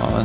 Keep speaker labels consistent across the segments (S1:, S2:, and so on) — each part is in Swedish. S1: Ja,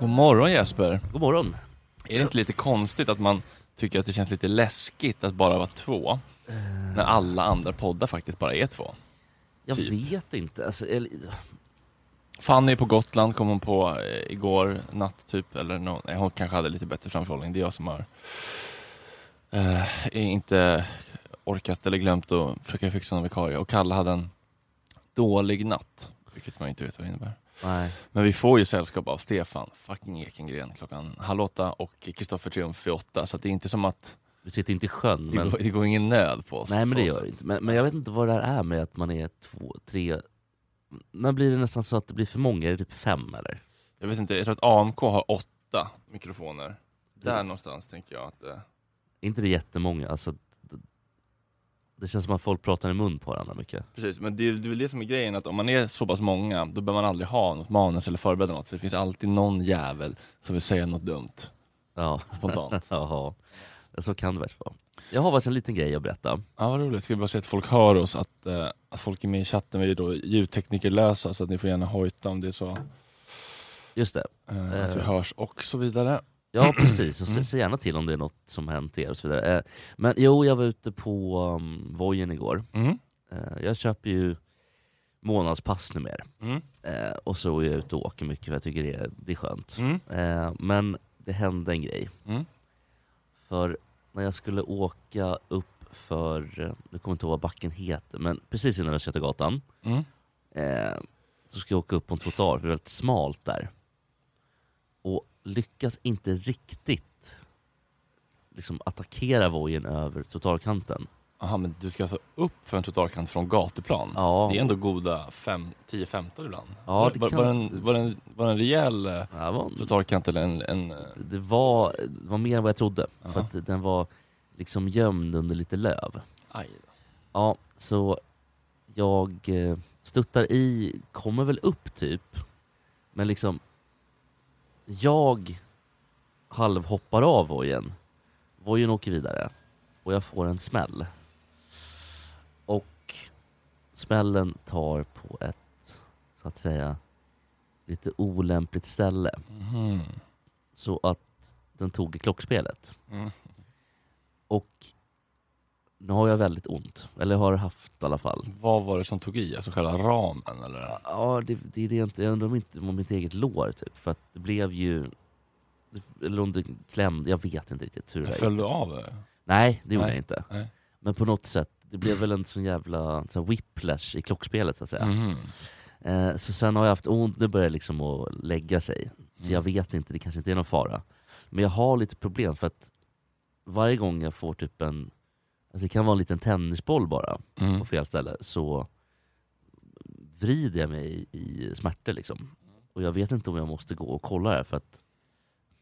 S1: God morgon Jesper.
S2: God morgon.
S1: Är det inte lite konstigt att man tycker att det känns lite läskigt att bara vara två? När alla andra poddar faktiskt bara är två.
S2: Jag
S1: Typ.
S2: vet inte. Alltså, eller,
S1: Fanny är på Gotland, kom hon på eh, igår natt typ. Eller nå- nej, hon kanske hade lite bättre framförhållning. Det är jag som har eh, inte orkat eller glömt att försöka fixa någon vikarie. Och Kalle hade en dålig natt, vilket man inte vet vad det innebär.
S2: nej.
S1: Men vi får ju sällskap av Stefan fucking Ekengren klockan halv åtta och Kristoffer Triumf vid åtta. Så att det är inte som att
S2: Vi sitter inte i sjön.
S1: det,
S2: Men,
S1: går, det går ingen nöd på oss.
S2: nej, men det
S1: Så-
S2: gör det inte. Men, men jag vet inte vad det här är med att man är två, tre... När blir det nästan så att det blir för många? Är det typ fem eller?
S1: Jag vet inte, jag tror att AMK har åtta mikrofoner. Där någonstans tänker jag att... eh,
S2: Är inte det jättemånga? Alltså, det- det känns som att folk pratar i mun på varandra mycket.
S1: Precis, men det är, det är väl det som är grejen att om man är så pass många då behöver man aldrig ha något manus eller förbereda något för det finns alltid någon jävel som vill säga något dumt
S2: Ja,
S1: spontant.
S2: Jaha. Ja, så kan det väl vara. Jag har faktiskt en liten grej att berätta.
S1: ja vad roligt, ska vi bara se att folk hör oss, att, eh, att folk är med i chatten. Vi är då ljudteknikerlösa så att ni får gärna hojta om det är så.
S2: Just det.
S1: Eh, att vi
S2: Eh.
S1: hörs och så vidare.
S2: Ja precis, och se,
S1: Mm.
S2: se gärna till om det är något som hänt er och så vidare. Eh, Men jo, jag var ute på um, Vojen igår.
S1: Mm.
S2: Eh, Jag köper ju månadspass numera.
S1: Mm.
S2: Eh, och så är jag ute och åker mycket för jag tycker det är, det är skönt.
S1: Mm.
S2: Eh, men det hände en grej.
S1: Mm.
S2: För när jag skulle åka upp för, eh, nu kommer jag inte ihåg vad backen heter, men precis innan Östgötagatan
S1: Mm.
S2: eh, så ska jag åka upp på en trottoar, för det är väldigt smalt där. Och lyckas inte riktigt liksom attackera vojen över trottoarkanten.
S1: Aha, men du ska alltså upp för en totalkant från gatuplan?
S2: Ja,
S1: Det är ändå goda fem- 10-15 ibland.
S2: Ja,
S1: var,
S2: det
S1: var,
S2: kan-
S1: var, det en, var, det en, var det en rejäl eh,
S2: det var en
S1: totalkant eller en... en eh,
S2: det var, det var mer än vad jag trodde. För
S1: Ja.
S2: att den var liksom gömd under lite löv.
S1: aj.
S2: Ja, så jag eh, Stuttar i, kommer väl upp typ. Men liksom, jag halvhoppar av vojen. Vojen åker vidare och jag får en smäll. Och smällen tar på ett, så att säga, lite olämpligt ställe.
S3: Mhm.
S2: Så att den tog i klockspelet.
S3: Mm.
S2: Och nu har jag väldigt ont. Eller har haft i alla fall.
S3: Vad var det som tog i? Alltså själva ramen eller?
S2: Ja, det, det är det jag inte. Jag undrar om inte om mitt eget lår typ. För att det blev ju... Eller om det klämde. Jag vet inte riktigt hur det
S3: Föll du av? eh?
S2: Nej, det gjorde
S3: Nej,
S2: jag inte.
S3: nej.
S2: Men på något sätt. Det blev väl en sån jävla sån här whiplash i klockspelet så att säga.
S3: Mhm.
S2: Eh, så sen har jag haft ont. Nu börjar det liksom att lägga sig. Så
S3: Mm.
S2: jag vet inte, det kanske inte är någon fara. Men jag har lite problem för att varje gång jag får typ en... Alltså det kan vara en liten tennisboll bara.
S3: Mm.
S2: på fel ställe så vrider jag mig i smärtor. Liksom. Och jag vet inte om jag måste gå och kolla det här för att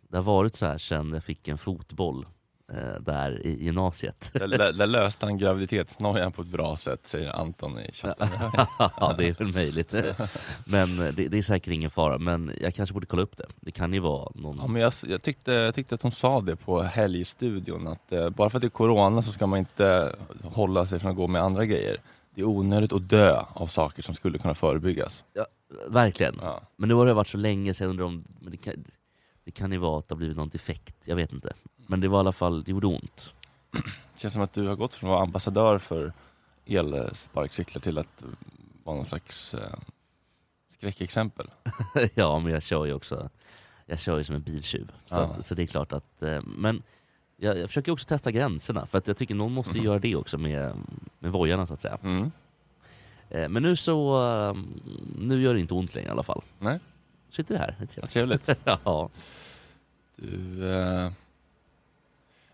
S2: det har varit så här sedan jag fick en fotboll eh, där i gymnasiet.
S3: Där, där, där löste han graviditetsnojan på ett bra sätt, säger Anton i chatten.
S2: ja, det är väl möjligt. men det, det är säkert ingen fara. Men jag kanske borde kolla upp det. Det kan ju vara någon...
S3: Ja, men jag, jag, tyckte, jag tyckte att hon sa det på helgstudion, att eh, bara för att det är corona så ska man inte hålla sig från att gå med andra grejer. Det är onödigt att dö av saker som skulle kunna förebyggas.
S2: Verkligen.
S3: Ja.
S2: Men nu har det varit så länge så jag undrar om... Men det, kan, det kan ju vara att det har blivit någon defekt. Jag vet inte. Men det var i alla fall... Det gjorde ont.
S3: känns som att du har gått från att vara ambassadör för elsparkcyklar till att eh, vara någon slags eh, skräckexempel.
S2: ja, men jag kör ju också jag kör ju som en biltjuv. Så,
S3: Ja.
S2: att, så det är klart att... eh, Men jag, jag försöker också testa gränserna, för att jag tycker någon måste
S3: Mhm.
S2: ju göra det också med, med vojarna så att säga.
S3: Mm.
S2: Eh, Men nu så... eh, Nu gör det inte ont längre i alla fall.
S3: Nej.
S2: Sitter vi här, det är
S3: Vad
S2: trevligt.
S3: trevligt.
S2: ja.
S3: Du, eh,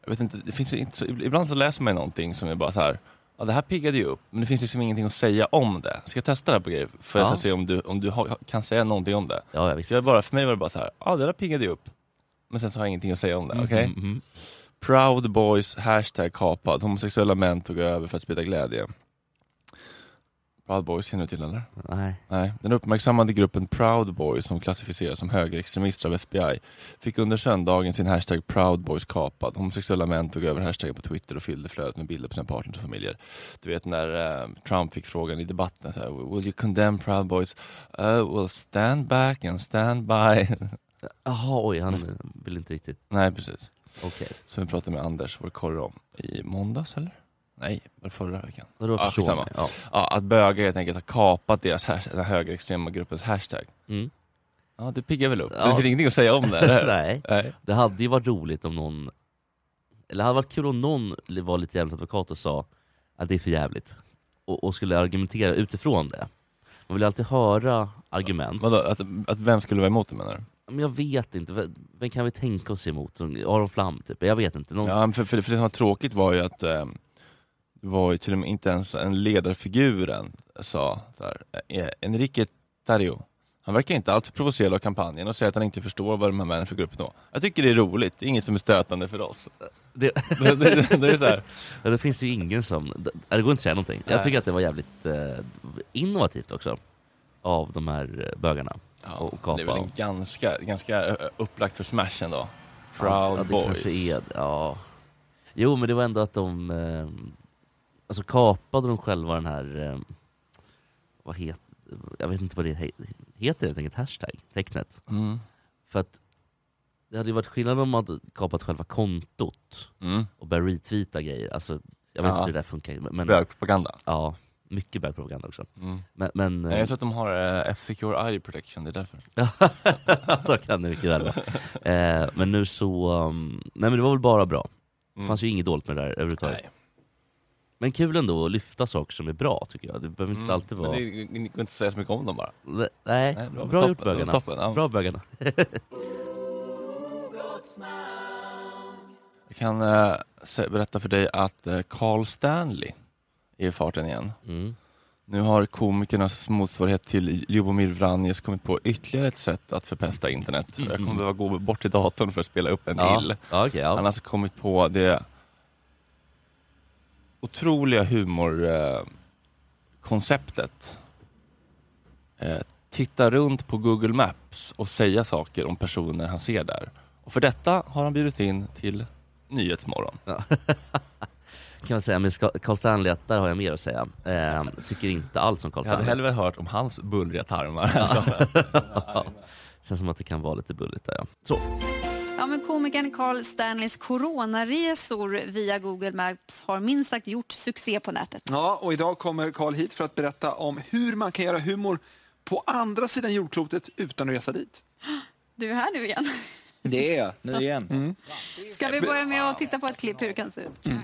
S3: jag vet inte, det finns ju inte så, ibland så läser man ju någonting som är bara så här, ja det här piggade ju upp, men det finns liksom ingenting att säga om det. Ska jag testa det här på grejer för
S2: Ja.
S3: att se om du, om du har, kan säga någonting om det?
S2: ja, ja, visst.
S3: Så jag bara, för mig var det bara så här, ja det där piggade ju upp, men sen så har jag ingenting att säga om det. Okej?
S2: Mm, mm, mm.
S3: Proud boys, hashtag kapad. Homosexuella män tog över för att sprida glädje. Proud boys känner du till eller?
S2: Nej.
S3: Nej. Den uppmärksammade gruppen Proud Boys som klassificeras som högerextremister av FBI fick under söndagen sin hashtag Proud Boys kapad. Homosexuella män tog över hashtaggen på Twitter och fyllde flödet med bilder på sina partners och familjer. Du vet när eh, Trump fick frågan i debatten så här, Will you condemn Proud Boys? Uh, well stand back and stand by.
S2: Jaha, oj, han eh, vill inte riktigt...
S3: Nej precis.
S2: Okej.
S3: Som vi pratade med Anders, vår korre, om i måndags eller? Nej, var det förra veckan?
S2: Okay. Då förstår
S3: Ja,
S2: jag
S3: skitsamma.
S2: mig. ja.
S3: Ja, att bögar helt enkelt har kapat deras hash- den högerextrema gruppens hashtag.
S2: Mm.
S3: Ja, det piggar väl upp.
S2: Ja.
S3: Det finns ingenting att säga om det, eller hur?
S2: Nej.
S3: Nej.
S2: Det hade ju varit roligt om någon... Eller det hade varit kul om någon var lite jävligt advokat och sa att det är för jävligt. Och, och skulle argumentera utifrån det. Man vill ju alltid höra argument.
S3: Vadå, att, att vem skulle vara emot det menar du?
S2: Men jag vet inte, V- vem kan vi tänka oss emot? Som Aron Flam typ? Jag vet inte. Någon...
S3: Ja, men för, för, det, för det som var tråkigt var ju att eh, det var ju till och med inte ens en ledarfiguren sa så här, eh, Enrique Tarrio. Han verkar inte alls provocerad av kampanjen och säger att han inte förstår vad de här männen försöker uppnå. Jag tycker det är roligt, det är inget som är stötande för oss.
S2: Det,
S3: Det, det, det är så här.
S2: ja, det finns ju ingen som... Det det går inte att säga någonting. Jag
S3: Nej.
S2: tycker att det var jävligt eh, innovativt också. Av de här eh, bögarna.
S3: Ja,
S2: och
S3: Det är
S2: kapa.
S3: väl en ganska, ganska eh, upplagt för Smash ändå.
S2: Ja,
S3: Proud
S2: ja, det
S3: Boys.
S2: Kanske är, ja. Jo, men det var ändå att de... Eh, alltså kapade de själva den här... Eh, vad heter... Jag vet inte vad det he- heter helt enkelt, hashtag, tecknet.
S3: Mm.
S2: För att det hade ju varit skillnad om man hade kapat själva kontot
S3: Mm.
S2: och börjat retweeta grejer. Alltså, jag vet
S3: Ja.
S2: inte hur det där funkar. Men, men,
S3: Bögpropaganda.
S2: ja, mycket bögpropaganda också.
S3: Mm.
S2: Men, men
S3: Nej, jag tror att de har eh, F-Secure ID Protection, det är därför.
S2: så kan det mycket väl vara. Eh, men nu så... Um, nej men det var väl bara bra. Det
S3: Mm.
S2: fanns ju inget dolt med det där överhuvudtaget.
S3: Nej.
S2: Men kul ändå att lyfta saker som är bra tycker jag. Det behöver inte alltid
S3: Mm. Men
S2: vara...
S3: det, det går inte att säga så mycket om dem bara.
S2: Nej, Nej,
S3: Nej, det var
S2: bra
S3: väl
S2: gjort
S3: toppen, det
S2: bögarna.
S3: var toppen, ja.
S2: Bra bögarna.
S3: Jag kan eh, sä- berätta för dig att eh, Carl Stanley är i farten igen.
S2: Mm.
S3: Nu har komikernas motsvarighet till Ljubomir Vranjes kommit på ytterligare ett sätt att förpesta internet. Jag kommer behöva gå bort till datorn för att spela upp en
S2: Mm.
S3: ill.
S2: Ja. Ja, okej,
S3: Han har
S2: ja.
S3: alltså kommit på det eh, otroliga humorkonceptet eh, titta runt på Google Maps och säga saker om personer han ser där. Och för detta har han bjudit in till Nyhetsmorgon.
S2: Kan jag säga med Ska- Carl Stanley att där har jag mer att säga. Ehm, tycker inte alls om Carl
S3: Jag hade
S2: Stanley.
S3: hellre hört om hans bullriga tarmar.
S2: Känns som att det kan vara lite bulligt där ja. Så,
S4: Ja, men komikern Carl Stanleys coronaresor via Google Maps har minst sagt gjort succé på nätet.
S5: Ja, och idag kommer Carl hit för att berätta om hur man kan göra humor på andra sidan jordklotet utan att resa dit.
S4: Du är här nu igen.
S6: Det är jag, nu igen.
S4: Ska vi börja med att titta på ett klipp hur det kan se ut?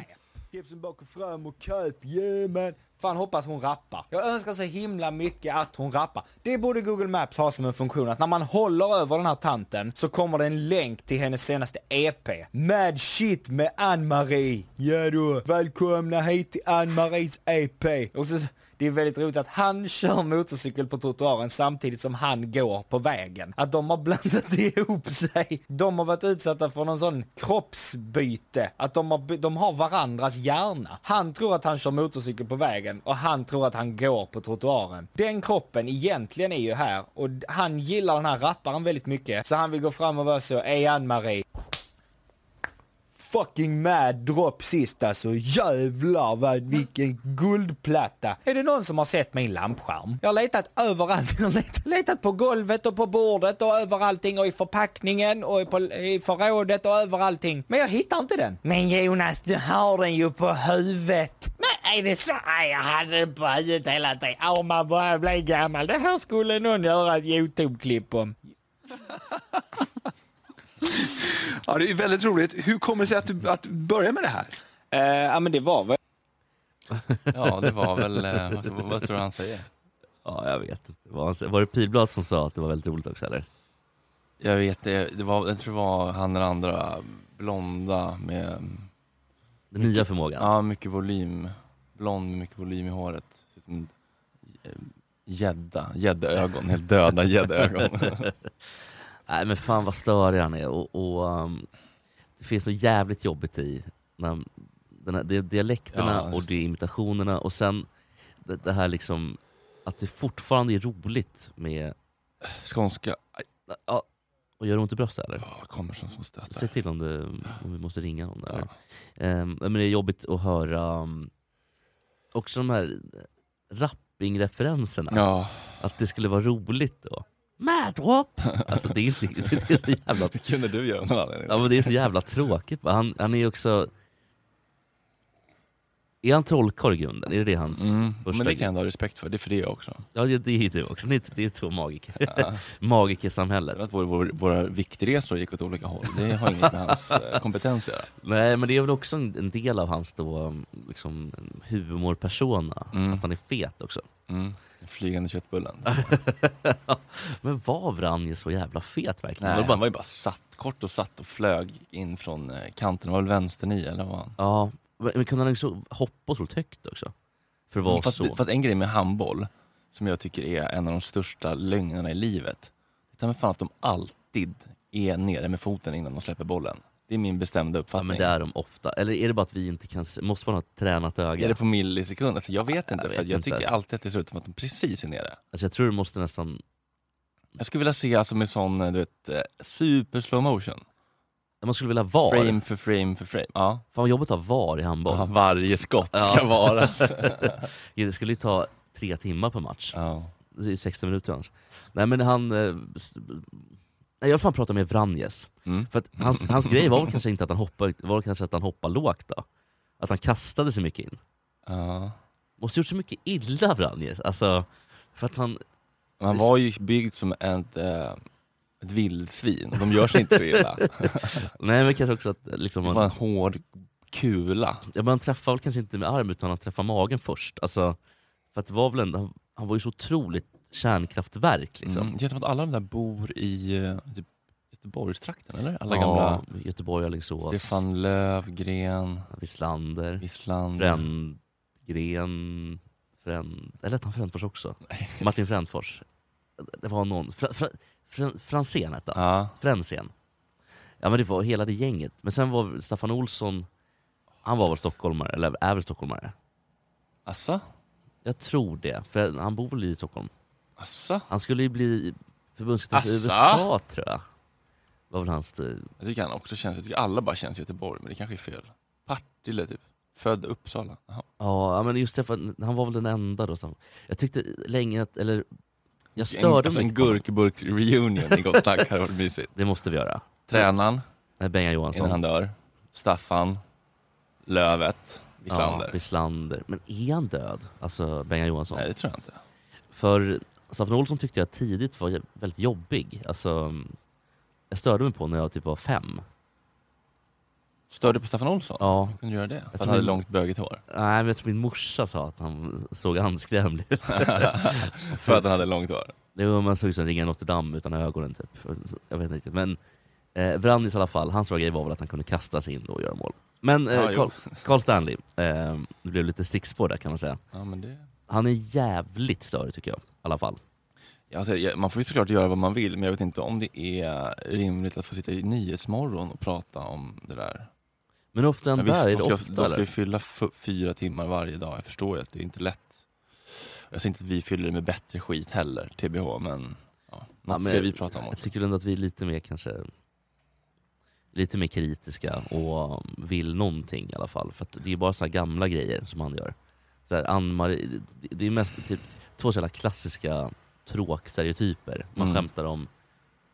S7: Tipsen bakom fram och köp, yeah man. Fan hoppas hon rappar. Jag önskar så himla mycket att hon rappar. Det borde Google Maps ha som en funktion, att när man håller över den här tanten så kommer det en länk till hennes senaste EP. Mad shit med Ann-Marie. Ja då, välkomna hit till Ann-Maries EP. Och så, det är väldigt roligt att han kör motorcykel på trottoaren samtidigt som han går på vägen. Att de har blandat ihop sig. De har varit utsatta för någon sån kroppsbyte. Att de har, by- de har varandras hjärna. Han tror att han kör motorcykel på vägen och han tror att han går på trottoaren. Den kroppen egentligen är ju här och d- han gillar den här rapparen väldigt mycket. Så han vill gå fram och vara så, ey Ann-Marie, fucking mad dropp sist alltså. Jävlar vad, vilken guldplatta. Är det någon som har sett min lampskärm? Jag har letat överallt. Jag har letat, letat på golvet och på bordet och över allting och i förpackningen och i på, i förrådet och över allting. Men jag hittar inte den. Men Jonas, du har den ju på huvudet. Nej, är det så? Nej, jag hade den på huvudet hela tiden. Åh, man börjar bli gammal. Det här skulle någon göra ett YouTube-klipp om.
S5: Ja, det är ju väldigt roligt. Hur kommer det sig att du, att du börjar med det här?
S7: Eh, ja, men det var väl
S3: Ja, det var väl... eh, Vad, vad tror du han säger?
S2: ja jag vet inte. Vad han säger. Var det Pilblad som sa att det var väldigt roligt också eller?
S3: Jag vet det. det var, jag tror det var han den andra blonda med...
S2: Den nya förmågan.
S3: Ja, mycket volym. Blond med mycket volym i håret. Ser ut som en eh, Gädda. Gäddögon. Helt döda gäddögon.
S2: Nej men fan vad störig han är och, och um, det finns något jävligt jobbigt i när, den här, det är dialekterna
S3: Ja,
S2: och
S3: just
S2: det är imitationerna och sen det, det här liksom att det fortfarande är roligt med...
S3: Skånska. Aj,
S2: Ja, och gör det ont i bröstet eller?
S3: ja, kommer som små
S2: Säg
S3: stötar.
S2: till om, det, om vi måste ringa någon. Där. Ehm, men det är jobbigt att höra um, också de här rappingreferenserna.
S3: Ja,
S2: Att det skulle vara roligt då. Madrop! Alltså det är, inte, det är så jävla
S3: det kunde du göra av någon anledning.
S2: Ja men det är så jävla tråkigt. va? Han, han är ju också... Är han trollkarl i grunden? Är det, det hans...
S3: Mm.
S2: första
S3: Men det kan
S2: grej.
S3: jag ändå ha respekt för. Det är för det också.
S2: Ja det, det är du också. Ni är, det är två magiker.
S3: Ja.
S2: Magikersamhället.
S3: För att vår, vår, våra viktresor gick åt olika håll. Det har inget med hans eh, kompetens att göra.
S2: Nej men det är väl också en, en del av hans då, liksom, humorpersona.
S3: Mm.
S2: Att han är fet också.
S3: Mm. Den Flygande köttbullen.
S2: men var Vranje så jävla fet verkligen?
S3: Nej,
S2: Det var
S3: han
S2: bara,
S3: var ju bara satt kort och satt och flög in från eh, kanten. Det var väl vänster i eller vad var han?
S2: ja, men men kunde han också hoppa otroligt högt också? För att vara
S3: Mm, Fast,
S2: så.
S3: fast en grej med handboll, som jag tycker är en av de största lögnerna i livet. Det är fan att de alltid är nere med foten innan de släpper bollen. Det är min bestämda
S2: ja,
S3: uppfattning.
S2: men det är de ofta. Eller är det bara att vi inte kan se? Måste man ha ett tränat öga?
S3: Är det på millisekunder? Alltså, jag vet
S2: Jag
S3: inte. Jag,
S2: vet
S3: för att jag
S2: inte
S3: tycker
S2: alltså.
S3: alltid att det ser ut som att de precis är nere.
S2: Alltså jag tror du måste nästan
S3: Jag skulle vilja se alltså med sån, eh, du vet, eh, super slow motion.
S2: Man skulle vilja ha VAR.
S3: Frame för frame för frame. Ja.
S2: Fan vad jobbigt att ha VAR i
S3: Ja,
S2: handboll.
S3: varje skott
S2: Ja.
S3: ska vara.
S2: Det skulle ju ta tre timmar per match.
S3: ja.
S2: Det är 60 minuter annars. Nej men han... eh, s- Nej, jag vill fan prata med Vranjes.
S3: Mm.
S2: För att hans, hans grej var väl kanske inte att han hoppade, var väl kanske att han hoppade lågt då. Att han kastade sig mycket in.
S3: ja.
S2: Måste ha gjort så mycket illa Vranjes. Alltså, för att han...
S3: Man var ju byggd som ett, eh, ett vildsvin. De gör sig inte så illa.
S2: Nej men kanske också att liksom...
S3: Det
S2: Han,
S3: var en hård kula.
S2: Ja, men han träffade väl kanske inte med arm utan han träffade magen först. Alltså, för att det var väl ändå, han, han var ju så otroligt kärnkraftverk liksom.
S3: Mm. Genom att alla de där bor i eh, typ Göteborgstrakten eller? Alla
S2: ja,
S3: gamla
S2: Göteborg, Alingsås,
S3: Stefan Löfgren,
S2: Wislander,
S3: Wislander. Mm.
S2: Frändgren, Fränd... Eller hette han Frändfors också? Martin Frändfors. Det var någon... Fra, fra, fra, Franzén hette han.
S3: Ja.
S2: Fränzén. Ja men det var hela det gänget. Men sen var Staffan Olsson, han var väl stockholmare, eller är väl stockholmare?
S3: Asså?
S2: Jag tror det, för han bor väl i Stockholm.
S3: Asså?
S2: Han skulle ju bli förbundskapten för
S3: Asså?
S2: USA tror jag. Var väl hans...
S3: Jag tycker han också känns, jag tycker alla bara känns Göteborg, men det kanske är fel. Partille typ. Född Uppsala. Jaha.
S2: Ja, men just det, för han var väl den enda då som... Jag tyckte länge att, eller... Jag
S3: En,
S2: störde
S3: alltså en
S2: mig på honom.
S3: gurkburk-reunion i Gotland hade varit mysigt.
S2: Det måste vi göra.
S3: Tränaren,
S2: Nej, Bengan
S3: innan han
S2: Johansson.
S3: dör. Staffan, Lövet,
S2: Ja,
S3: Wislander.
S2: Wislander. Men är han död? Alltså, Bengan Johansson.
S3: Nej, det tror jag inte.
S2: För Staffan Olsson tyckte jag tidigt var jä- väldigt jobbig. Alltså, jag störde mig på när jag typ var fem.
S3: Störde på Staffan Olsson?
S2: Ja,
S3: Kunde du göra det?
S2: tror
S3: För han hade
S2: min-
S3: långt bögigt hår.
S2: nej, men jag tror min morsa sa att han såg anskrämlig ut.
S3: För att han hade långt hår.
S2: Det var man såg ut som ringa Notre Dame utan ögonen typ. Jag vet inte riktigt. Men eh, Brandis i alla fall, hans stora grej var väl att han kunde kasta sig in och göra mål. Men eh,
S3: Ja, jo.
S2: Carl, Carl Stanley, eh, det blev lite stickspår där kan man säga.
S3: Ja, men det...
S2: Han är jävligt störig tycker jag, i alla fall.
S3: Ja, Alltså, ja, man får ju såklart göra vad man vill, men jag vet inte om det är rimligt att få sitta i Nyhetsmorgon och prata om det där.
S2: Men ofta
S3: Ja,
S2: han
S3: visst,
S2: där, är
S3: de
S2: det
S3: ska,
S2: ofta
S3: de ska ju
S2: eller?
S3: fylla f- fyra timmar varje dag, jag förstår ju att det är inte lätt. Jag säger inte att vi fyller det med bättre skit heller, TBH, men...
S2: Ja,
S3: Ja, något
S2: men-
S3: ska vi prata om
S2: Jag
S3: också.
S2: tycker ändå att vi är lite mer kanske lite mer kritiska och um, vill någonting i alla fall. För att det är bara såna här gamla grejer som han gör. Så här, Ann-Marie, det- det är mest typ två så jävla klassiska tråkstereotyper. Man
S3: Mm.
S2: skämtar om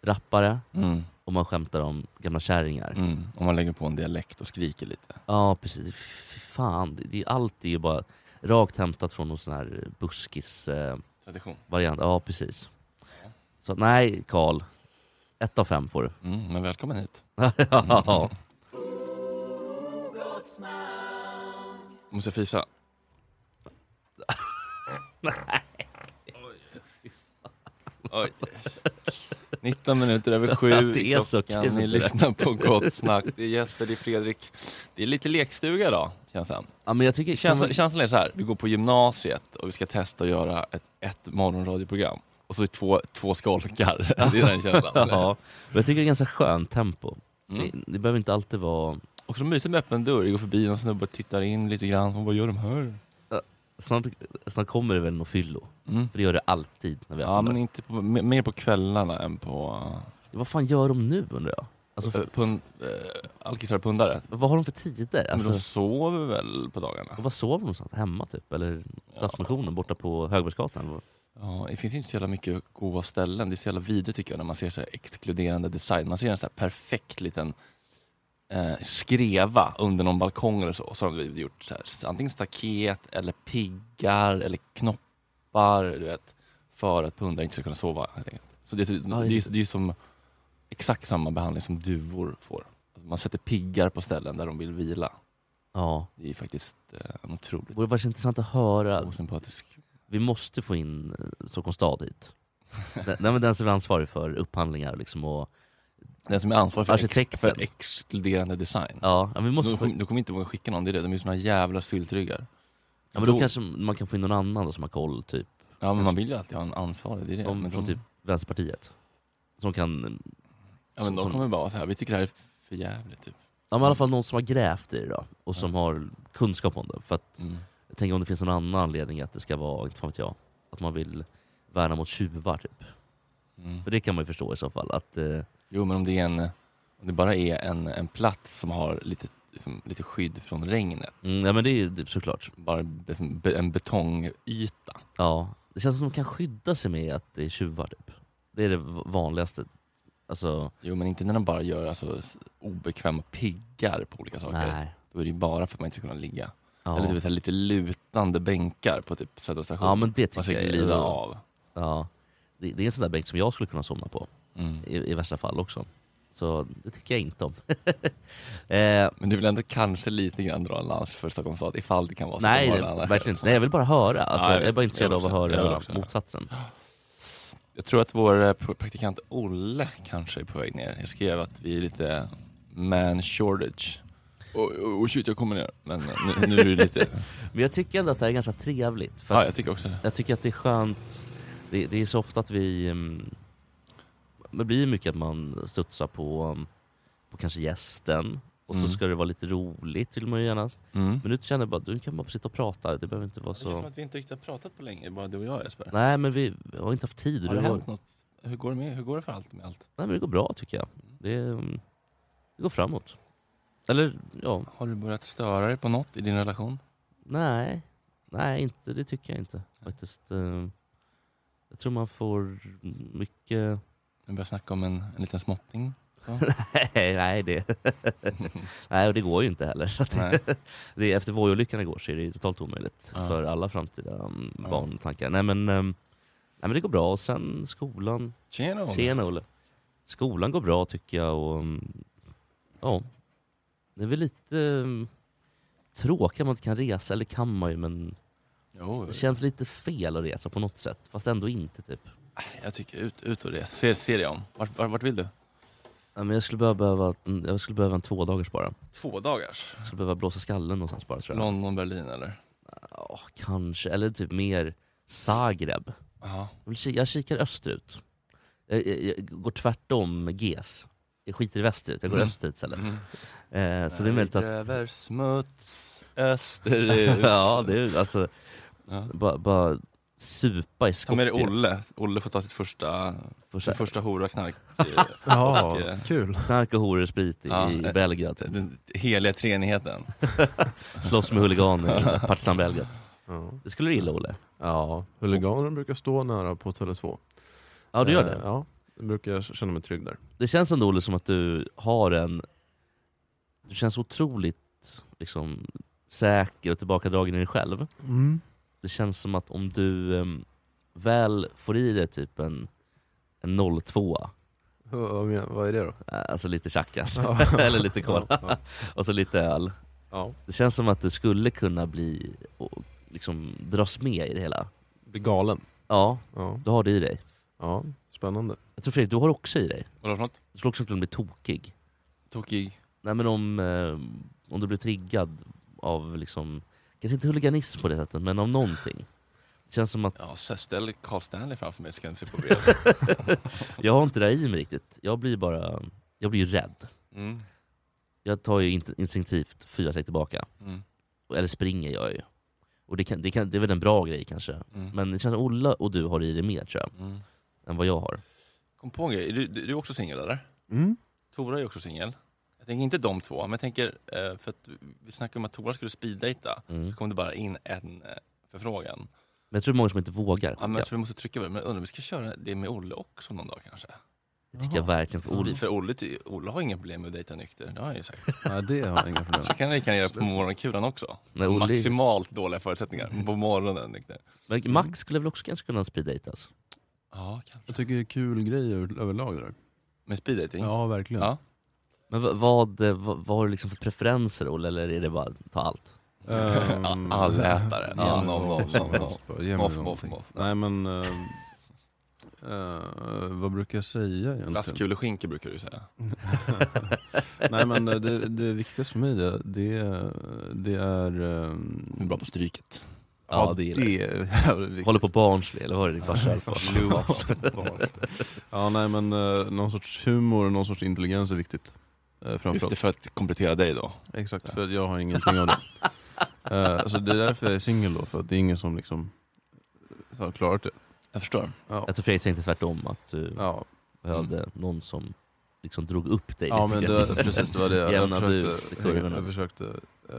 S2: rappare
S3: Mm,
S2: och man skämtar om gamla kärringar.
S3: mm. Om man lägger på en dialekt och skriker lite.
S2: Ja precis, fy fan. Det, det, allt är ju bara rakt hämtat från någon sån här buskis eh,
S3: Tradition.
S2: variant. Ja precis. Så att, nej Karl, ett av fem får du.
S3: Mm, men välkommen hit.
S2: ja.
S3: Måste jag fisa? Nej. Oj. 19 minuter över sju
S2: Att det
S3: i
S2: är så
S3: klockan.
S2: kul det där.
S3: Ni lyssnar på Gott Snack. Det är Jesper, det är Fredrik. Det är lite lekstuga idag, känslan.
S2: ja men jag tycker...
S3: Känslan, känslan är så här, vi går på gymnasiet och vi ska testa att göra ett, ett morgonradioprogram. Och så är två, två skolkar. Det är den känslan.
S2: ja, men jag tycker det är ganska skönt tempo.
S3: Mm.
S2: Det, det behöver inte alltid vara...
S3: Och så mysigt med öppen dörr. Vi går förbi någon snubbe och tittar in lite grann. Och vad gör de här?
S2: Snart, snart kommer det väl något fyllo.
S3: Mm.
S2: För det gör det alltid när vi
S3: Ja,
S2: öppnar.
S3: men inte på, mer mer på kvällarna än på...
S2: Vad fan gör de nu undrar jag? Alltså,
S3: eh, pund, eh, alkisar och pundare.
S2: vad har de för tider? Alltså,
S3: Men de sover väl på dagarna?
S2: Vad sover de någonstans? Hemma typ? Eller Stadsmissionen borta på Högbergsgatan? Eller vad?
S3: Ja, det finns ju inte så jävla mycket goda ställen. Det är så jävla vidrigt tycker jag när man ser så här exkluderande design. Man ser en så här perfekt liten eh, skreva under någon balkong eller så. Och så har de gjort så här, antingen staket eller piggar eller knoppar. Du vet, för att pundare inte ska kunna sova. helt enkelt. Så det, är- det, är- det, är- det är ju som exakt samma behandling som duvor får. Alltså, Man sätter piggar på ställen där de vill vila.
S2: Ja.
S3: Det är faktiskt eh, en
S2: Det
S3: otroligt
S2: vore faktiskt intressant att höra.
S3: osympatisk
S2: Vi måste få in eh, Stockholms stad hit. Den, nej, men den som är ansvarig för upphandlingar liksom och...
S3: Den som är ansvarig för, ex
S2: Arkitekten.
S3: för exkluderande design.
S2: Ja, ja, vi måste
S3: de,
S2: få
S3: kommer- de kommer inte våga skicka någon, det är det. De är ju såna jävla syltryggar.
S2: Ja, men då kanske man kan få in någon annan då som har koll, typ.
S3: ja, men man vill ju alltid ha en ansvarig, det är det.
S2: De
S3: men
S2: från typ Vänsterpartiet. Som kan...
S3: ja, men de
S2: som-
S3: kommer bara vara så här. vi tycker det här är för jävligt typ.
S2: Ja, men i alla fall någon som har grävt i det då, och som har kunskap om det. För att,
S3: Mm.
S2: jag tänker om det finns någon annan anledning att det ska vara, inte fan vet jag, att man vill värna mot tjuvar typ.
S3: Mm.
S2: För det kan man ju förstå i så fall. Att, eh,
S3: Jo men om det, är en, om det bara är en, en plats som har lite, liksom, lite skydd från regnet,
S2: mm, ja men det är ju det- såklart.
S3: bara liksom, be, en betongyta.
S2: Ja. Det känns som att de kan skydda sig med att det är tjuvar typ. Det är det v- vanligaste. Alltså,
S3: Jo men inte när de bara gör alltså, s- obekväma piggar på olika saker.
S2: nej.
S3: Då är det ju bara för att man inte ska kunna ligga. Eller
S2: Ja.
S3: typ, så här, lite lutande bänkar på typ Södra station.
S2: ja, men det
S3: man
S2: tycker
S3: ska
S2: jag är-
S3: glida av.
S2: Ja. Det, det är en sån där bänk som jag skulle kunna somna på.
S3: Mm.
S2: i, i värsta fall också. Så det tycker jag inte om. eh,
S3: Men du vill ändå kanske lite grann dra en lans för Stockholms stad ifall det kan vara så
S2: nej,
S3: att de har
S2: det-
S3: en annan
S2: verkligen
S3: chef.
S2: inte. Nej, jag vill bara höra. Alltså,
S3: Ja, jag
S2: jag, är
S3: vet.
S2: bara intresserad
S3: Jag
S2: av
S3: vill
S2: att
S3: också. Jag vill
S2: höra
S3: också.
S2: motsatsen.
S3: Jag tror att vår eh, pr- praktikant Olle kanske är på väg ner. Jag skrev att vi är lite man shortage. Och oh, shit, jag kommer ner. Men eh, nu, nu är det lite...
S2: Men jag tycker ändå att det här är ganska trevligt. För
S3: Ja,
S2: att
S3: jag tycker också det.
S2: Jag tycker att det är skönt. Det, det är så ofta att vi... mm, Det blir ju mycket att man studsar på, mm, på kanske gästen. Och Och så
S3: Mm.
S2: ska det vara lite roligt vill man ju gärna.
S3: Mm.
S2: Men nu känner jag bara, du kan bara sitta och prata. Det behöver inte vara
S3: Det känns som
S2: så...
S3: att vi inte riktigt har pratat på länge, bara du och jag Jesper.
S2: Nej men vi har inte haft tid.
S3: Har det
S2: Vi
S3: hänt något? Hur går det, med, hur går det för allt med allt?
S2: Nej men det går bra tycker jag. Det, mm, det går framåt. Eller ja,
S3: Har du börjat störa dig på något i din relation?
S2: nej. Nej, inte, det tycker jag inte faktiskt. Eh, Jag tror man får mycket...
S3: Du börjar snacka om en, en liten småtting.
S2: Nej, nej, det... nej, och det går ju inte heller. Så att
S3: Nej.
S2: det, efter Voi-olyckan igår så är det ju totalt omöjligt
S3: Ja.
S2: för alla framtida um,
S3: Ja.
S2: barn och tankar. Nej men, um, nej men det går bra. Och sen skolan.
S3: Tjena Olle.
S2: Tjena Olle. Skolan går bra tycker jag och um, ja. Det är väl lite um, tråkigt att man inte kan resa, eller kan man ju men
S3: Jo,
S2: det känns lite fel att resa på något sätt. Fast ändå inte typ.
S3: Äh, jag tycker ut, ut och res. Ser, ser dig om. Vart, vart, vart vill du?
S2: Ja, men jag, skulle bara behöva, mm, jag skulle behöva en två dagars bara.
S3: Två dagars?
S2: Jag skulle behöva blåsa skallen någonstans bara tror jag.
S3: London, Berlin eller?
S2: Ja, kanske. Eller typ mer Zagreb.
S3: Ja.
S2: Jag vill ki- Jag kikar österut. Jag, jag, jag går tvärtom GES. Jag skiter i västerut, jag går
S3: Mm.
S2: österut istället. Eh, så det är möjligt att...
S3: Över smuts österut.
S2: ja, det är alltså...
S3: Ja.
S2: Bara, bara supa i
S3: Ta med dig
S2: Skopje.
S3: Olle. Olle får ta sitt första, sin första hora knark.
S8: Ja,
S3: Och, eh,
S8: kul.
S2: Knark och horor och sprit i,
S3: Ja,
S2: i
S3: eh,
S2: Belgrad. Typ.
S3: Den heliga treenigheten.
S2: Slåss med huliganer i så här partisan Belgrad.
S8: Ja.
S2: Det skulle du gilla Olle?
S8: Ja, huliganer brukar stå nära på Tele2.
S2: Ja, du gör
S8: Eh,
S2: det?
S8: Ja, jag brukar känna mig trygg där.
S2: Det känns ändå Olle som att du har en... Du känns otroligt liksom, säker och tillbakadragen i dig själv.
S8: Mm.
S2: Det känns som att om du em, väl får i dig typ en, en 02
S8: Vad- Vad, men- vad är det då?
S2: eh, alltså lite tjackas,
S8: Ja.
S2: eller lite cola,
S8: Ja,
S2: och så lite öl.
S8: ja.
S2: Det känns som att du skulle kunna bli, och, liksom dras med i det hela.
S8: Blir galen.
S2: Ja,
S8: Ja,
S2: du har det i dig.
S8: ja. spännande.
S2: Jag tror Fredrik, du har det också i dig.
S3: Vadå för något?
S2: Du skulle också kunna bli tokig.
S3: Tokig.
S2: Nej men om, eh, om du blir triggad av liksom, kanske inte huliganism på det sättet, men av någonting. Det känns som att
S3: Ja, så ställ Carl Stanley framför mig så kan jag se på bild.
S2: jag har inte det här i mig riktigt. Jag blir bara, jag blir ju rädd.
S3: Mm.
S2: Jag tar ju int- instinktivt fyra steg tillbaka,
S3: Mm.
S2: eller springer jag ju. Och det, kan, det, kan, det är väl en bra grej kanske.
S3: Mm.
S2: Men det känns som Ola och du har det i dig mer tror jag,
S3: Mm.
S2: än vad jag har.
S3: Kom på en grej. Är Du, du, du är också singel eller?
S8: Mm.
S3: Tora är också singel. Jag tänker inte de två, men jag tänker, eh, för att vi snackade om att Tora skulle speeddejta.
S2: Mm.
S3: Så kom det bara in en eh, förfrågan.
S2: Men jag tror det är många som inte vågar
S3: Ja, men jag
S2: skicka.
S3: tror Alltså, vi måste trycka på det, men jag undrar om vi ska köra det med Olle också någon dag kanske?
S2: Det tycker jag verkligen. För Ola,
S3: För Olle, ty- Olle har inga problem med att dejta nykter, det har han ju sagt.
S8: Nej, det har jag inga problem
S3: Så kan vi kan göra på morgonkulan också.
S2: Nej, Olle-
S3: Maximalt dåliga förutsättningar på morgonen nykter.
S2: men Max skulle väl också kanske kunna alltså. speeddejtas?
S3: Ja, kanske.
S8: Jag tycker det är kul grejer över- överlag det där.
S3: Med speeddejting?
S8: Ja, verkligen.
S3: Ja.
S2: Men vad, vad, eh, vad, vad har du liksom för preferenser Olle, eller är det bara ta allt?
S8: Ehm,
S3: Allätare.
S8: Ja,
S3: Ja, no, no, no, no.
S8: Ge mig
S3: Moff,
S8: någonting.
S3: moff, moff.
S8: Nej men, eh, eh, vad brukar jag säga egentligen?
S3: Plastkuleskinka brukar du säga.
S8: Nej men eh, det, det viktigaste för mig det, det, det är... eh,
S2: Mm,
S3: Du är bra på stryket.
S2: Ja, det gillar
S8: är jävligt viktigt.
S2: Håller på Barnsley, eller vad är det din farsa höll på?
S8: Ja nej men eh, någon sorts humor och någon sorts intelligens är viktigt. Eh,
S3: Just det,
S8: framförallt.
S3: för att komplettera dig då.
S8: Exakt, för jag har ingenting av det. Eh, så det är därför jag är singel då, för att det är ingen som liksom eh, har klarat det.
S3: Jag förstår.
S8: Ja,
S2: Jag tror Fredrik tänkte tvärtom, att du
S8: ja. Mm.
S2: behövde någon som liksom drog upp dig
S8: ja
S2: lite
S8: men
S2: grann.
S8: det, precis det var det. Jag, jag
S2: Jämnade ut
S8: försökte,
S2: kurvorna. liksom.
S8: jag, jag försökte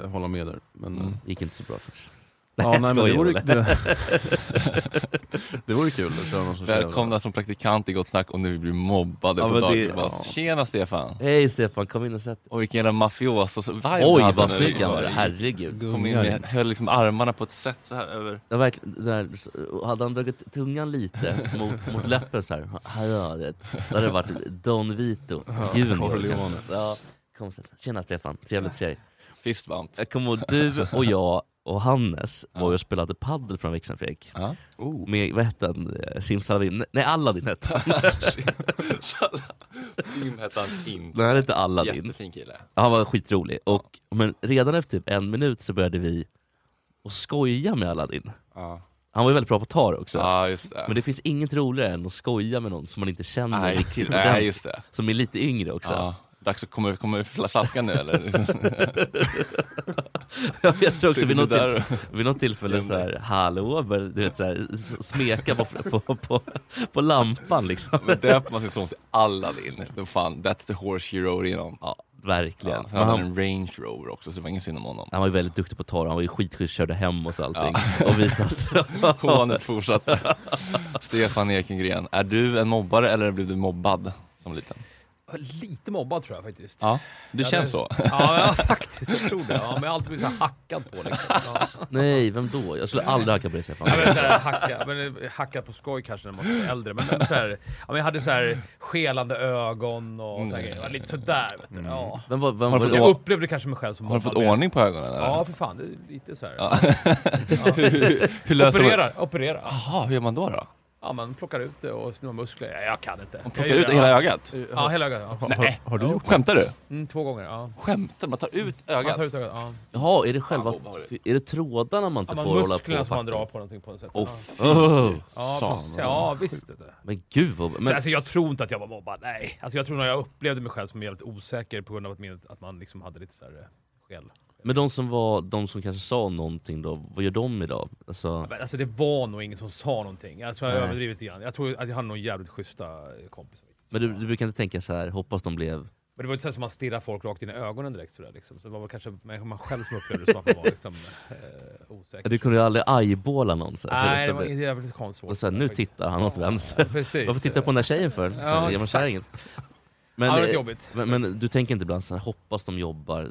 S8: eh, hålla med där. Men,
S3: Mm.
S8: eh,
S2: gick inte så bra kanske.
S8: ja, nej, men det,
S2: skojar,
S8: vore,
S2: Olle.
S8: det, det vore kul att köra någon som
S3: Välkomna som praktikant i Gott Snack och nu blir mobbade
S2: Ja,
S3: på
S2: men
S3: dagen.
S2: det-
S3: Bara,
S8: ja.
S3: Tjena Stefan!
S2: Hej Stefan, kom in och sätt dig.
S3: Och vilken jävla mafioso-vibe
S2: Oj
S3: hade
S2: vad
S3: nu.
S2: snygg han var, herregud.
S3: Kom in med, höll liksom armarna på ett sätt så här över.
S2: Ja, verkligen, det där, hade han dragit tungan lite mot, mot läppen såhär, ja, det det hade varit Don Vito, junior.
S8: Corleone.
S2: kanske. Ja, kom, så- Tjena Stefan, trevligt att se dig.
S3: Fist bump.
S2: Jag kommer ihåg du och jag och Hannes var ju och spelade paddel från veckan Fredrik.
S3: Ja.
S2: Med, vad hette han, Eh, Simsalabim? Nej Aladdin hette han.
S3: Tim hette han inte.
S2: Nej han hette Aladdin.
S3: Jättefin kille.
S2: Han var skitrolig. Och, men redan efter typ en minut så började vi att skoja med Aladdin.
S3: Ja,
S2: Han var ju väldigt bra på tar också.
S3: ja just det.
S2: Men det finns inget roligare än att skoja med någon som man inte känner
S3: Nej,
S2: riktigt
S3: nej,
S2: ordentligt.
S3: just det.
S2: Som är lite yngre också.
S3: Ja. Dags att komma ur, komma ur fla- flaskan nu eller?
S2: Jag vet
S8: Alltså,
S2: också
S3: Skyller
S2: vid något,
S3: det
S2: till,
S3: där.
S2: vid något tillfälle så här, hallå, men du vet så här, s- smeka på, på, på, på lampan liksom.
S3: Men döper man sin son till Aladdin, då fan, that's the horse you rode in on.
S2: Ja, verkligen.
S3: Ja, sen
S2: Men
S3: hade
S2: han,
S3: han en Range Rover också, så det var ingen synd om honom.
S2: han var ju väldigt duktig på att ta det. han var ju skitschysst, körde hem och så allting. Och vi satt...
S3: Hånet fortsatte. Stefan Ekengren, är du en mobbare eller blev du mobbad som liten?
S8: Lite mobbad tror jag faktiskt.
S3: Ja, du
S8: Ja,
S3: känns
S8: det-
S3: så.
S8: Ja, ja faktiskt. Jag tror det. Ja, men jag har alltid blivit så här hackad på liksom. Ja.
S2: Nej, vem då? Jag skulle aldrig hacka på dig Stefan.
S8: Ja, men, så här, hacka, men eh, hacka på skoj kanske när man var äldre. Men, men, så här, ja, men jag hade så här skelande ögon och så här, grejer. Det var lite sådär. Vet du. Ja.
S2: Vem var, vem
S3: Har
S2: var
S3: du fått
S2: det?
S8: Jag upplevde kanske mig själv som
S3: Har du fått
S8: mobbad, men-
S3: ordning på ögonen eller?
S8: Ja, för fan. Det är lite så här.
S3: Ja. hur, hur löser man
S8: Opererar, opererar.
S3: Jaha, hur gör man då? då?
S8: Ja, man plockar ut det och snor muskler. Ja, jag kan inte. Jag
S3: Plockar
S8: gör
S3: ut
S8: det,
S3: hela
S8: ja.
S3: ögat?
S8: Ja, hela ögat. Ja.
S3: Nej,
S1: Har du gjort
S3: skämtar du?
S8: Mm, två gånger. Ja.
S3: Skämtar Man tar ut
S8: Man tar
S3: ögat?
S8: ut ögat. Ja.
S2: Jaha, är det själva...
S3: Fan, vad var
S2: Är det trådarna man
S8: Ja,
S2: inte
S8: man
S2: får hålla på
S8: musklerna
S2: och
S8: som man drar
S2: packa?
S8: på någonting på något sätt.
S2: Åh,
S8: ja.
S2: fy. Oh,
S8: Ja, precis.
S3: Fan,
S8: ja, visst. vet du.
S2: men gud vad...
S8: Så,
S2: Men,
S8: alltså, jag tror inte att jag var mobbad, nej. Alltså, jag tror nog jag upplevde mig själv som jävligt osäker på grund av att, min, att man liksom hade lite så här eh, skäll.
S2: men de som var... De som kanske sa någonting då, vad gör de idag? Alltså,
S8: Men, alltså det var nog ingen som sa någonting. Jag tror jag
S2: Nej.
S8: överdrivit lite grann. Jag tror att jag hade nog jävligt schyssta eh, kompisar.
S2: men du, du brukar inte tänka så här, hoppas de blev...
S8: Men det var inte så här som man stirrar folk rakt in i ögonen direkt sådär liksom. Så det var väl kanske man man själv som upplevde det som att man var liksom, eh, osäker.
S2: Du kunde ju aldrig eyeballa någon så här, för att
S8: Nej, det
S2: de
S8: var
S2: blev-
S8: det var lite konstigt.
S2: Och så här, nu tittar han åt vänster.
S8: Ja, Precis.
S2: Varför tittar du på den där tjejen för? Så här, är man kär
S8: exakt.
S2: i inget?
S8: Men, ja,
S2: Men,
S8: det var
S2: eh,
S8: jobbigt.
S2: men, men du tänker inte ibland så här, hoppas de jobbar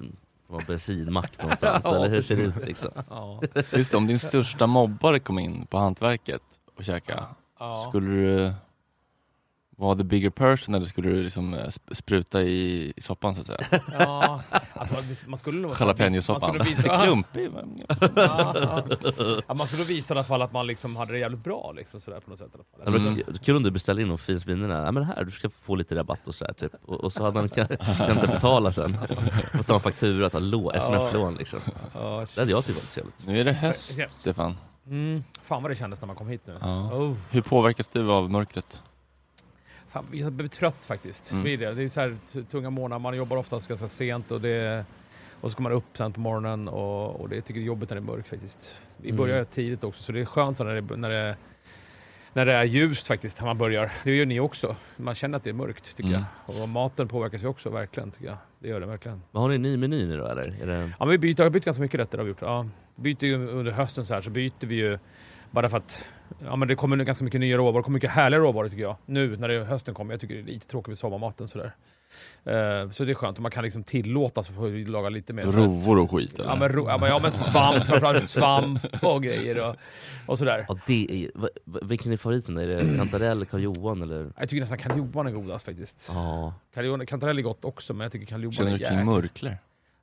S2: på en bensinmack någonstans,
S8: Ja,
S2: eller hur ser det
S8: precis.
S2: ut liksom?
S8: Ja.
S3: Just det, om din största mobbare kom in på hantverket och käkade,
S8: Ja.
S3: skulle du vara the bigger person eller skulle du liksom eh, sp- spruta i, i soppan så att säga?
S8: ja. Alltså, man, man skulle nog... Man
S3: Jalapenosoppan.
S8: skulle visa,
S3: Klumpig. men-
S8: ja, ja. ja, man skulle visa i alla fall att man liksom hade det jävligt bra liksom, sådär, på något sätt. I alla fall.
S2: Det
S3: Mm.
S2: var kul- kul om du beställde in de finaste vinerna, ja, men här, du ska få lite rabatt och sådär typ. och, och så hade han kan, kan inte betala sen. Får ta en faktura, ta lå, sms-lån liksom.
S8: Ja,
S2: Det hade jag tyckt varit trevligt.
S3: Nu är det höst, Stefan.
S8: mm, fan vad det kändes när man kom hit nu.
S3: Ja.
S8: Oh,
S3: Hur påverkas du av mörkret?
S8: fan, jag blir trött faktiskt.
S3: Mm.
S8: Blir det. det är så här t- tunga månader, man jobbar oftast ganska sent och, det, och så kommer man upp sent på morgonen och, och det tycker jag är jobbigt när det är mörkt faktiskt. Vi
S2: Mm.
S8: börjar tidigt också så det är skönt när det, när det när det är ljust faktiskt, när man börjar. Det gör ni också. Man känner att det är mörkt, tycker
S3: Mm.
S8: jag. Och maten påverkas ju också, verkligen, tycker jag. Det gör det verkligen.
S2: Men har ni en ny meny nu då eller? Är det...
S8: Ja, men vi byter, jag har bytt ganska mycket rätter. Har vi gjort. Ja, byter ju under hösten så här så byter vi ju bara för att ja, men det kommer nu ganska mycket nya råvaror. Det kommer mycket härliga råvaror tycker jag. Nu när det är hösten kommer. Jag tycker det är lite tråkigt med sommarmaten sådär. Eh, så det är skönt. Och Man kan liksom tillåta sig att laga lite mer. så här-
S3: Rovor och skit eller?
S8: Ja men, ro, ja, men, ja, men svamp, framförallt svamp och grejer och, och sådär.
S2: Ja, det är, ju- va- va- vilken är favoriten? Är det kantarell, Karl-Johan eller?
S8: Jag tycker nästan karl-johan är godast faktiskt.
S2: Ja,
S8: Karl-Johan- Kantarell är gott också, men jag tycker karl-johan
S3: Känner
S8: är
S3: du kring
S8: jäkligt...
S3: mörkler?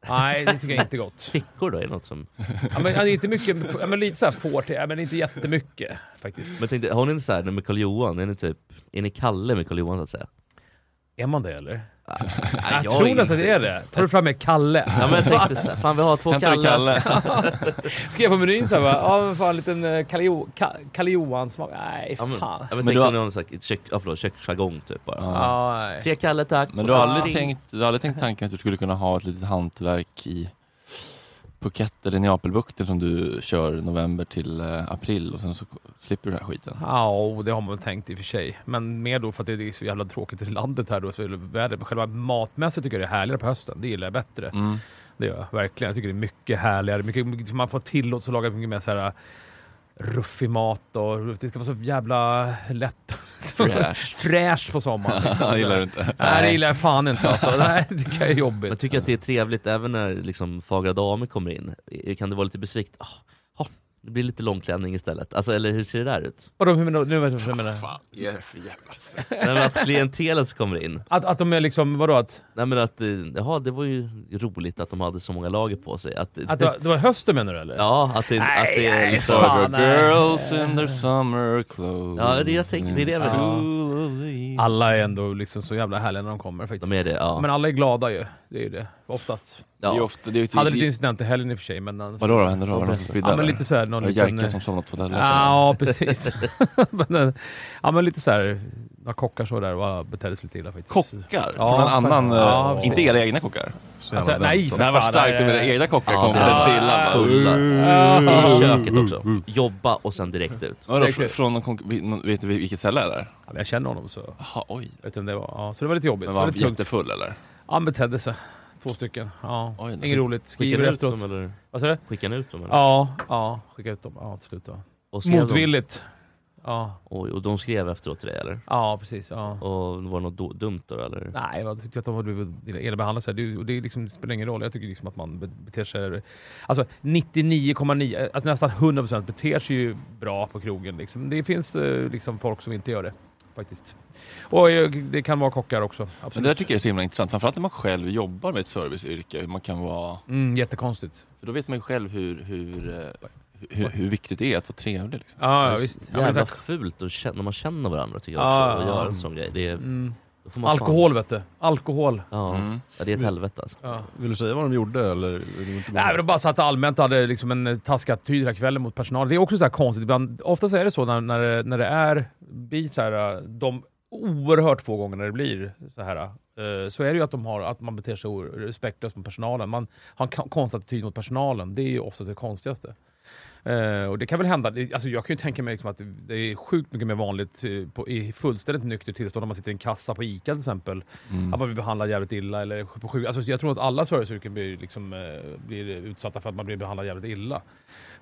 S8: Nej, det tycker jag inte är gott.
S2: fickor då? Är det något som...
S8: Ja, men, ja, det är inte mycket, ja, men lite såhär fårte, ja, men inte jättemycket faktiskt.
S2: Men jag tänkte, har ni så här med Karl-Johan, är ni typ, är ni Kalle med Karl-Johan så att säga?
S8: Är man det eller?
S2: Nej,
S8: Jag, tror nästan att det är det. Tar du fram med Kalle?
S2: Ja men jag tänkte så här, fan vi har två
S3: Hämtar du
S2: Kalle.
S3: Kalle?
S8: Skrev på menyn såhär bara, ja men fan en liten eh, Kalle Jo- Ka- Kalle Johan-smak. Nej,
S2: Ja, men, ja,
S8: fan.
S2: men,
S3: Men
S2: tänkte
S3: du
S2: om ni har någon sån här kök, ja, förlåt, köksjargong typ bara.
S3: Ja.
S8: Ja, nej.
S2: Tre Kalle tack.
S3: Men
S2: Och
S3: du har,
S2: så-
S3: aldrig tänkt, du har aldrig tänkt tanken att du skulle kunna ha ett litet hantverk i Phuket eller Neapelbukten som du kör november till eh, april och sen så slipper du den här skiten?
S8: Ja, och det har man väl tänkt i och för sig. Men mer då för att det är så jävla tråkigt i landet här då, så är det vädret. Men själva matmässigt tycker jag det är härligare på hösten. Det gillar jag bättre.
S3: Mm.
S8: Det gör jag verkligen. Jag tycker det är mycket härligare. Mycket, mycket, man får tillåtelse att laga mycket mer så här äh, ruffig mat och det ska vara så jävla lätt.
S3: Fräscht.
S8: Fräscht på sommaren. liksom.
S3: gillar du inte?
S8: Nej, det gillar jag fan inte alltså. Nej, det tycker jag är jobbigt.
S2: Men tycker att det är trevligt även när liksom fagra damer kommer in? Kan du vara lite besvikt? Ah, ah, det blir lite långklänning istället. Alltså, eller hur ser det där ut?
S8: Vadå, hur menar du? Nu vet jag vad jag menar.
S3: Fan, är det för jävla
S2: Nej, men att klientelet kommer in.
S8: Att, att de är liksom, vadå att?
S2: Nej men att, eh, jaha det var ju roligt att de hade så många lager på sig. Att,
S8: att det, var- det var hösten menar du eller?
S2: ja, att det, att det är liksom...
S8: fan, nej.
S3: Girls in their summer clothes.
S2: Ja, det jag tänker- det är det
S8: Mm.
S2: jag menar.
S8: Alla är ändå liksom så jävla härliga när de kommer faktiskt.
S2: De är det, ja.
S8: Men alla är glada ju. Det är ju det, oftast.
S3: Det är ofta, det är ju
S8: Hade lite incident i helgen i och för sig, men... annars-
S3: Vadå då? Hände då? Var det någon som spydde?
S8: Ja, men
S3: eller?
S8: lite såhär, någon
S3: Var det
S8: liten... eh,
S3: Jerka som somnade på hotellet?
S8: Ja, precis. men, eh, ja, men lite såhär, några kockar så där och betedde sig lite illa faktiskt.
S3: Kockar? Från en annan, eh,
S8: precis.
S3: inte era egna kockar?
S8: Så jävla Alltså, nej, dumt. för
S3: Det här var
S8: fan,
S3: starkt om
S8: nej,
S3: era
S8: nej.
S3: egna kockar
S8: Ja,
S3: kom
S8: det-
S3: lite illa.
S2: Fulla.
S3: Mm.
S2: I köket också. Jobba och sen direkt ut.
S3: Vadå, fr- från någon konk- vi- någon- Vet du vilket ställe det är?
S8: Ja, men jag känner honom så...
S3: Jaha, oj.
S8: Vet du om det var? Ja, så det var lite jobbigt.
S3: Men
S8: Så
S3: var
S8: det
S3: han
S8: var tungt.
S3: jättefull eller?
S8: Ja, han betedde sig. Två stycken. Ja,
S3: Oj, då.
S8: inget roligt.
S2: Skickar
S8: Skriver
S2: ni ut
S8: efteråt.
S2: dem, eller?
S8: Vad sa du?
S2: Skickar ni ut dem eller?
S8: Ja, ja, skicka ut dem. Ja, till slut då.
S2: Och skrev de-
S8: Motvilligt. Ja,
S2: Oj, och de skrev efteråt till dig eller?
S8: ja precis. Ja.
S2: Och var det något do- dumt då eller?
S8: Nej, jag tyckte att de har blivit illa behandlade. Så här. Det, och det liksom spelar ingen roll. Jag tycker liksom att man be- beter sig... Alltså 99,9, alltså nästan 100% beter sig ju bra på krogen. Liksom. Det finns eh, liksom folk som inte gör det. Faktiskt. Och eh, det kan vara kockar också.
S3: Men det där
S8: Absolut.
S3: tycker jag är så himla intressant, framförallt när man själv jobbar med ett serviceyrke, hur man kan vara...
S8: Mm, jättekonstigt.
S3: För då vet man ju själv hur, hur, eh, hur, hur viktigt det är att vara trevlig. Liksom.
S8: Ja, ja visst. Ja, men så
S2: Jävla
S8: här,
S2: fult att känna, när man känner varandra tycker jag
S8: Ja,
S2: också.
S8: ja,
S2: Och göra
S8: ja.
S2: en sån grej. Det är,
S8: mm.
S2: då får man fan-
S8: Alkohol vet du. Alkohol.
S2: Ja,
S3: Mm.
S2: ja, det är ett helvete alltså.
S8: Ja.
S1: Vill du säga vad de gjorde eller? vill du inte bara-
S8: Nej, men de bara satt allmänt och hade liksom en eh, taskig attityd hela kvällen mot personal. Det är också så här konstigt. Ibland, oftast är det så när, när, det- när det är blir så här, eh, de oerhört få gånger när det blir så här eh, så är det ju att, de har, att man beter sig o- respektlöst mot personalen. Man har en ka- konstig attityd mot personalen. Det är ju oftast det konstigaste. Eh, och det kan väl hända. Det- Alltså jag kan ju tänka mig liksom att det- det är sjukt mycket mer vanligt eh, på, i fullständigt nykter tillstånd när man sitter i en kassa på ICA till exempel. Att man blir behandlad jävligt illa eller på sjuk. Alltså jag tror att alla serviceyrken blir, liksom, eh, blir utsatta för att man blir behandlad jävligt illa.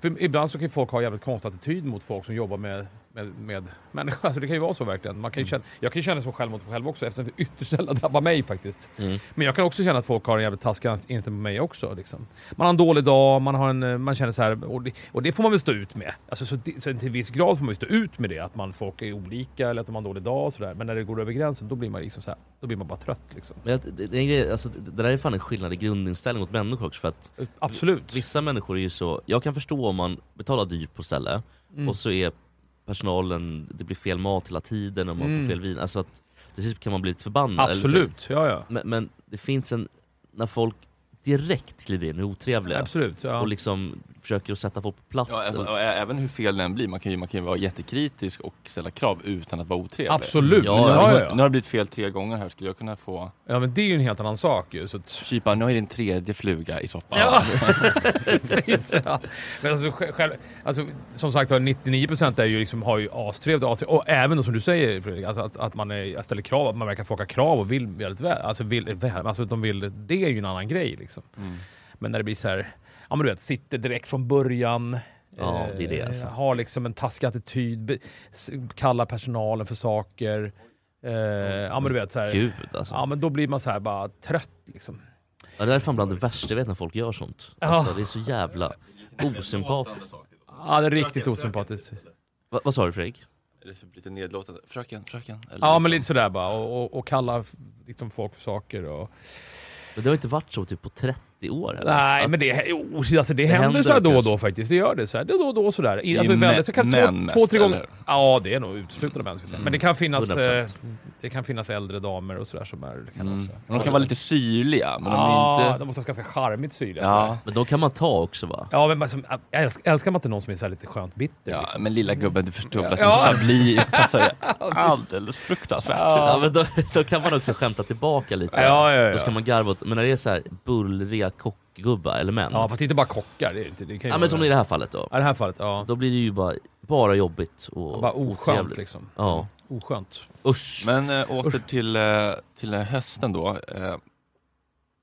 S8: För ibland så kan ju folk ha jävligt konstig attityd mot folk som jobbar med, med, med människor. Alltså det kan ju vara så verkligen. Man kan ju känna, jag kan ju känna så själv mot mig själv också eftersom det ytterst sällan drabbar mig faktiskt. Men jag kan också känna att folk har en jävligt taskig inställning på mig också. Liksom. Man har en dålig dag, man, har en, eh, man känner så här, och det, och det får man väl stå ut med. Alltså, så, det- så till en viss grad får man ju stå ut med det, att man, folk är olika eller att de har en dålig dag och sådär. Men när det går över gränsen, då blir man, liksom så här, då blir man bara trött. Liksom.
S2: Men jag, det, det, är en grej, alltså, det det där är fan en skillnad i grundinställning mot människor också. För att
S8: Eh, Absolut.
S2: vissa människor är ju så, jag kan förstå om man betalar dyrt på ställe
S8: Mm.
S2: och så är personalen, det blir fel mat hela tiden och man
S8: Mm.
S2: får fel vin. Alltså att till sist kan man bli lite förbannad. eller så.
S8: Absolut, ja ja.
S2: Men, men det finns en, när folk direkt kliver in och är otrevliga
S8: Absolut, ja.
S2: och liksom försöker att sätta folk på plats.
S3: Ja, även,
S2: eller-
S3: och ä- även hur fel den blir, man kan ju, man kan ju vara jättekritisk och ställa krav utan att vara otrevlig.
S8: Absolut.
S3: Nu,
S2: Ja,
S8: Ja,
S3: har-
S8: ja,
S3: nu
S8: ja.
S3: har det blivit fel tre gånger här, skulle jag kunna få...
S8: ja, men det är ju en helt annan sak ju. Så att,
S3: Kypa, nu är din tredje fluga i soppan.
S8: Ja, precis. Ja. Men alltså, sj- själv, alltså, som sagt var, 99% är ju liksom, har ju astrevligt. och astrevligt. Och även då, som du säger Fredrik, alltså, att, att man är, ställer krav, att man verkar få krav och vill väldigt väl. Alltså, vill, väl alltså, de vill, det är ju en annan grej. Liksom.
S2: Mm.
S8: Men när det blir så här, ja men du vet, sitter direkt från början.
S2: Ja, det är det, alltså.
S8: Har liksom en taskig attityd, be- s- kallar personalen för saker. Eh, ja men du vet så här,
S2: Gud alltså.
S8: Ja men då blir man så här bara trött liksom.
S2: Ja, det där är fan bland det värsta jag vet när folk gör sånt.
S8: Ja.
S2: Alltså, det är så jävla osympatiskt.
S8: Ja, det är riktigt osympatiskt.
S2: Va, vad sa du Fredrik?
S3: Eller så lite nedlåtande. Fröken, fröken. Eller
S8: Ja,
S3: liksom-
S8: men lite sådär bara. Och, och, och kalla f- liksom folk för saker. Och...
S2: Men Det har inte varit så typ på 30 år heller.
S8: Nej,
S2: Att-
S8: men det, jo, alltså, det, händer,
S2: händer
S8: så här då och
S2: kanske.
S8: då faktiskt. Det gör det. Så här, det är då och då sådär. I-
S3: är
S8: Alltså,
S3: ju
S8: väldigt, så
S3: mä-
S8: kanske
S3: män
S8: två,
S3: mest,
S8: två, tre gånger.
S3: eller?
S8: Ja, det är nog uteslutande män. ska jag säga. Men det kan, finnas, eh,
S2: 100%.
S8: det kan finnas äldre damer och sådär som är... Kan
S3: Mm.
S8: också.
S3: Men de kan vara lite syrliga, men de
S8: ja,
S3: är inte...
S8: de måste vara ganska charmigt syrliga.
S3: Ja,
S8: Ja.
S2: Men de kan man ta också va?
S8: Ja, men alltså, älsk- älskar man inte någon som är så här lite skönt bitter?
S3: ja,
S8: liksom?
S3: men lilla gubben, du förstår väl att
S8: Ja.
S3: det här blir alltså, alldeles fruktansvärt.
S2: Ja, men då, då kan man också skämta tillbaka lite.
S8: Ja, ja, ja.
S2: Då ska man garva åt, men när det är så här bullriga kockgubbar eller män.
S8: ja,
S2: Ja,
S8: fast det är inte bara kockar. Det, är ju inte- det kan ju vara-
S2: men som i det här fallet då.
S8: Ja, i det här fallet. Ja.
S2: Då blir det ju bara, bara jobbigt och
S8: Bara oskönt
S2: otrevligt.
S8: liksom.
S2: Ja,
S8: Oskönt.
S2: usch.
S3: Men eh, åter till, eh, till eh, hösten då. Eh,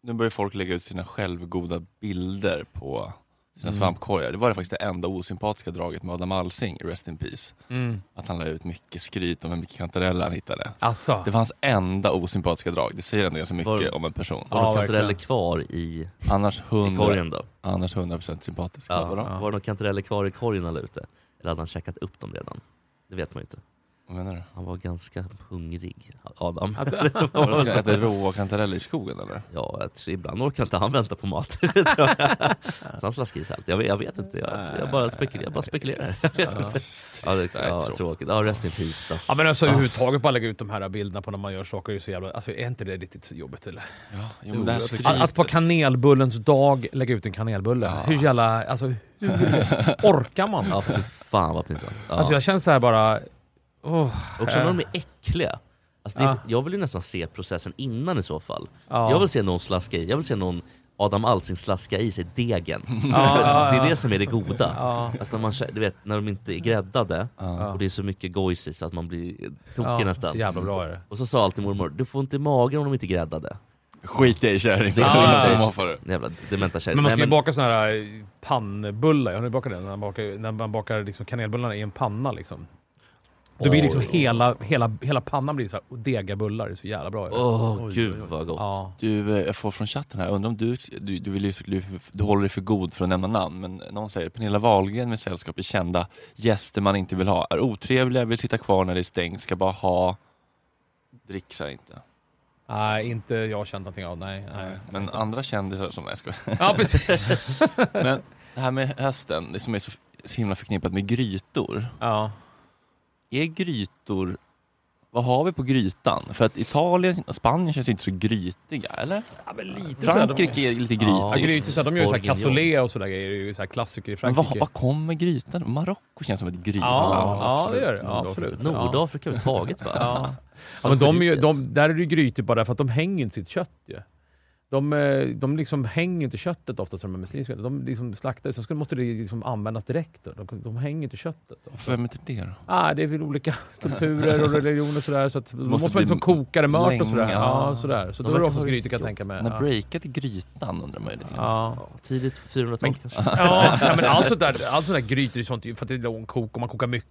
S3: nu börjar folk lägga ut sina självgoda bilder på sina svampkorgar. Det var det faktiskt det enda osympatiska draget med Adam Alsing, Rest in Peace.
S8: Mm.
S3: Att han la ut mycket skryt om hur mycket kantareller han hittade.
S8: Alltså.
S3: Det var hans enda osympatiska drag. Det säger ändå ganska mycket
S2: Var-
S3: om en person.
S2: Var det
S8: Ja,
S2: några kantareller
S8: verkligen.
S2: kvar i,
S3: Annars
S2: i
S3: 100,
S2: korgen då?
S3: annars 100% sympatisk.
S2: Ja.
S3: Vadå?
S2: Var det några kantareller kvar i korgen eller ute? Eller hade han käkat upp dem redan? Det vet man ju inte.
S3: Vad menar du?
S2: Han var ganska hungrig, Adam.
S3: Att,
S2: Det var
S3: att
S2: så
S3: jag
S2: här.
S3: äter råa kantareller i skogen eller?
S2: Ja, jag tror- ibland orkar inte han vänta på mat. tror jag. Så han slaskar i sig allt. Jag vet, jag vet inte, jag, jag, bara spekulerar, jag bara spekulerar. Jag vet inte. Ja, det,
S3: Nej,
S2: ja,
S3: tråkigt.
S2: tråkigt. Ja, rest in peace då.
S8: Ja men alltså överhuvudtaget bara lägga ut de här bilderna på när man gör saker är ju så jävla... Alltså är inte det riktigt jobbigt eller?
S3: Ja, jo, men det här
S1: Jo, jag
S8: Att,
S3: skrytet.
S8: att på kanelbullens dag lägga ut en kanelbulle. Hur jävla... Alltså hur orkar man?
S2: Ja, fy fan vad pinsamt. Ja.
S8: Alltså jag känner så här bara... åh,
S2: Också när de är äckliga. Alltså det,
S8: Ja.
S2: Jag vill ju nästan se processen innan i så fall.
S8: ja.
S2: Jag vill se någon slaska i, jag vill se någon Adam Alsing slaska i sig degen.
S8: Ja, ja,
S2: Det är
S8: ja.
S2: det som är det goda.
S8: Ja.
S2: Alltså när, man, kä- du vet, när de inte är gräddade och det är så mycket gojs i så att man blir tokig
S8: Ja, Så
S2: nästan. Mm.
S8: jävla bra är det.
S2: Och så sa alltid mormor, du får inte i magen om de inte är gräddade.
S3: Skit i kärring.
S2: Det är
S3: Ja,
S2: skit i.
S3: som hoppar ur.
S2: Den Jävla dementa tjejer.
S8: Men man ska
S2: Nej,
S8: ju baka såna här eh, pannbullar, har ni bakat det? När man bakar, när man bakar liksom kanelbullarna i en panna liksom. Då blir liksom
S2: Oj.
S8: hela, hela, hela pannan blir så här dega bullar, det är så jävla bra. är det?
S2: Åh
S8: Oj,
S2: gud
S8: oj, oj.
S2: vad gott.
S8: Ja.
S3: Du, eh, jag får från chatten här, undrar om du, du, du, vill ju, du, du håller dig för god för att nämna namn, men någon säger Pernilla Wahlgren med sällskap är kända gäster man inte vill ha, är otrevliga, vill sitta kvar när det är stängt, ska bara ha, dricksar inte.
S8: Nej, inte jag känt någonting av. Nej, nej.
S3: Men andra kändisar som, nej jag skojar.
S8: Ja, precis.
S3: Men det här med hösten, det som är så så himla förknippat med grytor.
S8: ja.
S3: Är grytor, vad har vi på grytan? För att Italien och Spanien känns inte så grytiga, eller?
S8: ja, men lite
S3: Frankrike är lite
S8: Ja,
S3: grytigt.
S8: grytor, så här, de gör ju såhär
S2: Bourguignon.
S8: cassoulet och sådana grejer. Det är ju så här klassiker i
S3: Men vad,
S8: Frankrike.
S3: vad kommer grytan? Marocko känns som ett grytland.
S8: Ja, ja,
S2: absolut.
S8: det gör det. Ja, absolut. Ja.
S2: Nordafrika överhuvudtaget va? Alltså,
S8: Ja. Ja, men de är ju, de, där är det ju grytor bara för att de hänger ju inte sitt kött ju. De, eh, de liksom hänger ju inte köttet oftast de här muslimska. De liksom slaktar så ska- måste det liksom användas direkt. Då. De, de hänger ju inte köttet. Då.
S3: Vem är typ det då?
S8: Ah, det är väl olika kulturer och religioner och sådär. Så att, då
S3: Måste
S8: måste man liksom
S3: bli
S8: koka det mört
S3: länge,
S8: och sådär.
S3: ja.
S8: Ja, sådär. Så
S2: De
S8: då är det
S2: verkar
S8: oftast
S2: ha
S8: grytor kan jag
S2: gjort-
S8: tänka mig.
S3: När
S8: Ja.
S3: breakade grytan undrar man ju lite grann.
S8: Ja.
S2: Tidigt 400-tal
S8: Men-
S2: kanske.
S8: Ja, nej, men allt sånt där, allt sånt där grytor är sånt ju för att det är lång kok och man kokar mycket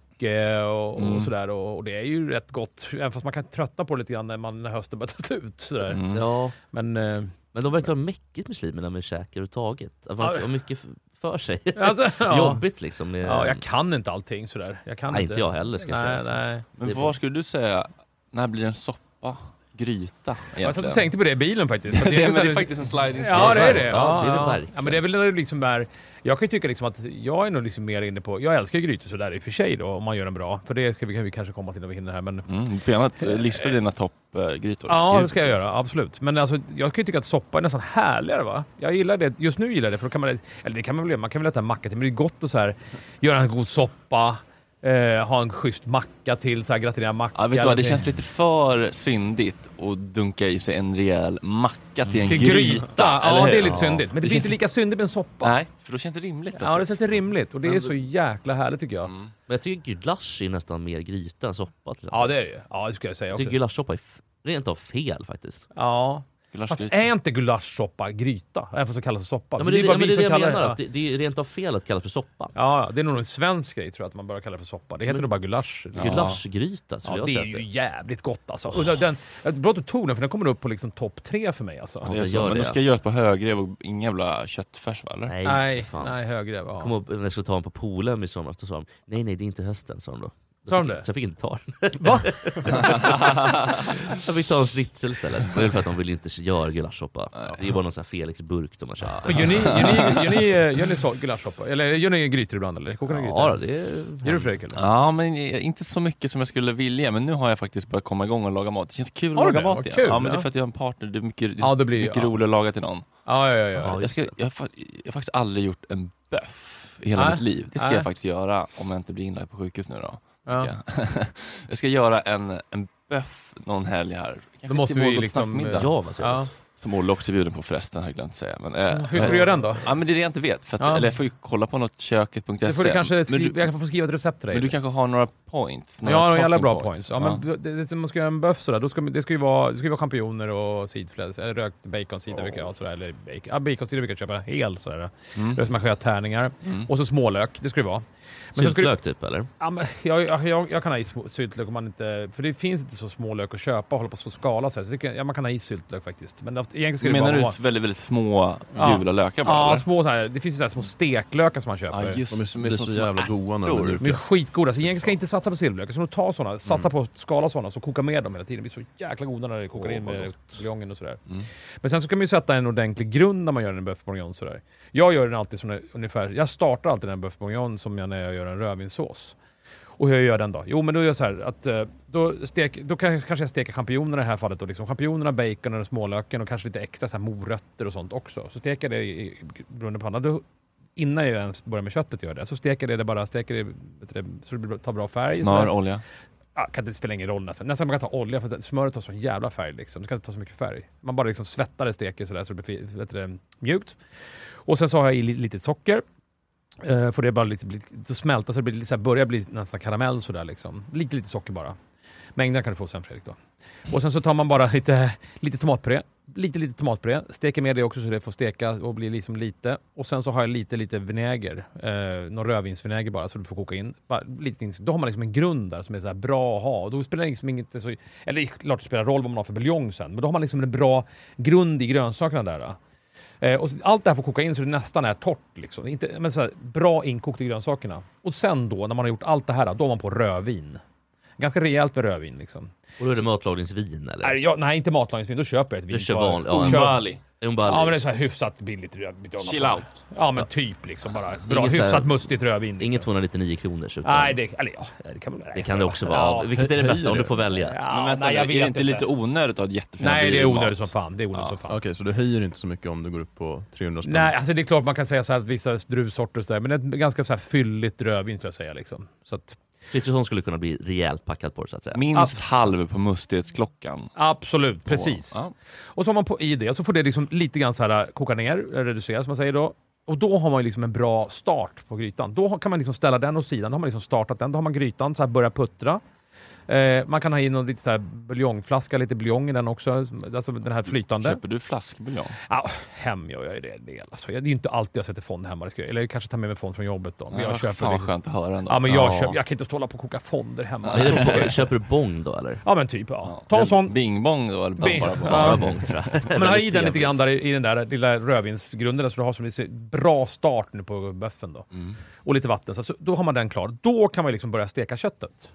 S8: och,
S3: Mm.
S8: och sådär. Och, och det är ju rätt gott, även fast man kan trötta på det lite grann när, man, när hösten börjar ta ut. Sådär.
S3: Mm.
S2: Ja,
S8: Men eh,
S2: men de verkar ha mäckigt muslimerna med käk överhuvudtaget. Att man
S8: Ja.
S2: inte har mycket f- för sig.
S8: alltså, ja.
S2: Jobbigt liksom. Det-
S8: ja, jag kan inte allting sådär. Jag kan
S2: Nej,
S8: inte.
S2: inte jag heller ska jag säga.
S8: nej, nej.
S2: Det
S3: Men
S2: är
S3: vad skulle du säga, när blir en soppa gryta egentligen?
S8: Alltså, Jag satt och tänkte på det i bilen faktiskt. För
S3: det,
S8: att ju
S3: är,
S8: så
S3: men
S8: här- liksom-
S3: det är faktiskt en sliding
S8: Ja, det är det.
S2: Ja,
S8: Ja,
S2: det är det
S8: ja.
S2: verkligen.
S8: ja, men det är väl när det liksom är... Jag kan ju tycka liksom att jag är nog liksom mer inne på... Jag älskar ju grytor sådär i och för sig då, om man gör den bra. För det ska vi, kan vi kanske komma till när vi hinner här. Men
S3: Mm, du får gärna eh, lista dina eh, toppgrytor.
S8: Ja, det ska jag göra. Absolut. Men alltså, jag kan ju tycka att soppa är nästan härligare. va? Jag gillar det. Just nu gillar jag det. För då kan man, eller det kan man väl göra. Man kan väl äta en macka till. Men det är gott att så här, göra en god soppa. Eh, ha en schysst macka till. Så här, gratinera macka.
S3: Ja, vet du vad, det
S8: eller-
S3: känns lite för syndigt att dunka i sig en rejäl macka till en
S8: till
S3: gryta.
S8: gryta.
S3: eller
S8: Ja,
S3: hur?
S8: det är lite syndigt. Men
S3: Det
S8: det, blir inte
S3: känns-
S8: lika syndigt med en soppa.
S3: Nej, för då känns det rimligt.
S8: Ja, det känns rimligt. Och det är
S2: Men-
S8: så jäkla härligt tycker jag.
S3: Mm.
S2: Men jag tycker gulasch är nästan mer gryta än soppa. Till exempel.
S8: Ja, det är det ju. Ja, det ska jag säga
S2: jag
S8: också.
S2: tycker gulaschsoppa är f- rent av fel faktiskt.
S8: Ja. Fast
S3: Gulaschgryta.
S8: är inte gulaschsoppa gryta? Även fast det kallas för soppa.
S2: Ja, men det,
S8: är
S2: ja,
S8: bara
S2: men
S8: vi
S2: det är
S8: som
S2: det jag
S8: kallar
S2: menar,
S8: det.
S2: att det, det är rent av fel att kalla för soppa.
S8: Ja, ja, det är nog en svensk grej tror jag, att man börjar kalla det för soppa. Det heter nog bara gulasch. liksom.
S2: Gulaschgryta skulle
S8: Ja,
S2: jag
S8: det
S2: säga att
S8: är ju
S2: det är.
S8: jävligt gott alltså. Och den, jag- bra att du tog den, för den kommer upp på liksom topp tre för mig alltså.
S3: Det är
S2: jag
S3: så,
S2: gör
S3: men
S2: det.
S3: då ska jag göra ett på högrev och ingen jävla köttfärs va? Eller?
S2: Nej,
S8: Nej,
S2: för fan.
S8: nej, högre.
S2: Jag
S8: Ja.
S2: Kom upp, när jag skulle ta en på Polhem i somras, då sa de nej nej det är inte hösten. Sa de då. Då
S8: Sa de
S2: fick jag-
S8: det?
S2: Så jag fick inte ta den. Va? jag fick ta en schnitzel istället. Det är väl för att de vill inte göra gulaschsoppa. Det är bara någon sån här Felix-burk de har köpt.
S8: Men gör ni, gör ni, gör ni, eh, gör ni så, gulaschsoppa? Eller gör ni grytor ibland eller? Kokar ni
S2: Ja, då,
S8: grytor?
S2: det
S8: Gör du Fredrik? Eller?
S3: Ja, men eh, inte så mycket som jag skulle vilja, men nu har jag faktiskt börjat komma igång och laga mat. Det känns kul att
S8: Har du
S3: laga
S8: det?
S3: mat
S8: Vad
S3: igen.
S8: kul,
S3: ja, men det är
S8: ja.
S3: för att jag har en partner, det är mycket, det är
S8: Ja, det blir ju-
S3: mycket
S8: ja.
S3: roligare att laga till någon.
S8: Ja, ja, ja.
S2: Ja,
S3: jag,
S2: just
S3: ska,
S2: det.
S3: jag, har, fa- jag har faktiskt aldrig gjort en böff i hela
S8: Nej.
S3: mitt liv. Det ska
S8: Nej.
S3: jag faktiskt göra om jag inte blir inlagd på sjukhus nu då.
S8: ja.
S3: Ja. jag ska göra en, en böff någon helg här. Kanske
S8: Då måste
S3: till
S8: vi
S3: vår
S8: liksom,
S3: godnattmiddag.
S2: Ja, vad
S8: ja.
S2: trevligt.
S3: Som Olle också är bjuden på förresten, har jag glömt säga. Men, eh,
S8: Hur ska du göra den då?
S3: Ja, men det är det jag inte vet. För att,
S8: Ja.
S3: Eller jag får ju kolla på något köket.se.
S8: Det får du kanske
S3: men,
S8: skri-
S3: du,
S8: jag kan få skriva ett recept till dig.
S3: men du kanske har några points?
S8: Men
S3: Några
S8: jag har jävla
S3: talking
S8: bra points. Ja,
S3: Ja.
S8: men det- Det, det, man ska göra en böff sådär, då ska, man- det ska ju vara, det ska ju vara champinjoner och sidfläsk, eller rökt bacon, sidor, oh. sådär, eller bacon, ja, bacon, sidor brukar jag köpa hel sådär.
S3: Mm.
S8: Mm. Man skär tärningar.
S3: Mm.
S8: Och så smålök, det ska det vara. Men så ska du,
S2: Syltlök typ eller?
S8: ja, men jag, jag, jag, jag kan ha i små- syltlök om man inte... För det finns inte så smålök att köpa och hålla på så skala så, här, så det kan, ja, man kan ha i syltlök faktiskt. Men att- egentligen ska det
S3: Menar
S8: bara
S3: du
S8: vara...
S3: väldigt, väldigt små
S8: Ja.
S3: gula lökar bara?
S8: Ja,
S3: eller?
S8: små så här, det finns ju så här små steklökar som man köper.
S3: Ja, just
S1: De är, de är
S3: det,
S1: så
S3: som
S1: jävla goa när de är
S3: ärtor.
S8: De är
S1: mjuka.
S8: skitgoda, så egentligen ska jag inte satsa på silverlök. Jag ska nog ta sådana, satsa på att skala sådana, så koka med dem hela tiden. Det blir så jäkla goda när det kokar
S3: Åh,
S8: in
S3: vad
S8: med
S3: gott.
S8: buljongen och sådär.
S3: Mm.
S8: Men sen så kan man ju sätta en ordentlig grund när man gör en bœuf bourguignon sådär. Jag gör den alltid som ungefär, jag startar alltid den bœuf bourguignon som jag när jag gör en rödvinssås. Och hur jag gör den då? Jo, men då gör jag så här att eh, då, stek, då kan- kanske jag steker champinjonerna i det här fallet. Då, liksom. Champinjonerna, baconen och smålöken och kanske lite extra så här morötter och sånt också. Så steker jag det i, i brunnen panna. Då, innan jag ens börjar med köttet gör det. Så steker jag det bara, steker det, vet du, det, så det blir- tar bra färg. så
S3: Smör,
S8: där.
S3: olja.
S8: Ah, kan det spelar ingen roll nästan. Nästan man kan ta olja för att smöret tar sån jävla färg liksom. Det kan inte ta så mycket färg. Man bara liksom svettar det, steker sådär så det blir fi- vet du, det, mjukt. Och sen så har jag i li- lite socker. Eh, får det bara lite, bli- så smälta så det blir, lite så här, börjar bli nästan karamell sådär liksom. Lite, lite socker bara. Mängden kan du få sen Fredrik då. Och sen så tar man bara lite, lite tomatpuré. Lite, lite tomatpuré. Steker med det också så det får steka och blir liksom lite. Och sen så har jag lite, lite vinäger. Eh, någon rödvinsvinäger bara så du får koka in. Bara, lite, in- då har man liksom en grund där som är så här bra att ha. Och Då spelar det liksom inget så... Eller det är klart det spelar roll vad man har för buljong sen. Men då har man liksom en bra grund i grönsakerna där. Då. Eh, och så- allt det här får koka in så det nästan är torrt. Liksom. Inte, men så här, bra inkokt i grönsakerna. Och sen då, när man har gjort allt det här, då har man på rödvin. Ganska rejält med rödvin. Liksom.
S2: Och då är det matlagningsvin eller?
S8: Nej, jag, nej, inte matlagningsvin. Då köper jag ett vin.
S2: Du kör
S8: bara.
S2: vanlig- ja, en
S8: Kör-
S3: Bali.
S2: Umbali.
S8: Ja, men det är så här hyfsat billigt rödvin.
S3: Chill out.
S8: Ja, men typ liksom bara. Bra,
S2: Inget så här-
S8: hyfsat mustigt rödvin. Liksom.
S2: Inget 299 kronor. Utan
S8: Nej, det, eller, ja, det kan man
S2: det kan det också vara. Vilket är det
S3: höjer
S2: bästa om
S3: det.
S2: du får välja?
S8: Ja,
S3: Men vänta,
S8: nej, jag
S3: är det
S8: vet
S3: inte
S8: inte.
S3: lite onödigt att ha ett jättefint
S8: Nej, det är
S3: bilmat?
S8: onödigt som fan. Det är onödigt som fan.
S1: Okej, så du höjer inte så mycket om du går upp på 300 spänn?
S8: Nej, alltså det är klart man kan säga så här att vissa druvsorter och så där, men ett ganska så här fylligt rödvin skulle jag säga. Liksom. Så att,
S2: Frithiofsson skulle kunna bli rejält packad på det så att säga.
S3: Minst halv på mustighetsklockan.
S8: absolut, precis.
S3: Ja.
S8: Och så har man på i det, och så får det liksom lite grann så här koka ner, äh, reduceras som man säger då. Och då har man ju liksom en bra start på grytan. Då har- kan man liksom ställa den åt sidan, då har man liksom startat den, då har man grytan, så här börjar puttra. Eh, man kan ha in någon lite så här buljongflaska, lite buljong i den också, alltså den här flytande.
S3: Köper du flaskbuljong?
S8: Ja, hem gör jag ju det en del. Alltså, jag- det är ju inte alltid jag sätter fond hemma, det ska jag, eller jag kanske tar med mig fond från jobbet då. Men jag
S3: Ja,
S8: köper
S3: Fan vad
S8: liksom-
S3: skönt att höra ändå.
S8: Ja, men jag, Köper, jag kan inte stå och hålla på och koka fonder hemma.
S2: Är det bo- Köper du bong då eller?
S8: Ja, men typ. Ja. Ta en sån.
S3: Bing bong då, eller
S8: Bing-
S3: bara, bara,
S8: Ja.
S3: bara bong.
S2: Bong tror jag.
S8: Men ha
S2: Väldigt
S8: i den lite
S2: trevligt.
S8: grann där i i den där lilla rödvinsgrunden så du har som lite bra start nu på böffeln då.
S3: Mm.
S8: Och lite vatten. Så, så då har man den klar. Då kan man ju liksom börja steka köttet.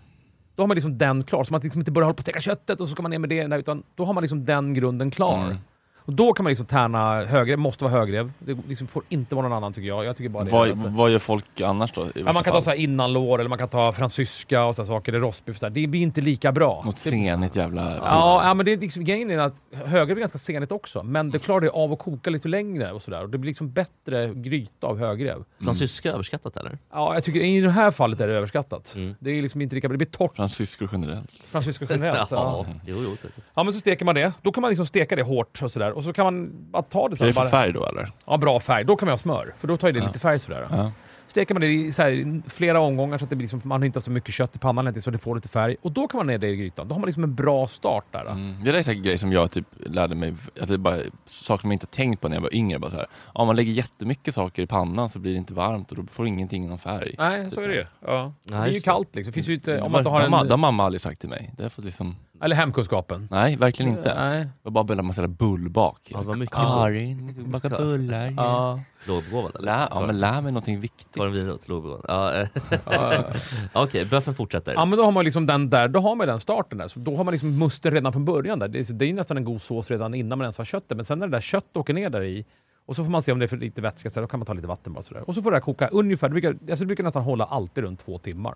S8: Då har man liksom den klar. Så man liksom inte börjar hålla på att steka köttet och så ska man ner med det där, utan då har man liksom den grunden klar.
S3: Mm.
S8: Och då kan man liksom tärna högrev, måste vara högrev. Det liksom får inte vara någon annan tycker jag. Jag tycker bara det är det
S3: Vad,
S8: bästa.
S3: vad gör folk annars då? i
S8: Ja,
S3: värsta
S8: man kan ta
S3: fall?
S8: så här innanlår eller man kan ta fransyska och sådana saker, eller rostbiff. Så här. Det blir inte lika bra.
S3: Något
S8: Det-
S3: senigt jävla...
S8: typ- Ja, ja, men det är liksom, grejen är att högrev är ganska senigt också, men det klarar det av att koka lite längre och sådär. Och det blir liksom bättre gryta av högrev.
S2: Fransyska överskattat eller?
S8: Ja, jag tycker i det här fallet är det överskattat.
S2: Mm.
S8: Det är liksom inte lika bra. Det blir torrt
S3: Fransyskor generellt.
S8: fransyska generellt. ja.
S2: Ja. Jo, jo. det-
S8: ja, men så steker man det. Då kan man liksom steka det hårt och sådär. Och så kan man bara ta det
S3: Är
S8: så
S3: det
S8: här,
S3: för
S8: bara,
S3: färg då eller?
S8: Ja, bra färg. Då kan man ha smör, för då tar ju det
S3: Ja.
S8: lite färg sådär.
S3: Ja.
S8: Steker man det i så här, flera omgångar så att det blir liksom, man inte har så mycket kött i pannan inte, så det får lite färg. Och då kan man ner det i grytan. Då har man liksom en bra start där. då.
S3: Mm. Det där är säkert grejer som jag typ lärde mig, att det är bara saker man inte tänkt på när jag var yngre. Bara så här, om man lägger jättemycket saker i pannan så blir det inte varmt och då får ingenting någon färg.
S8: Nej, så är det ju. Ja. Typ. Det
S2: Nej,
S8: är ju
S2: just det.
S8: kallt liksom. Det Finns ju inte,
S3: Det
S8: om
S3: var-
S8: man inte har
S3: det har ma- det har
S8: en,
S3: mamma aldrig sagt till mig. Det har fått liksom,
S8: eller hemkunskapen.
S3: nej, verkligen inte.
S8: Nej.
S3: Jag bara började med att säga bullbak.
S2: Ja, det var mycket
S3: Karin, baka bullar. Ja.
S2: Lågbegåvad eller?
S3: Lä, ja, men lär mig någonting viktigt.
S2: Karin Winroth, lågbegåvad. Ja, eh. Okej, böffeln fortsätter.
S8: Ja, men då har man liksom den där, då har man den starten där. Så då har man liksom musten redan från början där. Det, är- det är ju nästan en god sås redan innan man ens har köttet. Men sen när det där köttet åker ner där i och så får man se om det är för lite vätska, så här, då kan man ta lite vatten bara sådär. Och så får det här koka ungefär, det brukar, alltså det brukar nästan hålla alltid runt två timmar.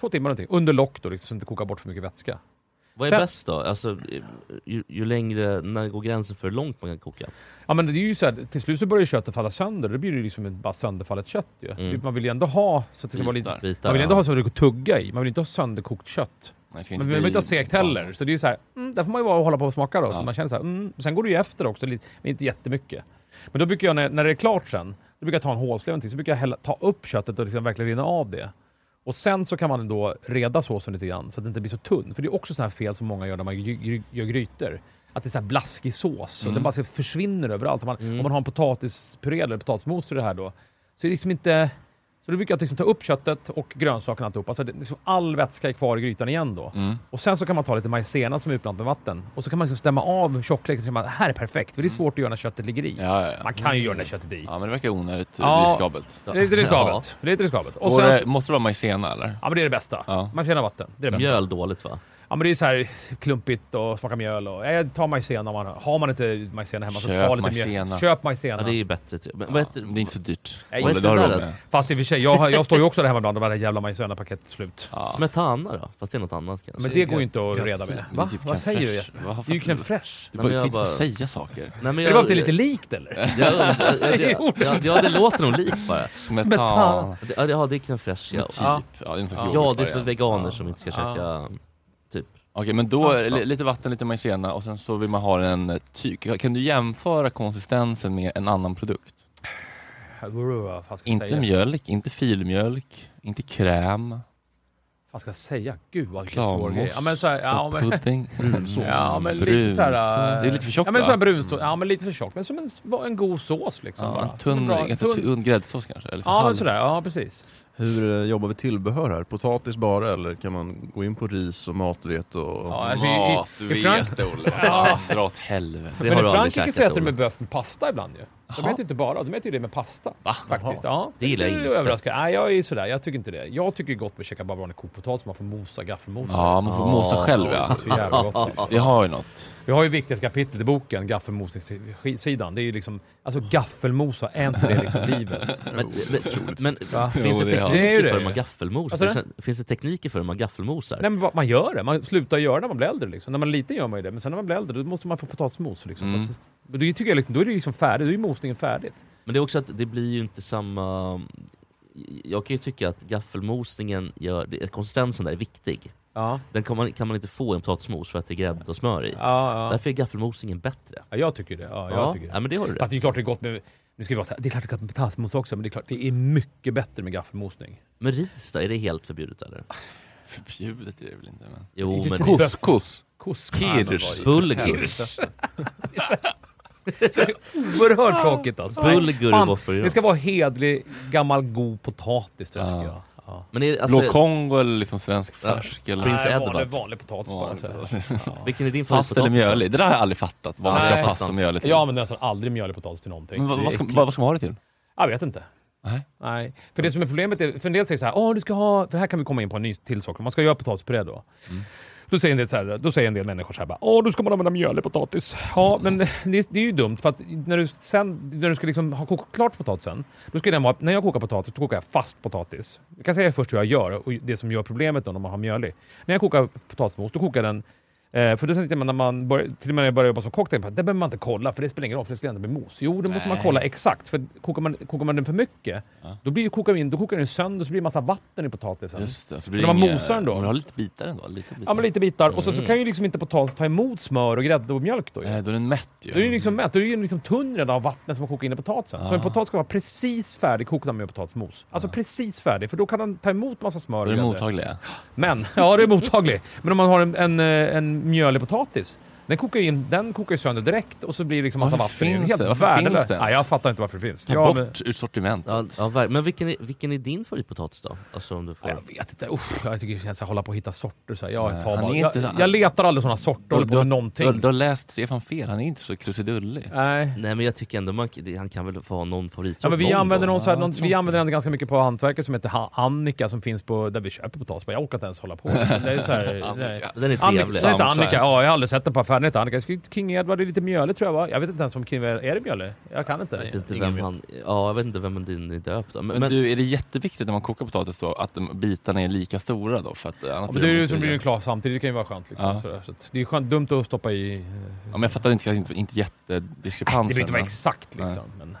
S8: Två timmar någonting, under lock då liksom, så att det inte kokar bort för mycket vätska.
S2: Vad är
S8: Sen-
S2: bäst då? Alltså, ju, ju längre, när går gränsen för hur långt man kan koka?
S8: Ja men det är ju så här, till slut så börjar ju köttet falla sönder. Då blir det ju liksom ett bara sönderfallet kött ju.
S2: Mm.
S8: Man vill ju ändå ha så att det ska vara lite...
S2: Bitar,
S8: Man vill
S2: ja.
S8: ändå ha så att det går att tugga i. Man vill inte ha sönderkokt kött.
S3: Nej, det ska
S8: Men vi vill
S3: bli-
S8: inte ha segt heller. Så det är ju så här, mm, där får man ju bara hålla på och smaka då. Så man känner så här, mm. Sen går det ju efter också, lite, men inte jättemycket. Men då brukar jag, när, när det är klart sen, då brukar jag ta en hålslev eller någonting, så brukar jag hälla, ta upp köttet och liksom verkligen rinna av det. Och sen så kan man då reda såsen lite grann så att den inte blir så tunn. För det är också sådana här fel som många gör när man gry, gry, gör grytor. Att det är så här blaskig sås
S3: Mm.
S8: och den bara så försvinner överallt. Om man, om man har en potatispuré eller potatismos i det här då, så är det liksom inte... Så då brukar jag liksom ta upp köttet och grönsakerna och alltihopa. Så det, liksom all vätska är kvar i grytan igen då.
S3: Mm.
S8: Och sen så kan man ta lite majsena som är utblandat med vatten. Och så kan man liksom stämma av tjockleken. Så kan man, det här är perfekt. För det är svårt att göra när köttet ligger i.
S3: Ja, ja, ja.
S8: Man kan ju göra när köttet är i.
S3: ja, men det verkar onödigt
S8: Ja.
S3: ja. riskabelt.
S8: Det är lite riskabelt. Det är lite riskabelt. Och
S3: Och
S8: sen, så-
S3: Måste det vara majsena eller?
S8: ja men det är det bästa.
S3: Ja.
S8: Majsena och vatten. Det är det bästa.
S2: Mjöl dåligt va?
S8: Ja men det är så här klumpigt och smaka mjöl och... Jag tar majsena om man har... Har man inte majsena hemma så
S3: Köp
S8: ta lite mjöl.
S3: majsena.
S8: Köp majsena.
S2: Ja, det är ju bättre. Typ. Men, vad
S3: Ja,
S2: heter,
S3: det är inte så dyrt.
S8: Nej,
S3: Olle,
S2: just
S3: det har
S2: det
S3: du
S2: där
S3: råd med.
S8: Fast i och för sig, jag, har- jag står ju också där hemma bland de här jävla majsena-paketet slut.
S3: Ja.
S2: Smetana då? Fast det är något annat kanske.
S8: Men det går ju inte att reda med.
S3: Men
S8: Va?
S3: typ
S8: Vad
S3: crème
S8: säger du
S3: fraîche.
S8: Jesper?
S3: Vad har
S8: Det är ju
S3: fan-
S8: crème fraîche.
S3: Du
S2: Nej,
S3: bara,
S2: men
S3: kan
S2: jag
S3: inte
S2: bara-
S3: säga saker.
S2: Nej, men
S8: Är det bara för att det är lite likt
S3: Äh.
S8: eller?
S2: Jag undrar-
S8: Det är
S2: ja,
S8: ord.
S2: ja, ja, det låter nog likt bara.
S9: Smetana.
S3: Smetan.
S2: Det- Ja, det- ja, det är crème fraîche. Ja.
S3: Typ.
S8: Ja.
S3: Ja, det är inte för
S2: ja,
S3: fjolårsvariant.
S2: det är för veganer som inte ska
S8: Ja.
S2: käka...
S3: Okej, men då är det li- lite vatten, lite majsena och sen så vill man ha en eh, tyg. Kan du jämföra konsistensen med en annan produkt?
S8: Vad fan ska jag
S3: Inte
S8: säga?
S3: mjölk, inte filmjölk, inte kräm,
S8: Vad ska jag säga? Gud vad vilken svår grej.
S3: klarmos,
S8: Ja men såhär... Ja men,
S3: pudding, brunsås,
S8: ja, men lite såhär...
S3: brunsås. Det är lite för tjockt
S8: Ja men
S3: va? Mm.
S8: såhär brunsås. Ja men lite för tjockt. Men som en, en god sås liksom
S3: Ja,
S8: bara.
S3: en tunn,
S8: Bra,
S3: ganska tunn, gräddsås kanske? Eller
S8: Ja
S3: halv.
S8: men sådär, ja precis.
S1: Hur eh, jobbar vi tillbehör här? Potatis bara eller kan man gå in på ris och matvete och...
S8: Ja, alltså, i- i-
S3: Mat, du
S8: i Frank-
S3: vet Olle. Fan, Dra åt helvete.
S2: Det har
S8: Men
S2: du
S8: i
S2: aldrig
S8: Frankrike
S2: käkat.
S8: så äter de
S2: Olle.
S8: med böf med pasta ibland ju. De
S3: Jaha.
S8: äter inte bara, de äter ju det med pasta. Faktiskt. Ja,
S2: Det gillar jag
S8: är
S2: inte.
S8: överraskande. Nej, jag är ju sådär. Jag tycker inte det. Jag tycker gott med att käka bara vanlig kokpotatis man får mosa gaffelmosa.
S3: Ja, man får mosa själv ja.
S8: Så jävla gott alltså.
S3: Det har ju något.
S8: Vi har ju viktigaste kapitlet i boken, gaffelmosningssidan. Det är ju liksom, alltså gaffelmosa, är inte det liksom livet?
S2: Men, men, men finns
S3: Jo,
S2: det
S3: det har-
S8: Det är ju
S2: tekniker
S8: det.
S2: för hur man gaffelmosar?
S8: Vad sa du?
S2: Finns- Finns det tekniker för hur man gaffelmosar?
S8: Nej men vad- man gör det, man slutar göra det när man blir äldre liksom. När man är liten gör man ju det, men sen när man blir äldre då måste man få potatismos liksom.
S3: Mm.
S8: För att- och det tycker jag liksom, då är det liksom färdigt, då är ju mosningen färdigt.
S2: Men det är också att det blir ju inte samma... Jag kan ju tycka att gaffelmosningen gör... det- Konsistensen där är viktig.
S8: Ja,
S2: Den kan man, kan man inte få i en potatismos för att det är grädde och smör i.
S8: ja, ja.
S2: Därför är gaffelmosningen bättre.
S8: ja jag tycker det. Ja, jag
S2: Ja,
S8: tycker det.
S2: ja men det har du rätt.
S8: Fast det är klart det är gott med... Nu ska vi vara så här, det är klart det är gott med potatismos också, men det är klart det är mycket bättre med gaffelmosning.
S2: Men ris då, är det helt förbjudet eller?
S3: Förbjudet är det väl inte men...
S2: Jo
S8: typ
S2: men...
S3: Couscous.
S2: Alltså,
S8: Couscous.
S2: Bulgur.
S8: Oerhört tråkigt alltså.
S2: Bulgur
S8: Fan,
S2: är bort på det.
S8: Det ska vara hedlig, gammal, god potatis tror jag.
S3: Ja.
S8: tycker jag. Ja.
S2: Men är, det- alltså,
S3: Blå Kongo eller liksom svensk färsk eller...
S2: Prins
S8: Nej,
S2: Edward.
S8: Vanlig, vanlig potatis bara.
S3: Vanlig
S8: så här.
S2: vilken är din
S3: Fast eller
S2: favoritpotatis då?
S3: mjölig? Det där har jag aldrig fattat. Vad man ska
S8: Nej.
S3: ha fast och mjölig till.
S8: Jag använder nästan aldrig mjölig potatis till någonting.
S3: Men vad,
S8: Det är
S3: vad, ska,
S8: äckligt.
S3: vad, vad ska man ha det till?
S8: Jag vet inte.
S3: Nej.
S8: Nej. För det som är problemet är, för en del säger så här, Åh, du ska ha, för här kan vi komma in på en ny till sak, man ska göra potatispuré då. Då säger, en del så här, då säger en del människor så här bara, åh då ska man använda mjöl i potatis. Ja, men det, det är ju dumt för att när du sen, när du ska liksom ha kokat klart potatisen, då ska den vara, när jag kokar potatis, då kokar jag fast potatis. Jag kan säga först hur jag gör och det som gör problemet då när man har mjölig. När jag kokar potatismos, då kokar jag den Eh, för då tänkte man när man börjar, till och med när jag började jobba som kock, tänkte man, det behöver man inte kolla för det spelar ingen roll för det ska ändå bli mos. Jo, det måste man
S3: Nej.
S8: kolla exakt. För kokar man, kokar man den för mycket, då, blir ju, kokar vi in, då kokar den sönder och så blir det massa vatten i potatisen.
S3: Just det. Så
S8: Men
S3: det
S8: man
S3: inga-
S8: mosar den då?
S3: Man har lite bitar ändå. Lite bitar.
S8: Ja, men lite bitar. Och så,
S3: Mm.
S8: så kan ju liksom inte potatisen ta emot smör och grädde och mjölk då ju.
S3: Nej, Eh, då är den mätt ju.
S8: Då är den liksom mätt. Då är den liksom tunn redan av vattnet som har kokat in i potatisen.
S3: Ah.
S8: Så en potatis ska vara precis färdigkokad med potatismos. Alltså precis färdig, för då kan den ta emot massa smör
S3: Då
S8: och
S3: är den
S8: grädde.
S3: mottaglig. ja.
S8: Men, ja det är mottaglig. Men om man har en, en, eh, en mjölig potatis. Den kokar ju in, den kokar ju sönder direkt och så blir det liksom massa
S3: Varför
S8: vatten i den.
S3: finns
S8: Helt
S3: det? Varför
S8: värdelöst.
S3: finns det?
S8: Nej, jag fattar inte varför det finns.
S3: Ta
S8: Ja,
S3: bort
S8: men,
S3: ur sortimentet.
S2: Ja, ja, ver- men vilken är, vilken är din favoritpotatis då? Alltså om du får...
S8: nej, jag vet inte. Usch, jag tycker det känns att hålla på och hitta sorter. Så här. Jag,
S3: Nej,
S8: tar
S3: han
S8: bara,
S3: är inte
S8: jag,
S3: så-
S8: jag letar aldrig sådana sorter.
S3: Du,
S8: håller på
S3: du, har-
S8: med
S3: du, har-
S8: någonting.
S3: du har läst Stefan fel. Han är inte så krusidullig.
S8: Nej.
S2: Nej men jag tycker ändå man, det- han kan väl få ha någon favoritsort
S8: Ja, men vi
S2: någon
S8: använder,
S2: gång.
S8: någon, så här,
S3: Ja,
S8: någon,
S3: jag tror
S8: vi
S3: inte
S8: använder den ganska mycket på hantverket som heter Ha- Annika som finns på där vi köper potatis. Jag orkar inte ens hålla på. Det är så här, nej.
S3: Annika.
S2: Den är
S8: Annika,
S2: trevlig.
S8: den
S3: Samsa.
S8: heter Annika. Ja, jag har aldrig sett den på affären. Den heter Annika. Jag skulle- King Edward är lite mjölig tror jag va? Jag vet inte ens om King Edward är det mjölig. Jag kan inte.
S2: Jag vet inte
S8: Ingen
S2: vem han... Ja, jag vet inte vem din är döpt av. Men,
S3: Men,
S2: men,
S3: du, är det jätteviktigt när man kokar potatis då att de- bitarna är lika stora då? För att eh, annars
S8: Ja, men det är ju
S3: inte
S8: som blir
S3: lika-
S8: en klar samtidigt, det kan ju vara skönt. Liksom,
S3: Ja.
S8: sådär. Så att det är skönt, dumt att stoppa i... eh,
S3: Ja, men jag fattar inte, inte, inte
S8: det
S3: jättediskrepansen.
S8: behöver inte vara
S3: men-
S8: exakt liksom. Men,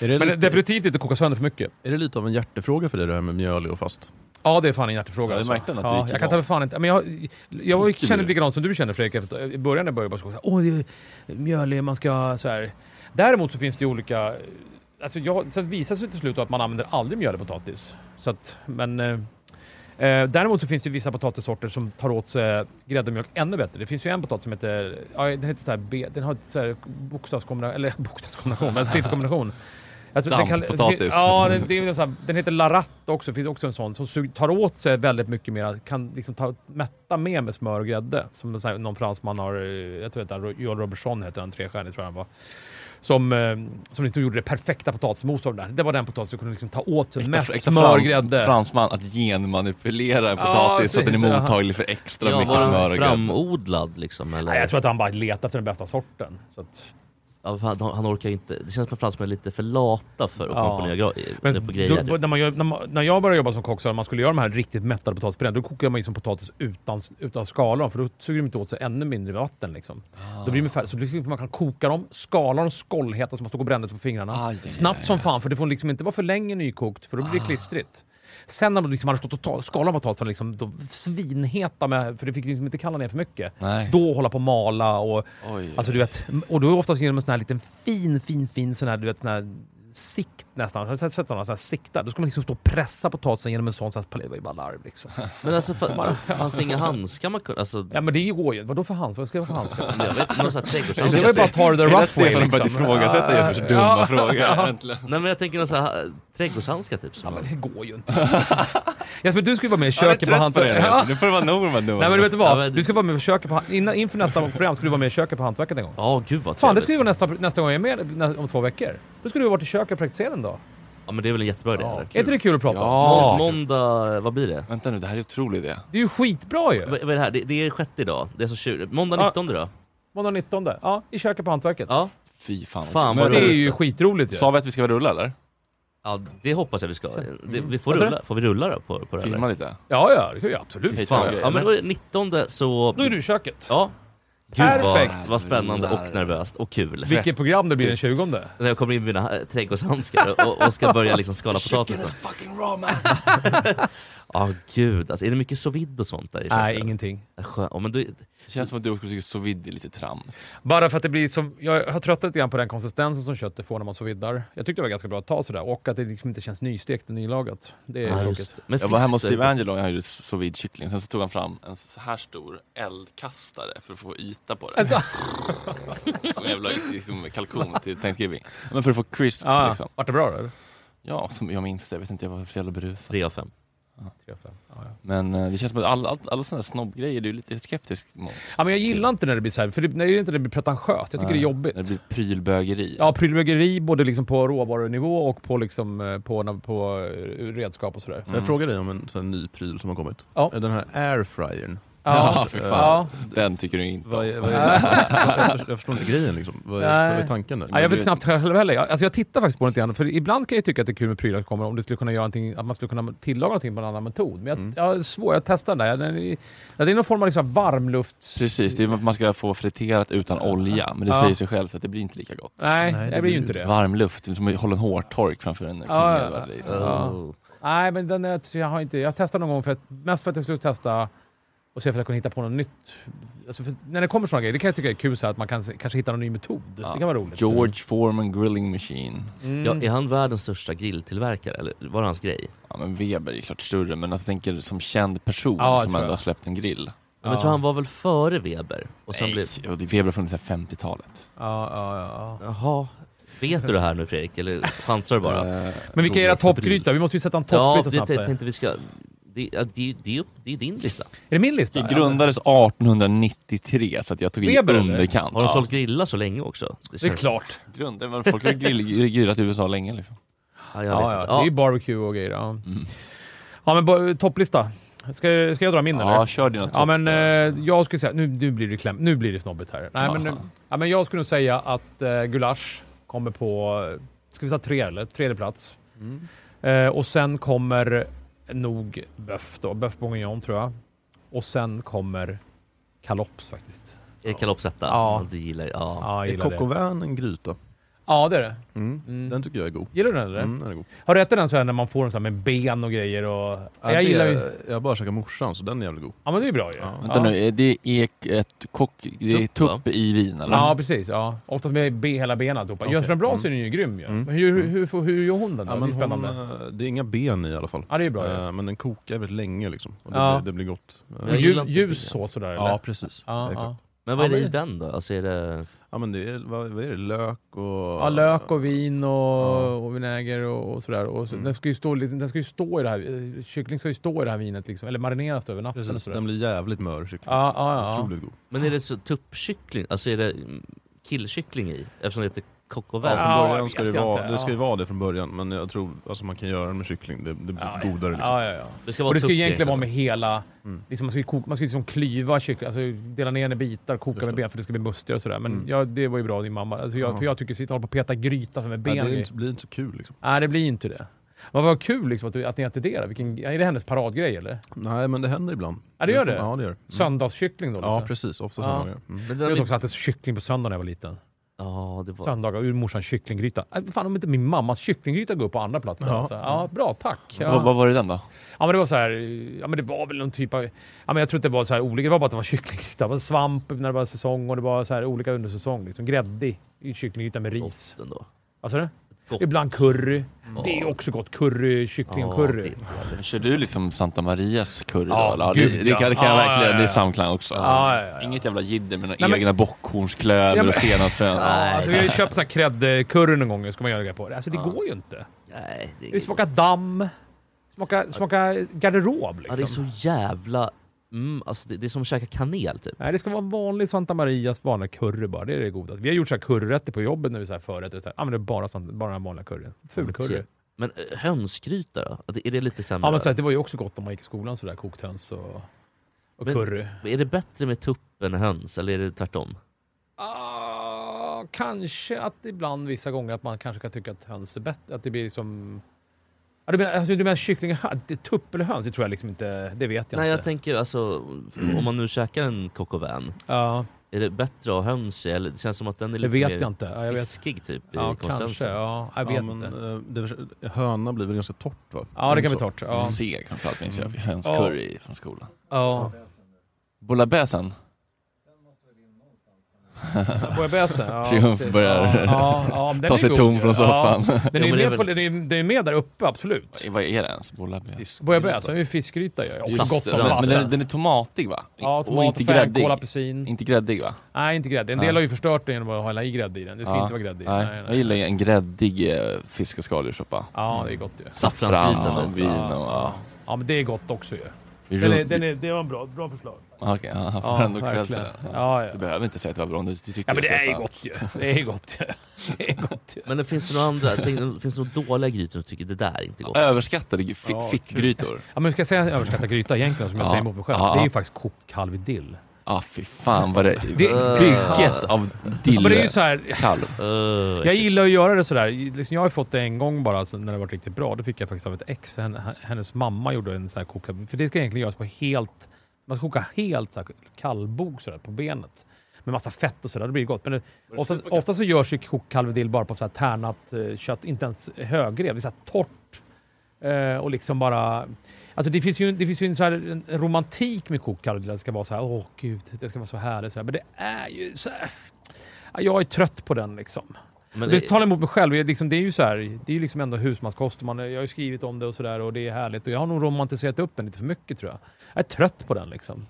S1: Är det,
S8: men
S1: lite,
S8: definitivt inte koka sönder för mycket.
S1: är det lite av en hjärtefråga för dig det här med mjöl och fast?
S8: Ja, det är fan en hjärtefråga.
S3: Ja, jag märkte
S8: alltså.
S3: att du
S8: ja,
S3: gick
S8: jag kan ta
S3: igång.
S8: för fan inte... Men jag, jag var-
S3: Tycker du
S8: kände
S3: det?
S8: likadant som du kände Fredrik. efter- I början när jag började bara så åh, det är mjölig, man ska så här. Däremot så finns det ju olika... Alltså jag, sen visar det sig till slut att man använder aldrig mjölig potatis. Så att, men... Eh, eh, däremot så finns det ju vissa potatissorter som tar åt sig gräddemjölk ännu bättre. Det finns ju en potatis som heter... Ja, den heter så här B, den har ett så här bokstavskombination, eller bokstavskombination, men sifferkombination. Jag tror att Alltså, den kall-
S3: Damppotatis.
S8: det- Ja, det, det är väl så här, den heter Laratt också. finns också en sån som sug- tar åt sig väldigt mycket mer. Kan liksom ta, mätta mer med smör och grädde. Som en sån här, någon fransman har, eh, jag tror att det är Joel Robertson heter han, trestjärnig tror jag han var. Som, eh, som liksom gjorde det perfekta potatismos av det där. Det var den potatis du kunde liksom ta åt sig mest smör och grädde.
S3: fransman att genmanipulera en
S8: Ja,
S3: potatis så att den
S8: precis,
S3: är
S8: ja.
S3: mottaglig för extra
S2: Ja,
S3: mycket
S2: var
S3: smör
S2: den
S3: och grädde.
S2: framodlad liksom? Eller?
S8: Nej, jag tror att han bara letade efter den bästa sorten. Så att,
S2: ja, han, han orkar ju inte. Det känns som att fransmän är lite för lata för att
S8: Ja.
S2: komponera gra-
S8: Men
S2: på
S8: då,
S2: grejer.
S8: när, man gör, när, man, när jag började jobba som kock så här, man skulle göra de här riktigt mättade potatispuréerna, då kokade man liksom potatis utan, utan skalan för då suger de inte åt sig ännu mindre vatten. Liksom.
S3: Ah.
S8: Då blir de färre, så det är liksom, man kan koka dem, skala dem skållheta så man står och bränner sig på fingrarna.
S3: Aj, aj, aj,
S8: Snabbt som
S3: aj. Ah.
S8: fan, för det får liksom inte vara för länge nykokt för då blir det klistrigt. Sen när man liksom hade stått och ta- skalat potatisen, liksom, då svinheta, med, för det fick liksom inte kalla ner för mycket.
S3: Nej.
S8: Då hålla på och mala och
S3: Oj.
S8: Alltså du vet, och då är det oftast genom en sån här liten fin, fin, fin sån här, du vet, sån här sikt nästan. Har du sett- sett sådana sån här siktar? Då ska man liksom stå och pressa potatisen genom en sån. sån här, det var ju bara larv liksom.
S2: Men alltså, fa- fanns det inga handskar man kunde... Alltså,
S8: Ja men det går ju. Vadå för handskar? Vad ska jag ha för handskar?
S2: jag vet inte, någon sån här
S8: Det var
S2: trädgårdshandskar.
S8: ju bara att ta det the
S3: Det är där
S8: rough way
S3: Stefan har börjat
S8: liksom.
S3: ifrågasätta Jespers
S8: Ja,
S3: dumma
S8: ja.
S3: fråga. Äntligen.
S2: Nej men jag tänker någon sån här eh, trädgårdshandskar typ. Som
S8: Ja, men
S2: man-
S8: det går ju inte. Jesper, du ska ju vara med i
S3: Jag är
S8: köket på
S3: trött på det.
S8: hantverket. Ja.
S3: Jesper. Nu får det vara nog med dumma
S8: Nej men du vet
S2: Ja,
S8: vad?
S2: men-
S8: Du ska vara med i köket på... Innan, inför nästa program ska du vara med i köket på hantverket en gång.
S2: Ja, gud vad
S8: Fan, det
S2: trevligt.
S8: ska ju vara nästa, nästa gång jag är med nä- om två veckor. Då ska du ha varit i köket och praktiserat en dag.
S2: Ja men det är väl en jättebra idé.
S8: Ja.
S2: eller?
S8: Är inte det kul att prata om?
S2: Må-
S3: Ja!
S2: Måndag, vad blir det?
S3: Vänta nu, det här är en otrolig idé.
S8: Det är ju skitbra ju!
S2: Vad vad är det här? Det, det är sjätte idag. Det är så 20. Måndag
S8: Ja.
S2: 19 då?
S8: Måndag 19. Ja, i köket på Hantverket.
S2: Ja.
S3: Fy fan. vad
S2: Fan
S3: kul.
S2: vad
S8: det är
S2: roligt.
S8: ju skitroligt ju.
S3: Sa vi att vi ska rulla eller?
S2: Ja, det hoppas jag vi ska. Det, vi får,
S8: Vad sa
S2: rulla. får vi rulla då på, på det här?
S3: Filma
S2: eller?
S3: lite.
S8: Ja, ja, det kan jag absolut.
S3: Hej.
S2: Fan. Ja men då är det 19 så...
S8: Då är du i köket.
S2: Ja. Gud
S8: Perfekt.
S2: vad, vad spännande och nervöst och kul.
S8: Vilket program det blir den 20. Det
S2: När jag kommer in med mina äh, trädgårdshandskar och, och ska börja liksom skala potatisen. Ja gud, alltså, är det mycket sous vide och sånt där i
S8: Nej,
S2: köket?
S8: ingenting.
S2: Skö- Ja, men du,
S3: Det känns som att du också tycker sous vide är lite trams.
S8: Bara för att det blir som... Jag har tröttnat lite grann på den konsistensen som köttet får när man så vidare. Jag tyckte det var ganska bra att ta sådär. Och att det liksom inte känns nystekt och nylagat. Det är
S2: ja,
S8: tråkigt.
S2: just, det. men
S3: Jag var hemma hos
S2: fisk då?
S3: Steve Angelo och han gjorde sous vide kyckling. Sen så tog han fram en så här stor eldkastare för att få yta på det.
S8: Alltså,
S3: Som en jävla liksom, kalkon till Thanksgiving. Men för att få crisp
S8: ja,
S3: liksom.
S8: Vart det bra då? eller?
S3: Ja, som jag minns det. Jag vet inte, jag var så jävla berusad.
S2: Tre av fem.
S3: Men eh, det känns som att all, all, alla sådana där snobbgrejer, du är lite skeptisk mot.
S8: Ja, men jag gillar inte när det blir så här, för det, när det, är inte när det blir pretentiöst. Jag tycker det är
S3: Nej,
S8: jobbigt.
S3: När det blir prylbögeri.
S8: Ja, prylbögeri både liksom på råvarunivå och på, liksom, eh, på, på, eh, redskap och sådär.
S3: Mm.
S1: Jag frågade dig om en sån här ny pryl som har kommit.
S8: Ja.
S1: Den här airfryern.
S3: Ja, fy fan.
S8: Ja.
S3: Den tycker du inte
S1: Vad
S3: om.
S1: är, vad är, jag, förstår, jag förstår inte grejen liksom. Vad är,
S8: Nej.
S1: vad är tanken där?
S8: Ja, jag
S3: du
S8: vet
S3: vet-
S8: knappt själv heller. Jag- Alltså jag tittar faktiskt på det lite grann, för ibland kan jag ju tycka att det är kul med prylar som kommer om det skulle kunna göra någonting, att man skulle kunna tillaga någonting på en annan metod. Men jag,
S1: Mm.
S8: jag, är svår, jag testar den där. Den är, ja, det är någon form av liksom varmluft...
S3: Precis, det är att man ska få friterat utan olja. Men det
S8: Ja.
S3: säger sig själv att det blir inte lika gott.
S8: Nej,
S1: Nej,
S8: det,
S1: det
S8: blir ju
S1: blir-
S8: inte det.
S3: Varm luft, det är som att hålla en hårtork framför en
S8: Ja,
S3: kniv.
S8: ja,
S3: liksom.
S8: Ja.
S2: Oh.
S8: Nej, men den är, jag har inte... Jag testade någon gång, för att, mest för att jag skulle testa och se om jag kunde hitta på något nytt. Alltså för, när det kommer sådana grejer, det kan jag tycka är kul, så här, att man kan, se- kanske hittar någon ny metod.
S3: Ja.
S8: Det kan vara roligt.
S3: George Foreman Grilling Machine.
S8: Mm.
S2: Ja, är han världens största grilltillverkare? Eller var det hans grej?
S3: Ja, men Weber är klart större, men jag tänker som känd person
S8: Ja, det
S3: som
S8: tror
S3: ändå
S8: jag.
S3: har släppt en grill.
S2: Ja. Men jag tror han var väl före Weber? Och sen
S3: Nej,
S2: blev...
S3: och det- Weber har funnits sedan 50-talet.
S8: Ja, ja, ja.
S2: Jaha. Vet du det här nu Fredrik? Eller chansar du bara?
S3: Eh,
S8: Men vilka är era toppgrytor? Vi måste ju sätta en
S2: Ja,
S8: toppgryta
S2: det
S8: snabbt.
S2: jag
S8: här.
S2: tänkte vi ska... Det, ja, det, det, är ju- det är din lista.
S8: Är det min lista?
S3: Det grundades 1893, så att jag tog i
S8: Weber, eller?
S3: underkant.
S2: Har de
S3: Ja.
S2: sålt grillar så länge också?
S8: Det är
S2: känns-
S8: klart.
S3: Grunden, men folk har grill, grillat i USA länge liksom.
S2: Ja, jag vet
S8: Ja, ja.
S2: inte.
S8: Det är ju
S2: Ja.
S8: barbecue och grejer. Ja, ja men bo- topplista. Ska, ska jag dra min
S3: Ja,
S8: eller?
S3: kör dina topp.
S8: Ja, men eh, jag skulle säga... Nu, nu blir det kläm, Nu blir det snobbigt här. Nej, men,
S3: Jaha.
S8: ja, men jag skulle nog säga att eh, gulasch kommer på... Ska vi ta tre eller? Tredje plats. Eh, och sen kommer nog böff då. Böff bourguignon tror jag. Och sen kommer kalops faktiskt.
S2: Är det Calopsetta?
S8: Ja.
S2: Ja. Det gillar jag. Ja.
S8: Ja, jag
S1: Är
S8: gillar
S1: coq au
S8: det.
S1: vin en gryta?
S8: Ja, det är det.
S1: Mm.
S8: Mm.
S1: Den tycker jag är god.
S8: Gillar du den eller?
S1: Mm, den är god.
S8: Har du ätit den så här när man får den så här med ben och grejer? Och...
S1: Ja,
S8: jag
S1: Äh, det-
S8: gillar ju...
S1: Jag har bara käkat morsan, så den är jävligt god.
S8: Ja men det är ju bra ju. Ja,
S3: Vänta nu, är det är ett kock... Det är
S2: Tupp, va?
S3: tupp i Wien eller?
S1: Mm.
S8: Ja precis. Ja. Oftast med be hela benen alltihopa.
S1: Okej.
S8: Görs den bra så är
S1: Mm.
S8: den ju grym ju.
S1: Mm.
S8: Men hur, hur, hur, hur gör hon den då?
S1: Ja,
S8: det är
S1: men
S8: ju
S1: hon,
S8: spännande.
S1: eh, det är inga ben i i alla fall.
S8: Ja det är ju bra ju.
S1: Eh, Men den kokar väldigt länge liksom. Och det,
S8: Ja.
S1: blir, det blir gott. Eh,
S2: jag
S8: Men
S2: gillar
S8: Ljus,
S2: inte ben.
S8: ljus sås sådär eller?
S1: precis.
S8: Ja,
S1: Exakt.
S8: ja.
S2: Men vad är
S8: Ja,
S2: det i
S8: men-
S2: den då? Alltså är det...
S1: Ja men det är, vad, vad är det, lök och...
S8: Ja, lök och vin och, och vinäger och, och sådär. Och så,
S1: Mm.
S8: den, ska ju stå, lite- den ska ju stå i det här, eh, kyckling ska ju stå i det här vinet liksom, eller marineras över natten.
S1: Precis,
S8: och sådär.
S1: Alltså, den blir jävligt mör kyckling.
S8: Ja, ja, ja.
S1: Otroligt god.
S2: Men är det så tuppkyckling? Alltså är det mm, killkyckling i? Eftersom det heter kock och
S1: Ja,
S2: väv.
S8: Ja,
S1: från
S8: jag
S1: början ska det,
S8: vet
S1: ju
S8: jag
S1: vara,
S8: inte,
S1: det ska ju
S8: ja.
S1: vara det från början, men jag tror alltså, man kan göra det med kyckling, det, det blir godare. Liksom.
S8: Ja, ja, ja.
S2: Det ska
S8: Och
S2: vara
S8: det ska
S2: tupp
S8: ju egentligen vara med hela...
S1: Mm.
S8: Liksom man ska ju, koka, man ska ju liksom klyva kyckling, alltså dela ner den i bitar, koka
S1: Just
S8: med
S1: det.
S8: ben för det ska bli mustigare och sådär. Men
S1: Mm.
S8: ja, det var ju bra av din mamma. Alltså jag,
S1: Ja.
S8: För jag tycker sitta och hålla på och peta gryta med ben.
S1: Nej, det
S8: i-
S1: är inte, blir inte så kul liksom.
S8: Nej, det blir ju inte det. Men vad kul liksom att, du, att ni äter det. då. Vilken, är det hennes paradgrej
S1: Mm.
S8: eller?
S1: Nej men det händer ibland.
S8: Ja, det gör det?
S1: Ja det gör det. Mm.
S8: Söndagskyckling då?
S1: Ja
S8: lite.
S1: precis, ofta
S8: Ja.
S1: söndagar. Mm.
S2: Men
S8: Jag
S2: den
S8: vet
S2: har vi...
S8: också att det är kyckling på söndag när jag var liten.
S2: Ja, det var...
S8: Söndagar, ur morsan kycklinggryta. Äh, Fan om inte min mammas kycklinggryta går upp på andra plats. Ja,
S1: Ja.
S8: alltså. ja bra tack. Ja.
S3: Vad, vad var det den då?
S8: Ja men det var så här, ja men det var väl någon typ av, ja men jag tror inte det var så här olika, det var bara att det var kycklinggryta. Det var svamp när det var säsong och det var så här olika under säsong. Liksom. Gräddig i kycklinggryta med ris.
S2: Gott ändå.
S8: Alltså det?
S2: Gott. Mm.
S8: Ibland curry. Det är ju också gott, curry, kyckling och
S2: det
S8: curry.
S2: är-
S3: Kör du liksom Santa Marias curry då?
S8: Ja,
S3: eller? Ja,
S8: gud,
S3: det, det,
S8: ja.
S3: kan, det kan jag
S8: Ja,
S3: verkligen,
S8: ja, ja,
S3: det är
S8: ja.
S3: samklang också.
S8: Ja, ja, ja.
S3: Inget jävla jidder med
S8: Nej,
S3: några
S8: men-
S3: egna bockhornsklöver
S8: Ja, men-
S3: och senapsfrön.
S8: Ja, alltså, vi har ju köpt så här gräddcurry någon gång, ska man göra det på. Alltså det
S3: Ja.
S8: går ju inte.
S2: Nej, det är
S8: Det
S2: inget
S8: smakar
S2: gott.
S8: damm, smakar, smakar garderob
S2: Ja, det är
S8: liksom.
S2: så jävla... Mm, alltså det, det är som att käka kanel typ.
S8: Nej, det ska vara en vanlig Santa Marias vanliga curry bara. Det är det godaste. Vi har gjort så här curryrätter på jobbet när vi så här förrätter. Så här, använder bara, sånt, bara den här vanliga curryn. Fulcurry.
S2: Men eh, hönsgryta då? Att det- Är det lite sämre?
S8: Ja, men så här, det var ju också gott om man gick i skolan sådär, kokt höns och, och
S2: Men-
S8: curry.
S2: Är det bättre med tupp än höns, eller är det tvärtom?
S8: Ah, kanske att ibland vissa gånger att man kanske kan tycka att höns är bättre. Att det blir liksom... Ja, du menar, alltså, du menar kyckling, tupp eller höns? Det tror jag liksom inte. Det vet jag
S2: Nej,
S8: inte.
S2: jag tänker alltså, om man nu käkar en coq au vin,
S8: ja,
S2: är det bättre att ha höns i, eller det känns som att den är
S8: det
S2: lite
S8: vet
S2: mer
S8: jag inte. Ja, jag vet.
S2: fiskig typ i
S8: Ja, kanske.
S2: konsistensen?
S8: Ja, jag vet
S1: Ja, men,
S8: inte.
S1: eh, det, höna blir väl ganska torrt va?
S8: Ja, det kan
S1: Så.
S8: bli torrt. Ja.
S3: Seg framförallt minns jag.
S8: Ja.
S3: Hönscurry från skolan.
S8: Ja.
S3: Bolabäsen?
S8: Bouillabaisse? Ja,
S3: Triumf
S8: precis.
S3: börjar
S8: ja, ja, ja, men den
S3: Ta
S8: är
S3: sig
S8: god
S3: tom
S8: ju.
S3: från soffan.
S8: Ja, den är
S2: Jo,
S8: ju
S2: men det är
S8: med, på,
S2: väl-
S8: den är, den är med där uppe, absolut.
S3: Vad är det ens? Bolabäs?
S1: Fisk.
S8: Bouillabaisse, den är ju fiskgryta ju. Också
S2: Just
S8: gott
S2: det,
S8: som
S3: men, men
S8: fasen.
S3: den, den är tomatig va?
S8: Ja,
S3: och
S8: tomat,
S3: inte
S8: fänkål,
S3: gräddig.
S8: apelsin.
S3: Inte gräddig va?
S8: Nej, inte grädde. En
S3: Nej.
S8: del har ju förstört det genom att hälla i grädde i den. Det ska
S3: Ja,
S8: inte vara grädde i.
S3: Nej, jag gillar ju en gräddig eh, fisk och skaldjurssoppa.
S8: Ja, det är gott ju.
S3: Saffran
S2: Saffransgryta
S3: och vin
S2: typ.
S3: och... Ja.
S8: Ja, Ja, men det är gott också ju. Den är,
S3: Rund-
S8: den är, det var en bra, bra förslag.
S3: Okej, ja, han får
S8: Ja,
S3: ändå kväll för
S8: verkligen.
S3: det. Ja.
S8: Ja, ja.
S3: Du behöver inte säga att det var bra om du tycker
S8: Ja, men det är ju
S3: Stefan.
S8: gott ju. Det är gott ju. Det är gott ju.
S2: Men det finns det några andra, tänk, finns det några dåliga grytor du tycker det där är inte gott?
S3: Överskattade g- fi- fittgrytor.
S8: Ja, men ska jag säga överskattad gryta egentligen, som jag
S3: Ja.
S8: säger emot mig själv?
S3: Ja,
S8: Det är ju
S3: ja.
S8: faktiskt kokt kalv i dill.
S3: Ja, ah, fy fan vad det...
S8: Det-
S3: Bygget av
S8: Ja, men det är ju
S3: dillkalv.
S8: så här,
S2: Öh,
S8: Jag gillar att göra det sådär. Liksom jag har fått det en gång bara alltså, när det varit riktigt bra. Då fick jag faktiskt av ett ex. Henne, hennes mamma gjorde en sån här kokad... För det ska egentligen göras på helt... Man ska koka helt så här kallbok sådär på benet. Med massa fett och sådär. Då blir det gott. Men det, oftast, ofta så görs ju kokt kalvedill bara på så här tärnat eh, kött. Inte ens högrev. Det är så här torrt. Eh, och liksom bara... Alltså det finns ju, det finns ju en, så här, en romantik med kokt kalvedill. Det ska vara så här, åh gud, det ska vara så härligt. Så här. Men det är ju så här... Ja, Jag är trött på den liksom.
S2: men
S8: Det talar emot mig själv. Jag, liksom, det är ju så här, det är ju liksom ändå husmanskost. och Man, jag har ju skrivit om det och sådär och det är härligt. Och jag har nog romantiserat upp den lite för mycket tror jag. Jag är trött på den liksom.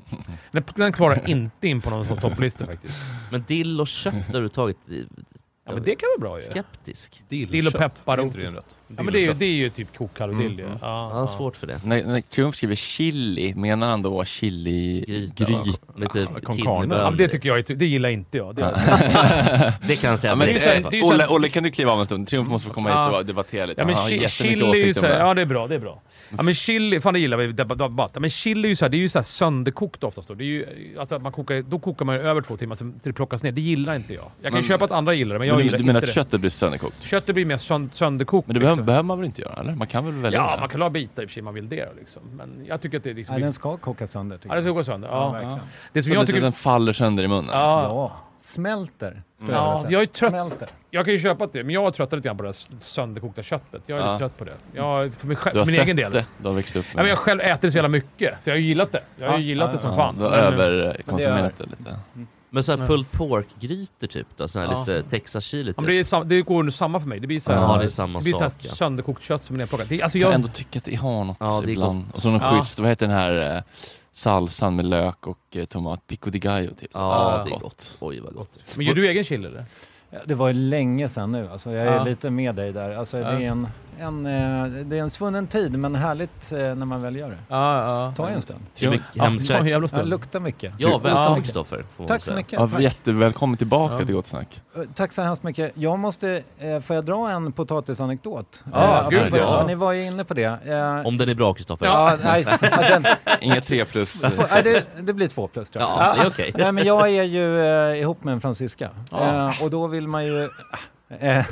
S8: Den, den kvarar inte in på någon sån topplista faktiskt.
S2: men dill och kött överhuvudtaget, det-
S8: Ja, men det kan vara bra ju.
S2: skeptisk.
S8: Dill och peppar
S1: Är
S8: och
S1: inte det en rätt?
S8: Ja, men det, är ju, det är ju typ kokkalv och dill ju.
S2: Jag
S8: Ja,
S2: har
S8: ja.
S2: svårt för det.
S3: När, när Triumf skriver chili, menar han då chili...
S2: Gryta, med typ
S1: con carne.
S2: kidneyöl.
S8: Ja, men det tycker jag är- Det gillar inte jag. Det,
S2: det kan jag säga
S3: Ja,
S2: att
S3: men,
S2: det
S8: ju så här-
S3: eh,
S2: är.
S8: det är ju så här-
S3: Olle, Olle, kan du kliva av en stund? Triumf måste få komma
S8: Ja.
S3: hit och debattera lite.
S8: Ja, men
S3: han har
S8: chi-
S3: jättemycket
S8: chili är ju
S3: åsikter om det
S8: såhär,
S3: här.
S8: ja det är bra, det är bra. Ja men chili, fan det gillar vi, deb- debatt. Ja, Men chili är ju såhär, det är ju såhär sönderkokt oftast då. Det är ju, alltså att man kokar, då kokar man ju över två timmar sen till det plockas ner. Det gillar inte jag. Jag kan
S3: Men-
S8: ju köpa att andra gillar det, men jag
S3: Men du,
S8: gillar
S3: du menar
S8: inte
S3: att köttet blir sönderkokt?
S8: det. Köttet blir mer sön- sönderkokt.
S3: Men det behöver,
S8: liksom.
S3: behöver man väl inte göra? Eller? Man kan väl välja
S8: Ja,
S3: det?
S8: man kan ha bitar i och för sig om man vill det då, liksom. Men jag tycker att det är liksom...
S7: Nej, den ska koka sönder. tycker
S8: ja, det ska
S7: jag.
S8: gå sönder.
S7: Ja,
S8: Ja.
S7: verkligen.
S8: Det som
S3: Så
S8: jag
S3: jag
S8: tycker...
S3: den faller sönder i munnen?
S8: Ja,
S7: Ja. Smälter, skulle
S8: Ja,
S7: jag vilja säga.
S8: jag är trött.
S7: Smälter.
S8: jag kan ju köpa att det, men jag är trött lite grann på det här s- sönderkokta köttet. Jag är
S3: Ja.
S8: lite trött på det. Jag, för mig själv,
S3: Du har
S8: för min
S3: sett
S8: egen del.
S3: det, du har växt upp med
S8: Ja, men jag själv äter det så jävla mycket, så jag har ju gillat det. Jag har ju
S7: Ja,
S8: gillat
S7: ja,
S8: det som
S3: Ja,
S8: fan.
S3: Du har
S8: Men-
S3: överkonsumerat det lite.
S2: Men såhär pulled pork-grytor typ då? Sån här
S8: Ja.
S2: lite Texas chili
S8: Ja,
S2: typ?
S8: men det, är sam- det går under samma för mig. Det blir så här,
S2: Ja, det är samma
S8: blir så här
S2: sak, ja.
S8: sönderkokt kött som är nerplockat. Det, alltså
S3: Jag kan
S8: jag,
S3: ändå tycka att det har något
S2: Ja, det är
S3: ibland. Och så någon
S8: Ja.
S3: schysst, vad heter den här eh, salsan med lök och eh, tomat, pico de gallo till.
S2: Ja, det är gott. Oj, vad gott.
S8: Men gör du egen chili eller?
S7: Ja, det var ju länge sedan nu, alltså, jag är
S8: Ja.
S7: lite med dig där. Alltså,
S8: Ja.
S7: det, är en, en, eh, det är en svunnen tid, men härligt eh, när man väl gör det.
S8: Ja,
S7: Ta en stund.
S3: Till mycket
S7: Ja,
S3: hemcheck.
S7: ta en jävla
S3: Ja,
S7: stund.
S3: lukta
S7: mycket.
S3: Ja, välkommen,
S7: Ja.
S3: Kristoffer, får man
S7: Tack så
S3: säga.
S7: mycket.
S3: Ja,
S7: tack.
S3: jättevälkommen tillbaka
S7: Ja.
S3: till Gott Snack.
S7: Eh, Tack så hemskt mycket. Jag måste, eh, får jag dra en potatisanekdot? Eh,
S3: Ja,
S7: apropå
S3: gud,
S7: det,
S3: ja.
S7: för Ni var ju inne på det. Eh,
S2: Om den är bra, Kristoffer.
S7: Ja, nej, den,
S3: Inga tre plus. eh,
S7: Få- nej, det, det blir två plus tror jag.
S2: Ja, det är okej.
S7: Nej, men jag är ju eh, ihop med en fransyska.
S2: Ja.
S7: Eh, och då vill man ju... Eh,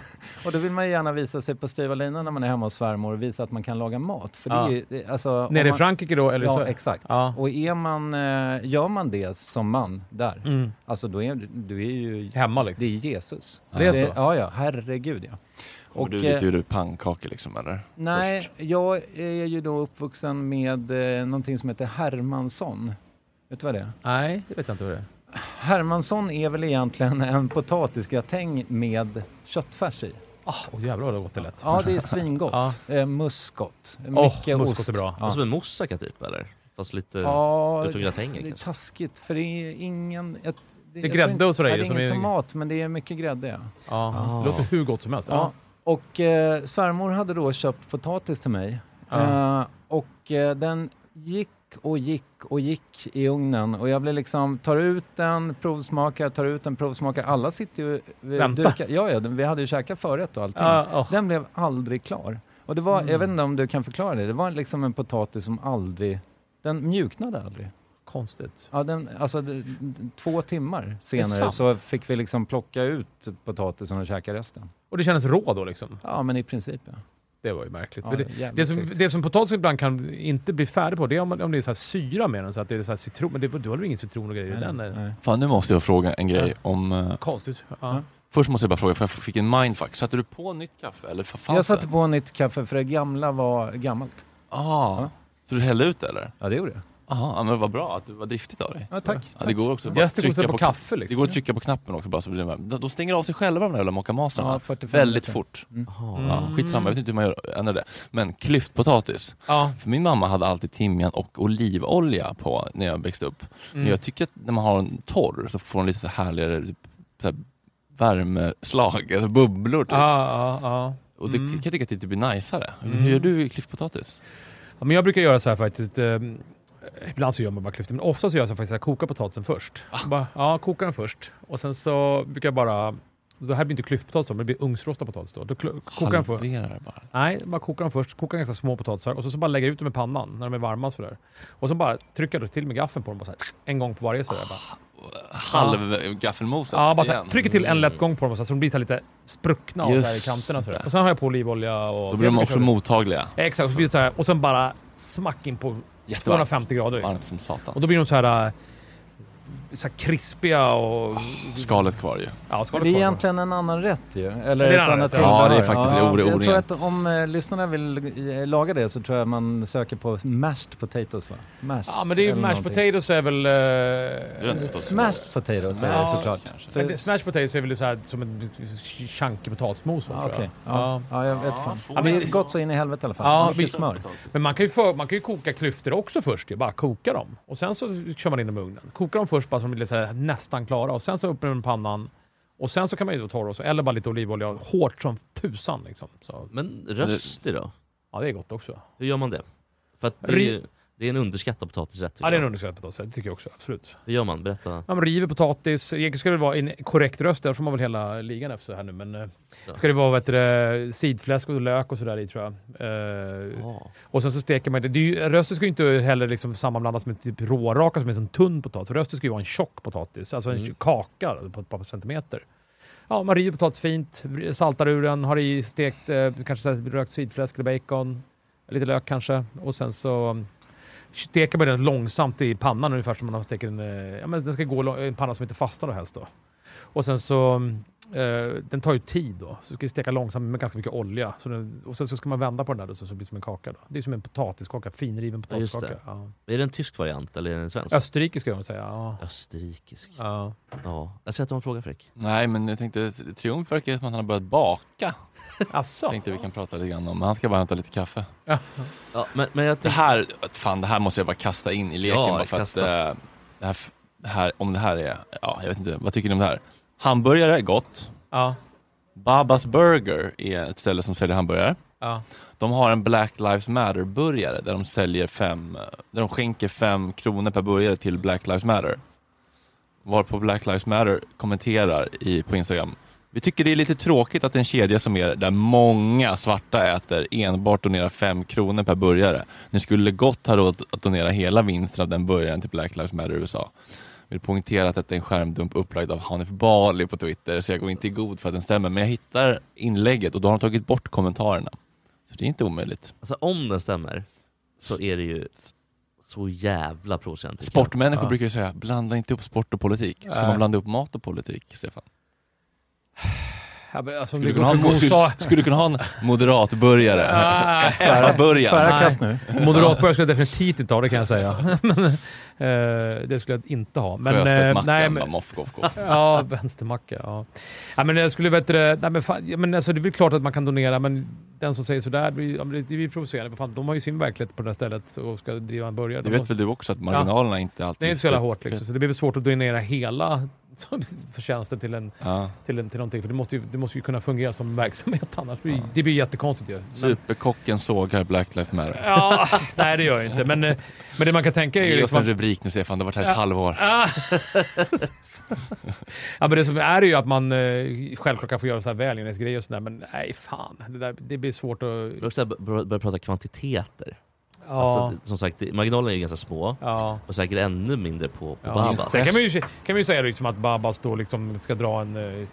S7: och då vill man ju gärna visa sig på styva linan när man är hemma hos svärmor och visa att man kan laga mat. För
S8: Ja.
S7: det är, ju- det- alltså, om
S8: Nere i
S7: man-
S8: Frankrike då, eller i
S7: Ja,
S8: Sverige?
S7: exakt.
S8: Ja.
S7: Och är man, eh, gör man det som man där,
S8: Mm.
S7: alltså då är du- du är ju...
S8: Hemma liksom.
S7: Det är Jesus.
S3: Det är så?
S7: Ja, ja, herregud ja.
S3: Kommer du
S7: eh,
S3: dit ur pannkakor liksom eller?
S7: Nej, jag är ju då uppvuxen med eh, någonting som heter Hermansson. Vet du vad det är?
S8: Nej, det vet jag inte vad det är.
S7: Hermansson är väl egentligen en potatisgratäng med köttfärs i.
S8: Ah, Åh jävlar vad det låter lätt.
S7: Ja, det är svingott. Eh, muskot.
S8: Åh,
S7: Mycket
S8: muskot
S7: ost.
S8: är bra.
S7: Ja.
S2: Som en moussaka typ, eller? Fast lite
S7: Ja,
S2: utan gratänger
S7: det är
S2: kanske.
S7: taskigt för det är ingen... Jag,
S8: Det är
S7: jag tror
S8: grädde
S7: inte-
S8: och sådär
S7: Nej,
S8: ju
S7: Det
S8: som
S7: är ingen
S8: är-
S7: tomat, men det är mycket grädde. Ja.
S8: Ja,
S7: Ah.
S8: Det låter hur gott som helst.
S7: Ja. Och eh, svärmor hade då köpt potatis till mig.
S8: Ja.
S7: Eh, och eh, den gick och gick och gick i ugnen. Och jag blev liksom, tar ut den, provsmakar, tar ut den, provsmakar. Alla sitter ju... vi-
S8: Vänta.
S7: dukar- Ja, ja, vi hade ju käkat förrätt och allting.
S8: Ja, ja.
S7: Den blev aldrig klar. Och det var, jag vet inte om du kan förklara det, det var liksom en potatis som aldrig... Den mjuknade aldrig.
S8: Konstigt.
S7: Ja, den, alltså, det- d- två timmar
S8: är
S7: senare
S8: sant.
S7: så fick vi liksom plocka ut potatisen och käka resten.
S8: Och det kändes rå då liksom?
S7: Ja, men i princip ja.
S8: Det var ju märkligt.
S7: Ja,
S8: Men
S7: det är
S8: det,
S7: jävligt
S8: det, som,
S7: segt.
S8: det som potatis ibland kan inte bli färdig på, det är om, om det är så här syra med den. Så att det är så här citron, men det, du har väl ingen citron och grejer i
S7: Nej,
S8: den?
S7: nej.
S8: eller?
S3: Fan, nu måste jag fråga en grej om... eh,
S8: Konstigt. Ja.
S3: Först måste jag bara fråga, för jag fick en mindfuck. Satte du på nytt kaffe eller vad fan
S7: Jag satte på nytt kaffe för det gamla var gammalt.
S3: Ah, Så du hällde ut det, eller?
S7: Ja, det gjorde jag.
S3: Aha, ja, men vad bra att det var driftigt av dig.
S7: Ja, tack,
S3: Ja, det
S7: tack.
S3: går också att
S8: Gäster
S3: bara
S8: går och sätter på kaffe, liksom.
S3: Det går att trycka på knappen också bara så blir det varmt. De- De stänger av sig själva de där jävla mockamastrarna.
S7: Ja, 45
S3: Väldigt
S7: minuter.
S3: fort.
S7: Mm.
S3: Ja, skitsamma, jag vet inte hur man gör, ändrar det. Men klyftpotatis.
S8: Mm. Ja.
S3: För min mamma hade alltid timjan och olivolja på när jag växte upp. Men
S8: Mm.
S3: jag tycker att när man har en torr så får den lite så här härligare typ, så här värmeslag, alltså bubblor typ.
S8: Ja, ja, ja.
S3: Och det
S8: Mm.
S3: kan jag tycka att det inte blir najsare.
S8: Mm.
S3: Hur gör du i klyftpotatis?
S8: Ja, men jag brukar göra så här faktiskt. Eh, ibland så gör man bara klyftor, men ofta så gör jag så här faktiskt att jag kokar potatisen först.
S3: Ah.
S8: Bara, ja, kokar den först. Och sen så brukar jag bara... Det här blir inte klyftpotatis då, men det blir ugnsrostad potatis då. Då kl- kokar den för,
S3: Halvera det bara.
S8: Nej, bara koka dem först. Koka ganska små potatisar och så, så bara lägga ut dem i pannan när de är varma. Sådär. Och så bara trycka då till med gaffeln på dem. Bara såhär, en gång på varje. Sådär, bara.
S3: Ah, Halvgaffelmosat
S8: Ja, bara såhär,
S3: igen.
S8: trycker till en lätt gång på dem sådär, så de blir såhär lite spruckna och
S3: Just
S8: såhär, i kanterna. Sådär.
S3: det.
S8: Och sen har jag på olivolja. Och
S3: Då blir de
S8: Jag
S3: också
S8: brukar-
S3: mottagliga.
S8: Exakt, och, så blir det såhär, och sen bara smack in på
S3: Jättevarmt.
S8: 250 grader. Liksom.
S3: Varmt som satan.
S8: Och då blir de såhär, äh, såhär krispiga och...
S3: Skalet kvar ju.
S8: Ja,
S7: Men
S8: skalet
S7: det är
S8: kvar.
S7: egentligen en annan rätt ju. Eller
S8: Det är
S7: ett
S8: en annan
S7: annat
S8: rätt, ja.
S7: tillbehör.
S3: Ja, det är faktiskt det är
S7: Jag tror
S3: orent.
S7: att om eh, lyssnarna vill eh, laga det så tror jag man söker på mashed potatoes va? Mashed
S8: Ja, men det är ju
S7: eller
S8: mashed
S7: någonting.
S8: potatoes är väl... äh,
S3: vet
S8: eh,
S3: inte.
S7: Smashed potatoes är
S8: Ja,
S7: det såklart.
S8: Men
S7: För,
S8: det, smash potatoes är väl så här, som en chunky potatismos? va,
S7: ja,
S8: tror jag.
S7: okej. ja. ja, jag vet fan.
S3: så
S7: Ja, det
S3: är
S7: är
S3: det.
S7: gott så in i helvete i alla fall.
S8: Ja,
S7: Mycket
S8: visst.
S7: smör.
S8: Men man kan, ju för, man kan ju koka klyftor också först. Ju, bara koka dem. Och sen så kör man in dem i ugnen. Kokar dem först bara så de blir lite så här, nästan klara. Och sen så upp med pannan. Och sen så kan man ju då torra och så, eller bara lite olivolja. Hårt som tusan liksom. Så,
S2: Men rösti då?
S8: ja, det är gott också.
S2: Hur gör man det? För att det, är,
S8: Ri-
S2: ju- det är en underskattad potatisrätt. tycker
S8: Ja, det är en
S2: jag.
S8: underskattad potatis. Det tycker jag också. Absolut.
S2: Hur gör man? Berätta.
S8: Ja, men river potatis. Egentligen ska det vara en korrekt röst. Där får man väl hela ligan efter här nu. Men eh,
S2: Ja.
S8: ska det vara vad heter det, sidfläsk och lök och sådär i tror jag. Eh,
S2: Ja.
S8: Och sen så steker man det. det är ju, rösten ska ju inte heller liksom sammanblandas med typ råraka som är en tunn potatis. Rösten ska ju vara en tjock potatis, alltså en
S2: Mm.
S8: kaka på ett par centimeter. Ja, man river potatis fint, saltar ur den, har i stekt eh, kanske så här rökt sidfläsk eller bacon, lite lök kanske. Och sen så mm, steker man den långsamt i pannan ungefär som man steker en... eh, Ja, men den ska gå lång- i en panna som inte fastnar då helst då. Och sen så mm, eh, den tar ju tid då. Så ska vi steka långsamt med ganska mycket olja. Så den, och sen så ska man vända på den där då, så så blir det som en kaka. Då. Det är som en potatiskaka, finriven
S2: Ja, just
S8: potatiskaka.
S2: det.
S8: Ja,
S2: Är det en tysk variant eller är det en svensk?
S8: Österrikisk skulle jag säga. Ja.
S2: Österrikisk.
S8: Ja.
S2: ja. Jag ser att du har en fråga Fredrik.
S3: Nej, men jag tänkte Triumf verkar som att han har börjat baka.
S8: Asså?
S3: Tänkte vi kan prata lite grann om. men Han ska bara hämta lite kaffe.
S8: Ja.
S2: men, men jag
S3: det här, fan det här måste jag bara kasta in i leken
S2: Ja,
S3: bara för
S2: kasta.
S3: att eh, det här, det här, om det här är, ja jag vet inte, vad tycker ni om det här? Hamburgare är gott.
S8: Ja.
S3: Babas Burger är ett ställe som säljer hamburgare.
S8: Ja.
S3: De har en Black Lives Matter-burgare där de säljer fem, eh, där de skänker fem kronor per burgare till Black Lives Matter. Varpå Black Lives Matter kommenterar i, på Instagram. Vi tycker det är lite tråkigt att en kedja som er, där många svarta äter, enbart donerar fem kronor per burgare. Ni skulle gott ha råd att donera hela vinsten av den burgaren till Black Lives Matter i USA. Vill poängtera att detta är en skärmdump upplagd av Hanif Bali på Twitter, så jag går inte i god för att den stämmer. Men jag hittar inlägget och då har de tagit bort kommentarerna. Så det är inte omöjligt.
S2: Alltså om den stämmer så är det ju så jävla provocerande. tycker jag.
S3: Sportmänniskor brukar ju säga, blanda inte ihop sport och politik. Ska
S2: Nej.
S3: man blanda ihop mat och politik, Stefan?
S8: Ja, men alltså, om
S3: Skulle
S8: det
S3: du kunna ha
S8: går
S3: en,
S8: för
S3: mo- skulle,
S8: Mosa-
S3: skulle kunna ha en moderatburgare?
S8: Ah,
S3: Tvära burgaren.
S8: Nej. Moderatburgare skulle jag definitivt inte ha, det kan jag säga. men, eh, det skulle jag inte ha. Men, eh,
S3: Sjöstedtmackan,
S8: nej,
S3: bara
S8: men,
S3: moff, goff, goff.
S8: Ja, vänstermacka. Ja. Ja, men jag skulle bättre, nej, men fan, ja, men alltså, det är väl klart att man kan donera, men den som säger sådär, det blir, ja, men det det blir provocerande. för Fan, de har ju sin verklighet på det där stället och ska driva en burgare.
S3: Det
S8: De
S3: vet
S8: måste-
S3: väl du också att marginalerna inte alltid...
S8: Det är inte så jävla hårt liksom, så det blir väl svårt att donera hela förtjänsten till, en,
S3: Ja.
S8: till, en, till någonting. För det måste, ju, det måste ju kunna fungera som verksamhet annars. blir- Det blir jättekonstigt ju. Men-
S3: Superkocken sågar Black Lives Matter.
S8: Ja, nej det gör jag inte. Men, eh, men det man kan tänka är
S3: Ge
S8: ju...
S3: oss
S8: liksom
S3: en
S8: att-
S3: rubrik nu Stefan, det har varit här ett
S8: Ja.
S3: halvår.
S8: Ah. ja, men det som är ju att man eh, självklart kan få göra så här välgörenhetsgrejer och sådär, men nej fan. Det, där, det blir svårt att...
S2: Vi också bör- börjar prata kvantiteter.
S8: Ja.
S2: Alltså, som sagt, det- marginalerna är ju ganska små
S8: Ja.
S2: och säkert ännu mindre på, på
S8: Ja.
S2: Babas.
S8: Sen kan man ju, kan man ju säga liksom att Babas då liksom ska dra en... eh,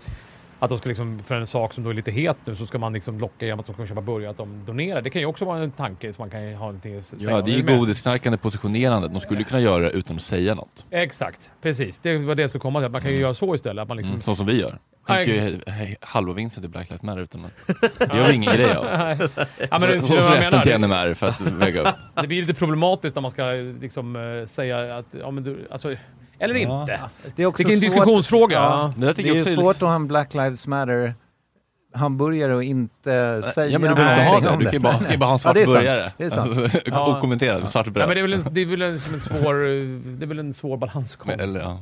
S8: Att de ska liksom, för en sak som då är lite het nu, så ska man liksom locka genom att de ska köpa burgare, att de donerar. Det kan ju också vara en tanke som man kan ha någonting att s- säga.
S3: Ja,
S8: om.
S3: det är
S8: Är
S3: ju
S8: du med?
S3: godisknarkande positionerandet. De skulle ju kunna göra det utan att säga något.
S8: Exakt, precis. Det var det jag skulle komma till. Att man kan ju göra så istället. Att man liksom...
S3: Mm, så som vi gör.
S8: Ja,
S3: Skänker ju he- he- halva vinsten till Black Lives Matter utan att... Det gör vi ingen grej av.
S8: Nej. Ja, men
S3: Så-
S8: det-
S3: så-
S8: förstår
S3: så
S8: vad jag
S3: resten
S8: menar.
S3: till NMR för att väga upp.
S8: Det blir lite problematiskt när man ska eh, liksom, eh, säga att, ja, men du, alltså, eller
S7: Ja.
S8: inte.
S7: Det är, också
S8: en
S7: svårt-
S8: diskussionsfråga.
S7: Ja.
S8: Det där
S7: Det
S8: tycker
S7: är
S8: jag
S7: ju
S8: också är-
S7: svårt att ha en Black Lives Matter hamburgare och inte säga
S3: Ja, men du behöver inte ha
S7: någonting
S3: det.
S7: om
S3: Du kan ju bara, kan ju bara ha en
S7: Ja,
S3: svart
S7: det är sant.
S3: burgare.
S7: Det är sant.
S8: Ja.
S3: Okommenterad, svart
S8: Ja,
S3: bröd.
S8: men det är väl en, det är väl en, som en, svår, eh, det är väl en svår balansgång.
S3: Men- eller, ja.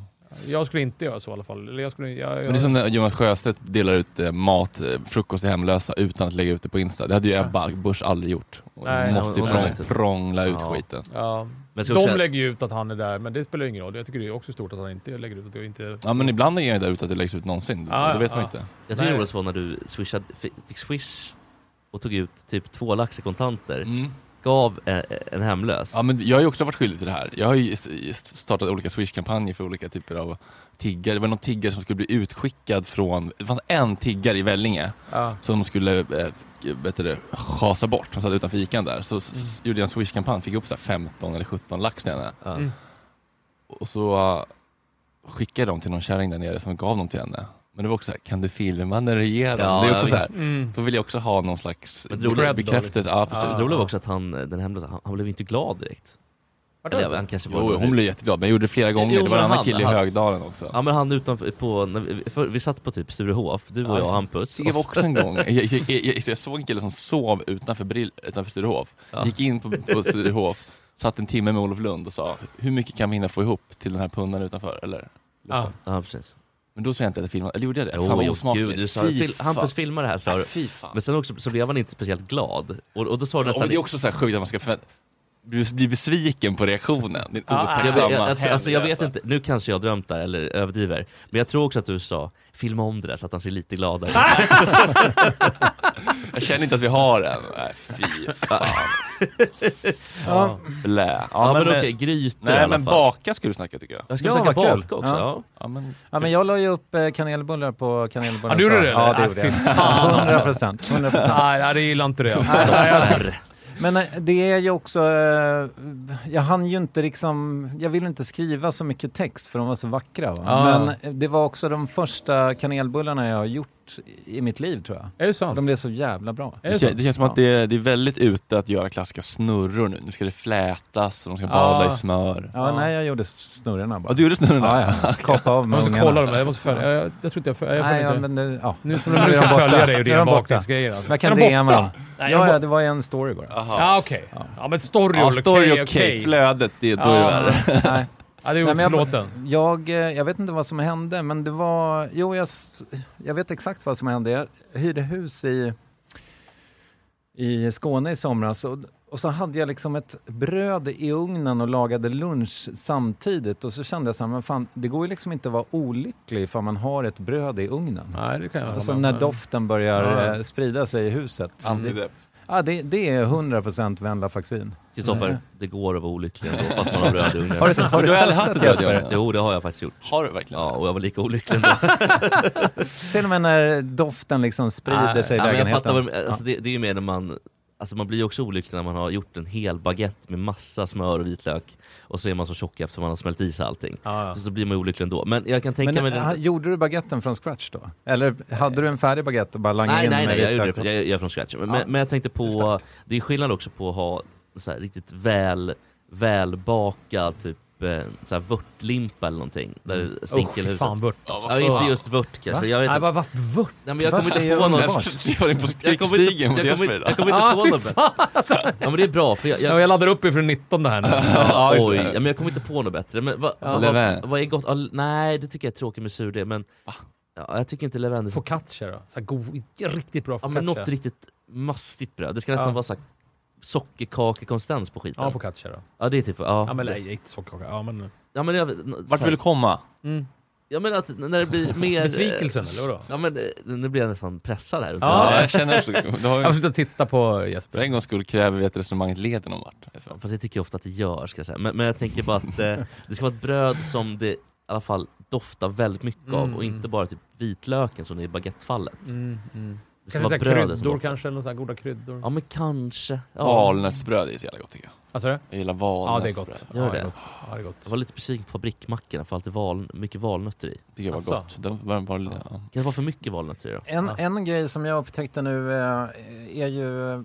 S8: Jag skulle inte göra så i alla fall. Eller jag skulle, jag,
S3: Men det är som när Jonas Sjöstedt delar ut eh, mat, eh, frukost till hemlösa utan att lägga ut det på Insta. Det hade ju Ebba Busch aldrig gjort. Och
S8: Nej.
S3: måste ju
S8: Hon- hon har
S3: prång,
S8: inte-
S3: prångla ut
S8: Ja.
S3: skiten.
S8: Ja.
S3: Men ska vi
S8: De
S3: säga-
S8: lägger ju ut att han är där, men det spelar ju ingen roll. Jag tycker det är också stort att han inte lägger ut att jag inte...
S3: Ja men ibland är det ut att det läggs ut någonsin.
S8: Ja,
S3: det vet man
S8: ja.
S3: inte.
S2: Jag tycker
S8: Nej.
S2: det roligaste var när du swishade, fi- fick swish och tog ut typ två lax i kontanter.
S3: Mm.
S2: Gav eh, en hemlös.
S3: Ja, men jag har ju också varit skyldig till det här. Jag har ju s- s- startat olika Swish-kampanjer för olika typer av tiggare. Det var någon tiggare som skulle bli utskickad från, det fanns en tiggare i Vellinge
S8: Ja.
S3: som de skulle eh, vet du, det, schasa bort. De satt utanför ikan där. Så, s- s- gjorde jag en Swish-kampanj, fick upp så här 15 eller 17 lax till henne.
S8: Mm.
S3: Och så eh, skickade de till någon kärring där nere som gav dem till henne. Men det var också så här, kan du filma när du ger dem?
S2: Ja,
S3: det är
S2: ja,
S3: också så här,
S2: visst. Mm.
S3: Då vill jag också ha någon slags
S2: Men det roliga-
S3: bekräftelse. liksom? Ja, precis.
S2: Det roliga var också att han, eh, den hemlösa, han, han blev ju inte glad direkt.
S3: Vart då?
S2: han kanske
S3: Jo, hon blev jätteglad, men jag gjorde det flera gånger. Det var en
S2: men
S3: annan
S2: han-
S3: kille i
S2: han-
S3: Högdalen också.
S2: Ja men han utanför, på, när vi, för, vi satt på typ Sturehof, du och jag och Hampus.
S3: Det var också en gång. Jag, jag, jag, jag, jag såg en kille som sov utanför, Brill, utanför Sturehof.
S2: Ja.
S3: Gick in på, på Sturehof, satt en timme med Olof Lund och sa hur mycket kan vi hinna få ihop till den här pundan utanför? Eller? liksom.
S2: Ja. ja, precis.
S3: Men då tror jag inte att jag filmade. Eller gjorde jag det?
S2: Jo,
S3: Fan vad
S2: jo,
S3: osmakligt.
S2: gud, du sa,
S3: Fy
S2: fil,
S3: fan.
S2: Hampus filmar det här sa
S3: Ja,
S2: du.
S3: fy fan.
S2: Men sen också, så blev han inte speciellt glad. Och, och då sa du
S3: Ja,
S2: nästan...
S3: men det är också så här sjukt att man ska förvänta bli, bli besviken på reaktionen. Din
S2: jag, vet-
S3: otacksamma
S2: jag, jag, alltså, jag vet
S3: hemlösa.
S2: inte, nu kanske jag har drömt där eller överdriver. Men jag tror också att du sa, filma om det där så att han ser lite gladare ut.
S3: Jag känner inte att vi har en. Nej, fy fan.
S2: Ja.
S3: Blä.
S2: Ja, men okej, grytor
S3: eh, Nej,
S2: i alla
S3: men
S2: fall.
S3: baka skulle du snacka tycker jag.
S2: Jag
S7: Ja, vad kul.
S3: Ja. Ja,
S7: men,
S3: men-
S7: jag la ju upp eh, kanelbullar på kanelbullar.
S8: Ja, du gjorde det?
S7: Ja, det
S8: Ah,
S7: gjorde
S8: fy
S7: jag.
S8: fan, alltså.
S7: 100 procent. 100 procent.
S8: Nej, nej, det gillar inte det. alltså. Nej, jag tycker-
S7: Men eh, det är ju också, eh, jag hann ju inte liksom, jag ville inte skriva så mycket text för de var så vackra. Va?
S8: Ah.
S7: Men eh, det var också de första kanelbullarna jag har gjort i mitt liv tror jag.
S8: Är det sant?
S7: De blev så jävla bra.
S3: Det, kän, det känns som att det, är- det är väldigt ute att göra klassiska snurror nu. Nu ska det flätas och de ska bada i smör.
S7: Ja, nej jag gjorde snurrorna bara.
S3: Ja, du gjorde snurrorna?
S7: Ja, ja. Kapa av
S8: Jag
S7: med
S8: måste
S7: ungarna.
S8: kolla dem, jag måste följa- jag- jag tror inte jag följer- jag
S7: Nej,
S8: följer
S7: ja,
S8: inte.
S7: men det, ja.
S8: Nu- nu ska jag
S7: de borta.
S8: följa dig och
S7: Nu
S8: dina
S7: är de borta.
S8: bakningsgrejer, alltså.
S7: Jag
S8: Är
S7: kan
S8: de
S7: DMa
S8: borta?
S7: dem.
S8: Nej, de
S7: Ja,
S8: är
S7: ja,
S8: borta.
S7: det var en story bara.
S8: Ja, okej. Ja, men story
S3: Ja,
S8: all
S3: story
S8: okej,
S3: okej.
S8: okej.
S3: Flödet, det- då är det värre.
S7: Nej.
S8: Ja, det är
S7: Nej, men
S8: oförlåten.
S7: Jag, jag, eh, jag vet inte vad som hände, men det var... Jo, jag, s- jag vet exakt vad som hände. Jag hyrde hus i, i Skåne i somras och, och så hade jag liksom ett bröd i ugnen och lagade lunch samtidigt och så kände jag så här, men fan, det går ju liksom inte att vara olycklig ifall man har ett bröd i ugnen.
S8: Nej, det kan jag hålla
S7: alltså
S8: med om.
S7: när doften börjar
S8: Ja.
S7: eh, sprida sig i huset.
S3: Antidepp.
S7: Ja, det, det är 100% venlafaxin.
S2: Kristoffer,
S7: Mm.
S2: det går att vara olycklig ändå för att man har bröd i ugnen.
S7: Har du- har du Du har aldrig testat haft det, Jesper? Jesper?
S2: Jo, det har jag faktiskt gjort.
S3: Har du verkligen?
S2: Ja, och jag var lika olycklig ändå.
S7: Till och med när doften liksom sprider sig i
S2: men jag fattar
S7: lägenheten.
S2: vad, du- alltså, det, det är ju mer när man, alltså, man blir ju också olycklig när man har gjort en hel baguette med massa smör och vitlök och så är man så tjock efter man har smält i sig allting. Så, så blir man ju olycklig ändå. Men jag kan tänka
S7: Men
S2: mig...
S7: eh, ha-
S2: Den,
S7: gjorde du baguetten från scratch då? Eller hade du en färdig baguette och bara langade
S2: nej,
S7: in
S2: nej,
S7: med
S2: nej, jag gjorde
S7: vitlök
S2: det
S7: och-
S2: jag, jag är från scratch. Men,
S7: Ja.
S2: men, men jag tänkte på, det är skillnad också på att ha så här, riktigt väl, välbakad typ eh, så här vörtlimpa eller någonting. Där
S8: Mm.
S2: det stinker
S8: Usch,
S2: i huvudet.
S8: fan, vört.
S2: Ja, inte just vört kanske. Jag vet
S8: Nej,
S2: inte.
S8: vad, vad, vört?
S2: Nej, men jag kommer inte på något.
S3: Det var det på
S2: Jag kommer inte-
S3: krigsstigen mot
S2: jag kommer-
S3: Jesper idag.
S2: Jag kommer inte
S8: Ah,
S2: på
S8: fy
S2: något
S8: fan,
S2: bättre. Ja men det är bra för jag...
S8: Ja, jag laddar upp ifrån 19 det här nu.
S2: Ja,
S8: Ja,
S2: Oj,
S8: just
S2: ja,
S8: det.
S2: men jag kommer inte på något bättre. Men vad,
S8: Ja. Levain.
S2: vad, vad är gott? Ja, nej, det tycker jag är tråkigt med surdeg men... Ja, jag tycker inte Leven...
S8: Focaccia då? Så här god, riktigt bra
S2: Ja
S8: focaccia.
S2: men något riktigt mastigt bröd. Det ska nästan
S8: Ja.
S2: vara så här sockerkakekonsistens på skiten.
S8: Ja, focaccia då.
S2: Ja det är typ... Ja,
S8: Ja, men nej, inte sockerkaka. Ja, men...
S2: Ja, men jag,
S8: Vart vill du
S3: komma?
S8: Mm.
S2: Jag menar att när det blir mer...
S8: Besvikelsen, eller vadå?
S2: Ja men eh, nu blir jag nästan pressad här.
S8: Ja, jag känner också-
S3: Du
S8: Jag har slutat titta på Jesper.
S3: För en gångs skull kräver vi att resonemanget leder någon vart.
S2: Ja, fast det tycker jag ofta att det gör, ska jag säga. Men, men jag tänker bara att eh, det ska vara ett bröd som det i alla fall doftar väldigt mycket av
S8: Mm.
S2: och inte bara typ vitlöken som det är i baguettefallet.
S8: Mm, mm.
S2: Det ska
S8: Kanske
S2: vara
S8: lite här
S2: brödet som
S8: kryddor
S2: doftar.
S8: kanske, eller något sånt här goda kryddor.
S2: Ja men kanske. Ja.
S3: Valnötsbröd är så jävla gott tycker jag.
S8: Vad sa du?
S3: Jag gillar
S8: Ja, det är
S3: valnötsbröd.
S8: gott.
S2: Gör det?
S8: Ja, det är gott.
S2: Jag var lite besviken på fabrikkmackorna för allt är val, mycket valnötter i.
S3: Det var
S2: Asså.
S3: gott. Den var, var, ja.
S2: Kan det vara för mycket valnötter i då?
S7: En, en grej som jag upptäckte nu eh, är ju eh,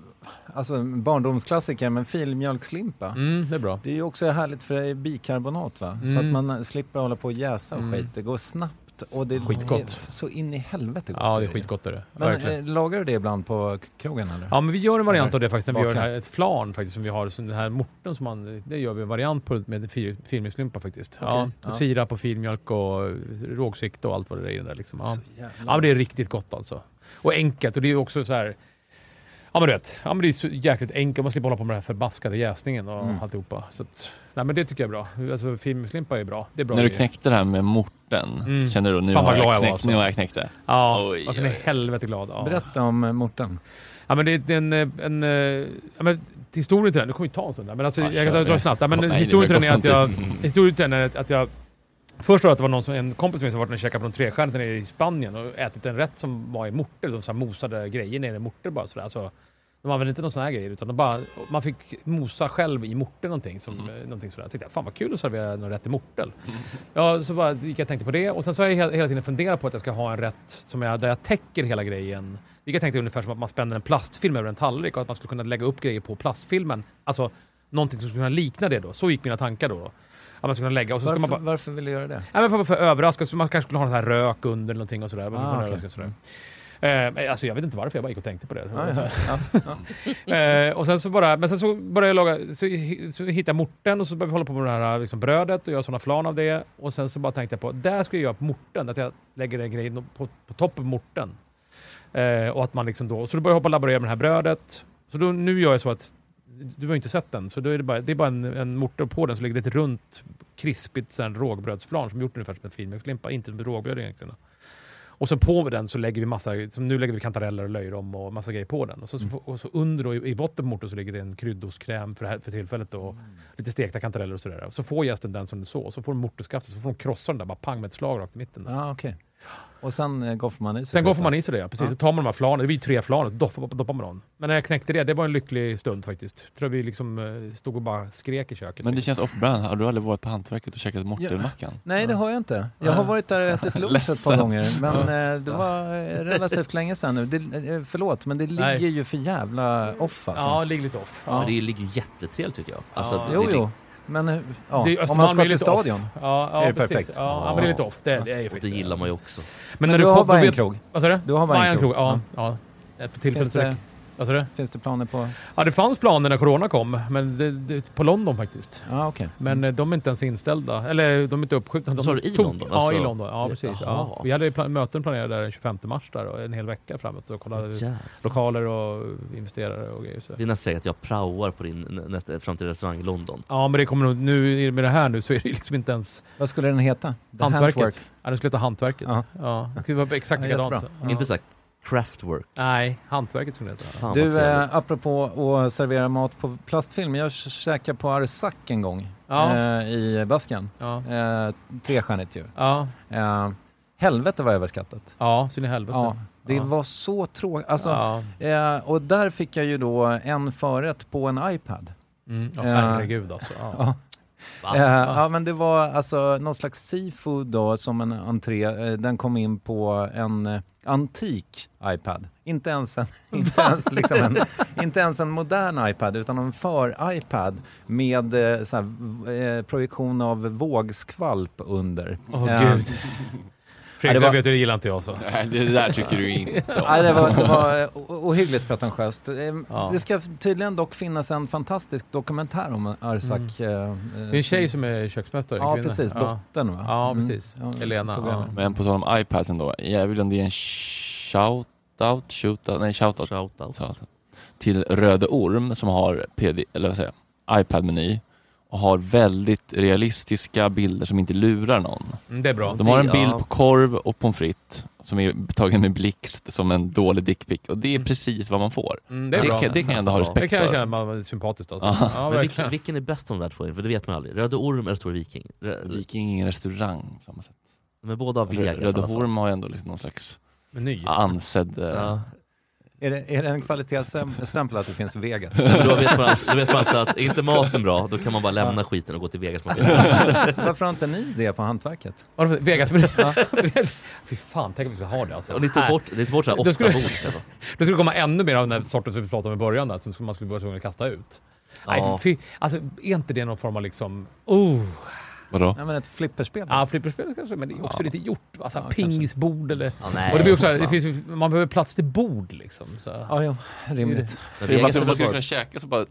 S7: alltså, en barndomsklassiker, men filmjölkslimpa.
S8: Mm, det är bra.
S7: Det är ju också härligt för det är bikarbonat va? Så
S8: Mm.
S7: att man eh, slipper hålla på och jäsa och
S8: Mm.
S7: skit. Det går snabbt och det
S8: Skitgott.
S7: är så in i helvete gott.
S8: Ja, det är skitgott. Är det.
S7: Men
S8: Verkligen.
S7: eh, lagar du det ibland på k- krogen eller?
S8: Ja men vi gör en variant
S7: Eller
S8: av det faktiskt, när vi gör den
S7: bakar?
S8: här, ett flan faktiskt som vi har, så den här morten som man, det gör vi en variant på med fil- filmjölkslimpa faktiskt. Ja,
S7: Okej. Ja.
S8: Sirap och filmjölk och rågsikt och allt vad det är i den där liksom. Ja.
S7: Så
S8: ja
S7: jävla
S8: men det är riktigt gott alltså. Och enkelt och det är ju också så här Ja men du vet, ja, men det är så jäkligt enkelt. Man slipper hålla på med den här förbaskade jäsningen och
S3: Mm.
S8: alltihopa. Så att, nej men det tycker jag är bra. Alltså filmjölkslimpa är bra. Det är bra
S3: När du
S8: grejer.
S3: knäckte det här med morten,
S8: Mm.
S3: kände du nu
S8: Fan,
S3: har
S8: vad glad jag
S3: jag
S8: var,
S3: knäckt,
S8: alltså.
S3: nu har jag knäckt det?
S8: Ja,
S3: Oj,
S8: alltså den är
S3: oj.
S8: helvete glad. Ja.
S7: Berätta om eh, morten.
S8: Ja, men det är en... eh, en eh, ja, men, historien till den, det kommer ju ta en stund där, men alltså,
S3: Ja,
S8: jag
S3: kör.
S8: kan dra snabbt. Ja, men
S3: Nej, det
S8: historien till
S3: var
S8: den är att jag...
S3: konstant. Mm.
S8: Historien till den är att- att jag... Först var det att det var någon som, en kompis med som varit och käkat på en trestjärnig nere i Spanien och ätit en rätt som var i morter. De så här mosade grejer nere i morter bara sådär. Så de använde inte någon sån här grejer utan de bara, man fick mosa själv i morter någonting. Som, mm. någonting sådär. Jag tänkte fan vad kul att servera någon rätt i mortel. Ja, så bara gick jag och tänkte på det och sen så har jag he- hela tiden funderat på att jag ska ha en rätt som jag, där jag täcker hela grejen. Vilket jag tänkte ungefär som att man spänner en plastfilm över en tallrik och att man skulle kunna lägga upp grejer på plastfilmen. Alltså någonting som skulle kunna likna det då. Så gick mina tankar då. då. Att man skulle kunna lägga och så
S7: Varför,
S8: ska man bara...
S7: varför vill du göra det?
S8: Ja, men för, för överraska, så man kanske skulle ha en sån här rök under eller någonting och sådär. Man
S7: Ah,
S8: får en
S7: okej.
S8: överraskning sådär. Eh, men alltså jag vet inte varför, jag bara gick och tänkte på det.
S7: Ja, Ah, ja,
S8: Eh, och sen så bara, men sen så började jag laga, så, hi- så hittade jag morten och så började vi hålla på med det här liksom, brödet och göra sådana flan av det. Och sen så bara tänkte jag på, där ska jag göra på morten, att jag lägger den grejen på, på toppen av morten. Eh, och att man liksom då, så då började jag hoppa och laborera med det här brödet. Så då, nu gör jag så att, du har ju inte sett den, så då är det bara, det är bara en, en morter och på den så ligger det ett runt krispigt sån här rågbrödsflan som är gjort ungefär som en filmjölkslimpa, inte som ett rågbröd egentligen. Och så på med den så lägger vi massa, som nu lägger vi kantareller och löjrom och massa grejer på den. Och så, så, och så under och i, i botten på morten så ligger det en kryddostkräm för, det här- för tillfället då, och lite stekta kantareller och sådär. Och så får gästen den som den så, och så får de morterskaftet, så får de krossa den där bara pang med ett slag rakt i mitten.
S7: Ja, okej. Och sen eh, goffar man i sig
S8: Sen går
S7: skiten.
S8: får man i sig det, ja. precis. Då tar man de här flanen, det blir tre flanet, doppar, doppar man dem. Men när jag knäckte det, det var en lycklig stund faktiskt. Tror vi liksom eh, stod och bara skrek i köket. Typ
S3: Men det känns off-brand. Har du aldrig varit på Hantverket och käkat mortelmackan?
S7: Nej, det har jag inte. Jag har
S3: Nej.
S7: varit där och ätit lunch ett par
S3: Ledsen.
S7: gånger, men
S3: Ja.
S7: eh, det var eh, relativt länge sedan nu. Det, eh, förlåt, men det ligger
S2: Nej.
S7: ju för jävla off alltså.
S8: Ja, det ligger lite off.
S2: Men det ligger ju jättetrevligt tycker jag. Alltså,
S7: Ja.
S2: det
S7: Jo,
S2: lig-
S7: jo. Men eh, hur- ja,
S8: Det är-
S7: om
S8: Östermalm
S7: man
S8: är
S7: ska
S8: lite
S7: till
S8: off.
S7: stadion
S8: Ja, ja,
S7: är det
S8: precis.
S7: perfekt.
S8: Ja, ja, men det är lite off. Det, det är ju
S2: Och det
S8: faktiskt
S2: gillar man ju också.
S8: Men, när
S7: du
S8: du,
S7: har
S8: kom,
S7: bara
S8: då
S7: en
S8: vet-
S7: krog.
S8: Vad sa du?
S7: Du har bara en krog.
S8: Ja, ja. Eh, På tillfället
S7: Finns
S8: så
S7: det,
S8: räcker- Vad sa du?
S7: finns det planer på...
S8: Ja, det fanns planer när corona kom, men det, det, på London faktiskt.
S7: Ja, okej.
S8: Men eh, de är inte ens inställda. Eller de är inte uppskjutna. De
S2: Sa du i
S8: tog-
S2: London?
S8: Ja, i
S2: Alltså-
S8: London. Ja, precis. Ja.
S2: Jaha.
S8: Vi hade ju plan- möten planerade där den 25 mars där, och en hel vecka framåt och kollade
S2: Jävlar.
S8: lokaler och investerare och grejer. Så.
S2: Det är nästan säkert att jag praoar på din nä- nästa framtida restaurang i London.
S8: Ja, men det kommer nog, nu med det här nu så är det liksom inte ens
S7: Vad skulle den heta? The
S8: hantverket.
S7: Handwork.
S8: Ja, den skulle heta Hantverket.
S7: Ja.
S8: Ja. Det skulle vara exakt
S7: Ja,
S8: likadant.
S7: jättebra.
S8: Ja.
S2: Inte såhär craftwork.
S8: Nej, Hantverket skulle det heta.
S2: Fan vad
S7: Du,
S2: trevligt.
S7: eh, apropå att servera mat på plastfilm. Jag käkade på Arsak en gång
S8: Ja.
S7: eh, i Basken.
S8: Ja.
S7: Eh, trestjärnigt ju.
S8: Ja,
S7: Eh, helvete var överskattat.
S8: ja så in i helvete.
S7: Ja, det
S8: Ja.
S7: var så tråkigt. Alltså,
S8: Ja.
S7: eh, och där fick jag ju då en förrätt på en iPad.
S8: Mm. Ja,
S7: Eh,
S8: herregud alltså. Ja.
S7: Ja.
S2: Va?
S7: Eh, ja, men det var alltså någon slags seafood då som en entré. Eh, Den kom in på en eh, antik iPad. Inte ens en, inte ens liksom en, inte ens en modern iPad, utan en för-iPad med eh, så här, v- eh, projektion av vågskvalp under.
S8: Åh
S7: Eh,
S8: gud.
S7: Ja, det
S8: Fredrik,
S7: var-
S8: det vet du, det gillar inte jag så.
S3: Nej, det där tycker du inte om.
S7: Nej, det var, det var eh, o- ohyggligt pretentiöst. Eh,
S8: Ja.
S7: Det ska tydligen dock finnas en fantastisk dokumentär om Arsak.
S8: Mm. Det är en tjej som är köksmästare. en
S7: Ja,
S8: kvinna.
S7: precis.
S8: Ja.
S7: Dottern, va?
S8: Ja,
S7: Mm.
S8: precis.
S7: Ja, så
S8: Elena.
S7: tog jag
S8: Ja.
S7: med.
S3: Men på tal om iPad ändå. Jag vill om det är en shout-out, shoot-out, nej shout-out.
S2: Shoutout.
S3: Så, till Röde Orm som har PD, eller vad säger jag, iPad-meny och har väldigt realistiska bilder som inte lurar någon.
S8: Mm, det är bra.
S3: De har en
S2: Det-
S3: bild
S2: ja.
S3: på korv och pommes frites som är tagen med blixt som en dålig dickpic och
S2: Mm.
S3: det är precis vad man får.
S8: Mm,
S3: Det,
S8: det är bra.
S3: kan, det kan jag ändå ha
S2: Ja.
S8: Det
S3: respekt
S8: kan jag
S3: för.
S8: känna man är sympatiskt alltså.
S3: Ja.
S8: Ja,
S2: Men vilken,
S8: verkligen.
S2: vilken är bäst av de där två? För det vet man aldrig. Röde Orm eller Stor Viking? Rö-
S3: Viking är ingen restaurang på samma sätt.
S2: men båda har Vegas i
S3: Röde
S2: alla fall.
S3: Orm har ju ändå liksom någon slags
S8: Meny.
S3: ansedd... eh,
S2: Ja.
S7: Är, det, är det en kvalitetsstämpel att det finns Vegas?
S2: Men Då vet, man, allt- då vet man alltid att är inte maten bra, då kan man bara lämna skiten och gå till Vegas.
S7: Varför har inte ni det på hantverket?
S8: Vadå för- Vegas-meny. Fy fan, tänk om vi skulle ha det alltså.
S2: Och ni tog
S8: Här.
S2: bort, ni tog bort så här
S8: Då
S2: åtta
S8: skulle-
S2: bord. så här.
S8: Det skulle komma ännu mer av den här sorten som vi pratade om i början där, som skulle- man skulle vara tvungen att kasta ut. Nej,
S2: Ja.
S8: fy. Alltså, är inte det någon form av liksom... Oh.
S3: Vadå?
S7: Ja, men ett flipperspel.
S8: Ja, flipperspel kanske, men det är också lite gjort. Alltså, pingisbord eller...
S2: Ja, nej,
S8: och det blir också, så här, det
S2: fan.
S8: finns, ju- man behöver plats till bord liksom. Så.
S7: Ja, jo,
S2: Men
S7: rimligt.
S3: Om man
S2: Vegas
S3: skulle-
S2: är
S3: om man skulle
S2: väl
S3: kunna
S2: bara...
S3: käka så bara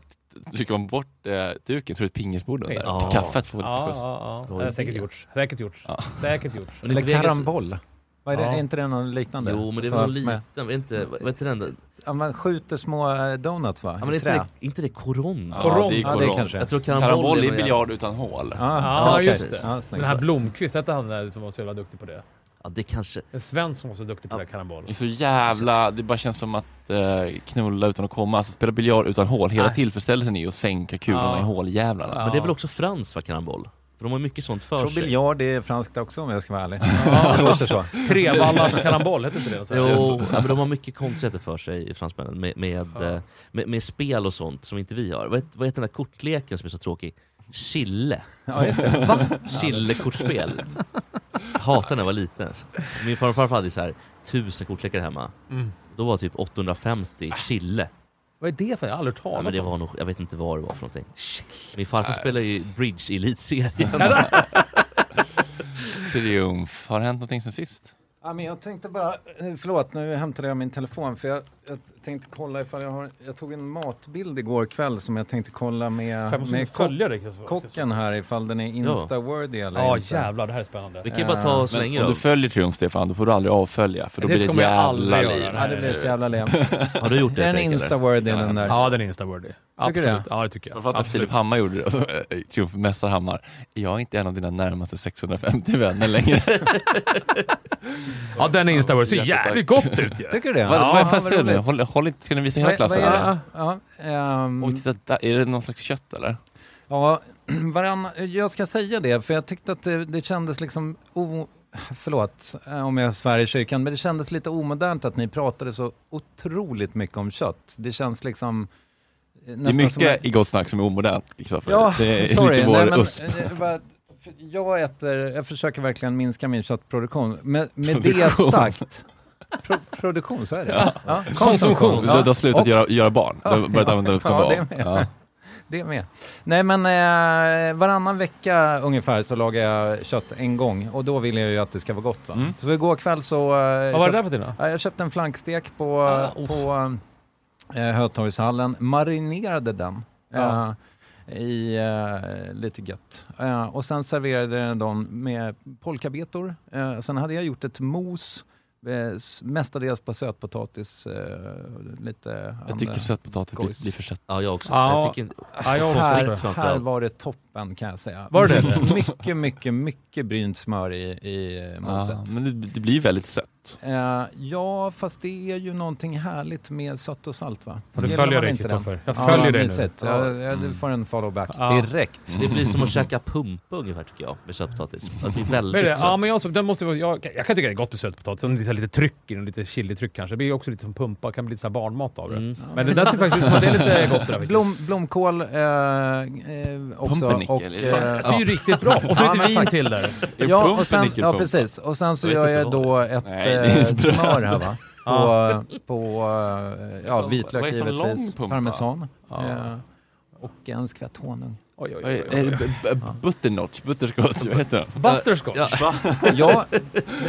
S3: trycker man bort eh, duken så är det ett pingisbord under.
S2: Ja.
S3: Kaffet får lite
S8: Ja,
S3: skjuts.
S8: ja,
S2: Det
S8: ja.
S2: var
S8: Det
S2: ju
S8: har säkert
S2: det.
S8: gjorts. Säkert gjorts. Säkert gjorts.
S2: Men
S7: Eller
S2: inte Vegas-
S7: karamboll. Vad är, det,
S8: Ja.
S7: är inte det något liknande?
S2: Jo, men det är
S7: Så
S2: väl någon
S7: att Alltså, med-
S2: liten, vet inte, vad heter den? där?
S7: Ja, man skjuter små eh, donuts va?
S2: Ja, men
S7: I
S2: är
S7: trä.
S2: inte det, inte det koron?
S3: Ja,
S8: Koron.
S3: det är
S7: Ja, det
S3: koron.
S7: kanske.
S2: Jag tror karamboll,
S3: Karamboll är
S2: någon
S3: biljard utan hål.
S7: Ja,
S8: Ja,
S7: okej.
S2: just det.
S7: Ja,
S8: Men
S7: snyggt.
S8: den här Blomqvist, hette han där som var så jävla duktig på det?
S2: jävla- Ja, det kanske...
S8: En svensk som var så duktig på
S2: Ja.
S8: det här karambol.
S3: Det är så jävla, det bara känns som att eh, knulla utan att komma, alltså spela biljard utan hål. Hela
S8: Nej.
S3: tillfredsställelsen är ju att sänka kulorna
S8: Ja.
S3: i håljävlarna.
S8: Ja.
S2: Men det är väl också Frans va, karamboll? För de har ju mycket sånt
S7: Jag
S2: för
S7: tror
S2: sig.
S7: biljard är franskt också om jag ska vara ärlig.
S8: Ja,
S7: Det låter så.
S8: Trevallas karambol, hette inte det? Så här.
S2: Jo, ja, men de har mycket konstigheter för sig, fransmännen, med, med, eh, med, med spel och sånt som inte vi har. Vad, het- vad heter den där kortleken som är så tråkig? Chille.
S7: Ja, just det.
S2: Chillekortspel. Hatade när jag var liten. Min farfar och farfar hade ju så här tusen kortlekar hemma.
S8: Mm.
S2: Då var typ 850
S8: Äh,
S2: chille.
S8: Vad är det för? Jag har aldrig hört
S2: Ja, men
S8: talas
S2: det
S8: om.
S2: var nog, jag vet inte vad det var för någonting. Min farfar
S8: Äh.
S2: spelade ju bridge i elitserien.
S3: Triumf. Har det hänt någonting sen sist?
S7: Ja, men jag tänkte bara, eh, förlåt nu hämtade jag min telefon för jag, jag tänkte kolla ifall jag har, jag tog en matbild igår kväll som jag tänkte kolla
S8: Jag
S7: med,
S8: måste
S7: med
S8: med följa det. Kristoffer.
S7: kock- kocken här ifall den är insta-worthy eller
S8: Ja
S7: inte.
S8: jävlar, det här är spännande.
S2: Vi kan ju bara ta oss länge
S3: om
S2: då.
S3: du följer Triumf, Stefan, då får du aldrig avfölja. För då
S8: Det
S3: blir det ett
S8: kommer jag
S3: jävla
S8: aldrig
S3: liv.
S8: göra.
S7: Ja, det blir ett jävla lev.
S2: Har du gjort det?
S7: Är den
S2: Erik, eller?
S7: insta-worthy den där?
S8: Ja, den är instaworthy. Absolut.
S7: du det?
S8: Ja, det tycker jag.
S3: Framförallt när Filip Hammar gjorde det. Och så, eh, Triumf Mästare Hammar. Jag är inte en av dina närmaste 650 vänner längre.
S8: Ja, den är instaworthy. Ser
S3: Jättetack.
S8: jävligt gott ut ju.
S7: Tycker du det?
S3: vad, vad är fan
S7: vad
S3: säger du nu?
S7: roligt.
S3: Håll, håll inte, ska ni visa
S7: Vad-
S3: hela
S7: vad
S3: klassen?
S7: är ah,
S3: eller?
S7: det? Ja, ehm,
S3: Och titta, där, är det någon slags kött eller?
S7: ja, varann, jag ska säga det, för jag tyckte att det, det kändes liksom, o, förlåt eh, om jag svär i kyrkan, men det kändes lite omodernt att ni pratade så otroligt mycket om kött. Det känns liksom... eh,
S3: Det är
S7: nästan som att-
S3: mycket i gott snack som är omodernt. Kristoffer.
S7: Ja,
S3: det är
S7: sorry.
S3: lite vår
S7: Nej, men,
S3: USP.
S7: eh, det var- för jag, äter, jag försöker verkligen minska min köttproduktion. Med, med det
S3: Produktion.
S7: sagt, pro, produktion, så är det.
S3: Ja. Konsumtion. Du- du har slutat göra- göra barn. Du har börjat använda ordet
S7: ja, det,
S3: kabal.
S7: med.
S3: Ja.
S7: det med. Nej, men eh, varannan vecka ungefär så lagar jag kött en gång och då vill jag ju att det ska vara gott. Va? Så igår kväll så... Vad
S8: Mm. Vad var det där Ah, för till då?
S7: Jag köpte en flankstek på, på eh, Hötorgshallen, marinerade den
S8: Ja.
S7: eh, i eh, lite gött. Eh, och sen serverade jag den med polkabetor. Eh, sen hade jag gjort ett mos, eh, s- mestadels på sötpotatis. Eh, lite
S3: Jag tycker
S7: andra
S3: sötpotatis blir,
S7: gojs.
S3: blir för sött.
S2: Ja, jag också.
S7: Ja.
S2: Jag tycker inte...
S7: Ja, jag också,
S2: Här-
S7: tror jag.
S2: framförallt.
S7: Här var det toppen kan jag säga.
S2: Var det det?
S7: Mycket, mycket, mycket brynt smör i, i eh, moset.
S3: Ja, men det, det blir väldigt sött.
S7: Eh, ja, fast det är ju någonting härligt med sött och salt va?
S8: Ja, du
S7: Gillar
S8: följer
S7: man
S8: dig,
S7: inte den?
S8: Kristoffer. Jag följer
S7: ja,
S8: dig nu.
S7: mysigt.
S8: Ja.
S7: Jag, jag, du får en follow-back
S8: Ja.
S7: direkt.
S2: Det blir som
S3: Mm.
S2: att käka pumpa ungefär tycker jag, med köttpotatis. Det blir
S8: Men
S2: väldigt
S8: Mm. det, ja,
S2: sött.
S8: men jag, så- den måste, vara- jag, jag kan tycka det är gott med sötpotatis. Om det är så här lite tryck i den, lite chilitryck kanske. Det blir också lite som pumpa, kan bli lite så här barnmat av det.
S2: Mm.
S8: Men det där ser faktiskt ut som att det är lite gott det där.
S7: Blom, blomkål eh, eh, också.
S8: Pumpernickel,
S7: Och,
S8: är det? Fan, det ser ju riktigt bra. Och så lite
S7: men
S8: vin
S7: tack.
S8: till där. Är
S7: Ja, och sen,
S8: pumpernickel
S7: ja,
S8: pumpa?
S7: precis. Och sen så
S8: Jag vet
S7: gör
S8: inte
S7: jag
S8: vad
S7: då
S8: det är.
S7: ett
S8: Nej, det är
S7: eh,
S8: inte bröd.
S7: smör här va?
S8: Ja.
S7: På, på eh, ja,
S8: Som-
S7: vitlök
S8: vad är för lång
S7: givetvis,
S8: pumpa?
S7: parmesan
S8: Ja.
S7: eh, och en skvätt honung.
S8: Oj, oj,
S3: Oj, är det b- b- Butternotch, butterscotch, vad heter det?
S8: Butterscotch?
S3: Ja.
S7: Ja,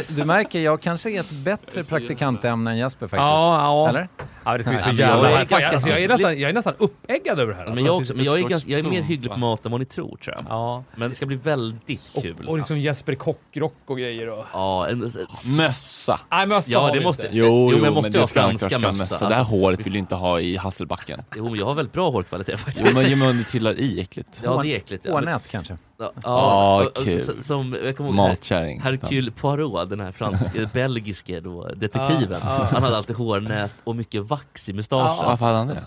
S7: du märker, jag kanske är ett bättre praktikantämne än Jesper faktiskt.
S8: Ja, ja.
S7: Eller?
S8: Ja, det ska bli så
S7: Nej, men
S8: jävla
S7: jag är
S8: härligt. Fan, jag,
S7: ganska
S8: alltså, jag, är
S7: hygglig.
S8: nästan, jag är nästan uppeggad över det här.
S2: Men
S8: alltså.
S2: jag
S8: Att
S2: också,
S8: det-
S2: men jag är,
S8: förstås-
S2: ganska, jag är mer
S8: Mm.
S2: hygglig på mat än vad ni tror tror jag. Men det ska bli väldigt kul.
S8: Och liksom Jesper Kockrock och grejer. Och...
S2: Ja, en, en,
S3: Mössa.
S8: Nej, mössa har
S2: ja,
S8: vi
S2: det måste,
S8: inte.
S3: Jo,
S2: jo,
S3: jo,
S2: men jag
S3: men
S2: måste
S3: det
S2: ju ha
S3: ska man
S2: franska
S3: klart
S2: mössa.
S3: mössa. Det här håret vill du inte ha i Hasselbacken.
S2: Jo, men jag har väldigt bra hårkvalitet faktiskt.
S3: Jo, men, jo, men det trillar i äckligt.
S2: Ja, det är äckligt. Ja,
S7: Ånät kanske?
S2: Ja,
S3: Ah,
S2: och- och-
S3: kul.
S2: så- Som, jag kommer ihåg
S3: Matkärring.
S2: Her- Hercule Poirot, den här fransk, eh, belgiske då, detektiven.
S3: Ah, ah.
S2: Han hade alltid hårnät och mycket vax i mustaschen.
S3: Ah, varför hade han det?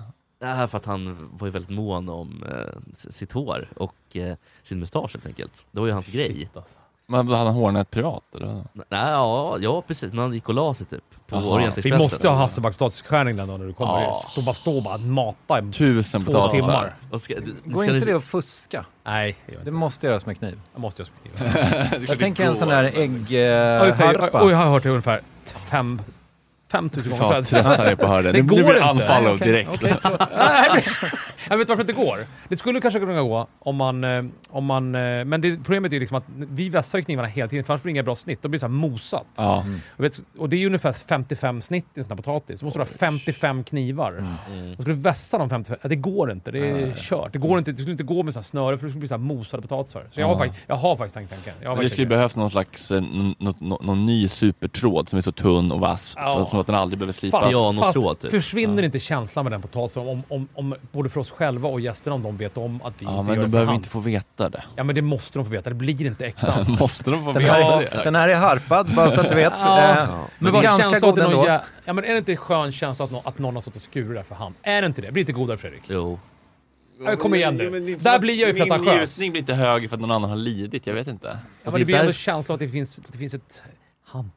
S2: Ja, för att han var ju väldigt mån om eh, s- sitt hår och eh, sin mustasch helt enkelt. Det var ju hans grej.
S3: Men hade han hårnät privat eller?
S2: Nej, ja, ja, precis. Men han gick och la sig typ på
S3: Jaha.
S2: Orientexpressen.
S8: Vi måste ha Hasselbackspotatisskärning den dagen när du kommer.
S2: Ja.
S8: Stå bara, stå bara och mata i
S3: Tusen
S8: två
S3: potatisar.
S8: timmar.
S2: Och ska- du-
S7: Går inte det att fuska?
S8: Nej,
S7: det måste göras med kniv.
S8: Det måste göras med
S7: kniv. jag tänker en sån eh, där
S8: Ja, det säger-
S7: äggharpa.
S8: Oj, jag har hört det ungefär fem, fem tusen
S3: Fan,
S8: gånger.
S3: vad trött jag är på att höra det.
S8: Det
S3: Nu
S8: går
S3: blir det
S8: inte.
S3: anfall
S8: Nej,
S3: och
S8: okej,
S3: direkt.
S8: okej, förlåt. Nej, men- jag vet varför det inte går. Det skulle kanske kunna gå om man... eh, Om man eh, men det, problemet är ju liksom att vi vässar ju knivarna hela tiden, för annars blir det inga bra snitt. Då blir det så här mosat.
S3: Ja.
S8: Jag vet, och det är ju ungefär 55 snitt i en sån här potatis. Du måste du ha 55 knivar.
S3: Mm.
S8: Och Ska du vässa de 55? Ja, det går inte. Det är kört. Det, går inte, det skulle inte gå med sån här snöre, för det skulle bli så här mosade potatisar. Så jag, har,
S3: Ja.
S8: faktiskt, jag har faktiskt tänkt tanken. Jag har
S3: Men det
S8: faktiskt
S3: skulle
S8: tänkt
S3: behövas någon slass, eh, n- nå- nå- någon ny supertråd som är så tunn och vass
S8: Ja.
S3: så, så att den aldrig behöver
S8: tanken.
S3: slipas.
S8: fast
S3: typ.
S8: försvinner inte känslan med den potatisen, om, om, om, både för oss själva och gästerna, om de vet om att vi
S3: Ja,
S8: inte
S3: men
S8: gör
S3: då
S8: det för
S3: behöver vi
S8: hand?
S3: inte få veta det.
S8: Ja, men det måste de få veta. Det blir inte äkta.
S3: Måste de få
S7: Den
S3: veta
S7: här,
S3: det?
S7: den här är harpad, bara så att du vet.
S8: Ja.
S7: Eh,
S8: Men bara
S7: ganska
S8: känslan att
S7: god
S8: det är någon
S7: ändå.
S8: jä- Ja, men är det inte en skön känsla att någon, att någon har stått och skurit där för hand? Är det inte det? Blir det inte godare Fredrik?
S2: Jo.
S8: Ja, kom igen
S3: Jo, men
S8: nu.
S3: din-
S8: Där blir jag ju
S3: min
S8: pretentiös.
S3: njutning blir inte högre för att någon annan har lidit, jag vet inte.
S8: Ja, men det blir ändå känslan att det finns, att det finns ett hantverk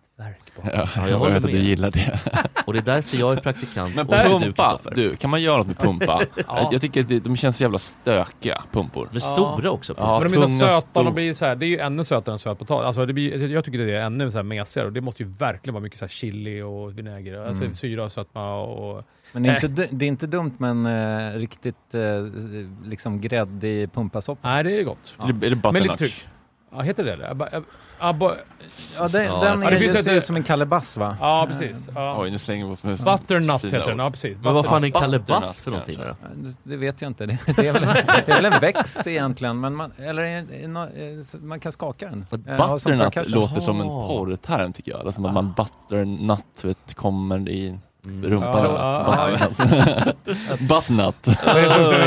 S8: bakom.
S3: Ja, jag vet att du gillar det.
S2: Och det är därför jag är praktikant.
S3: Men
S2: och inte du,
S3: pumpa,
S2: Kristoffer.
S3: du, kan man göra något med pumpa?
S8: Ja.
S3: Jag tycker att det- de känns så jävla stökiga, pumpor.
S2: Men
S3: Ja,
S8: men de är så
S3: tunga,
S8: söta.
S3: stor.
S8: De blir så här, det är ju ännu sötare än sötpotatis. Alltså, det blir- jag tycker det är ännu så här mesigare. Och det måste ju verkligen vara mycket så här chili och vinäger. Alltså
S7: Mm.
S8: syra och sötma och...
S7: Men det är,
S8: Nej.
S7: inte, du- det är inte dumt med en eh, riktigt eh, liksom gräddig pumpasoppa.
S8: Nej, det är gott.
S7: Ja.
S8: Men lite tryck. Ja, heter det det? Abba, abba,
S7: Ja, det, den är,
S8: det
S7: ju-
S8: finns ju
S7: ser
S8: ett-
S7: ut som en kallebass va?
S8: Ja, precis. Ja.
S3: Oj, nu slänger vi oss med
S8: Butternut
S3: fina
S8: heter den,
S3: ord.
S8: ja precis.
S2: Men vad fan är en
S8: Butternut.
S2: kalabas för någonting? då?
S7: Det- Det vet jag inte. Det, det, är, väl, det är väl en växt egentligen, men man, eller är- är nå- är- så man kan skaka den. Eh, ha som
S3: Butternut
S7: percussion.
S3: låter som en porrterm tycker jag. Alltså att man butternut vet, kommer i... Rumpan. Buttnut. Buttnut.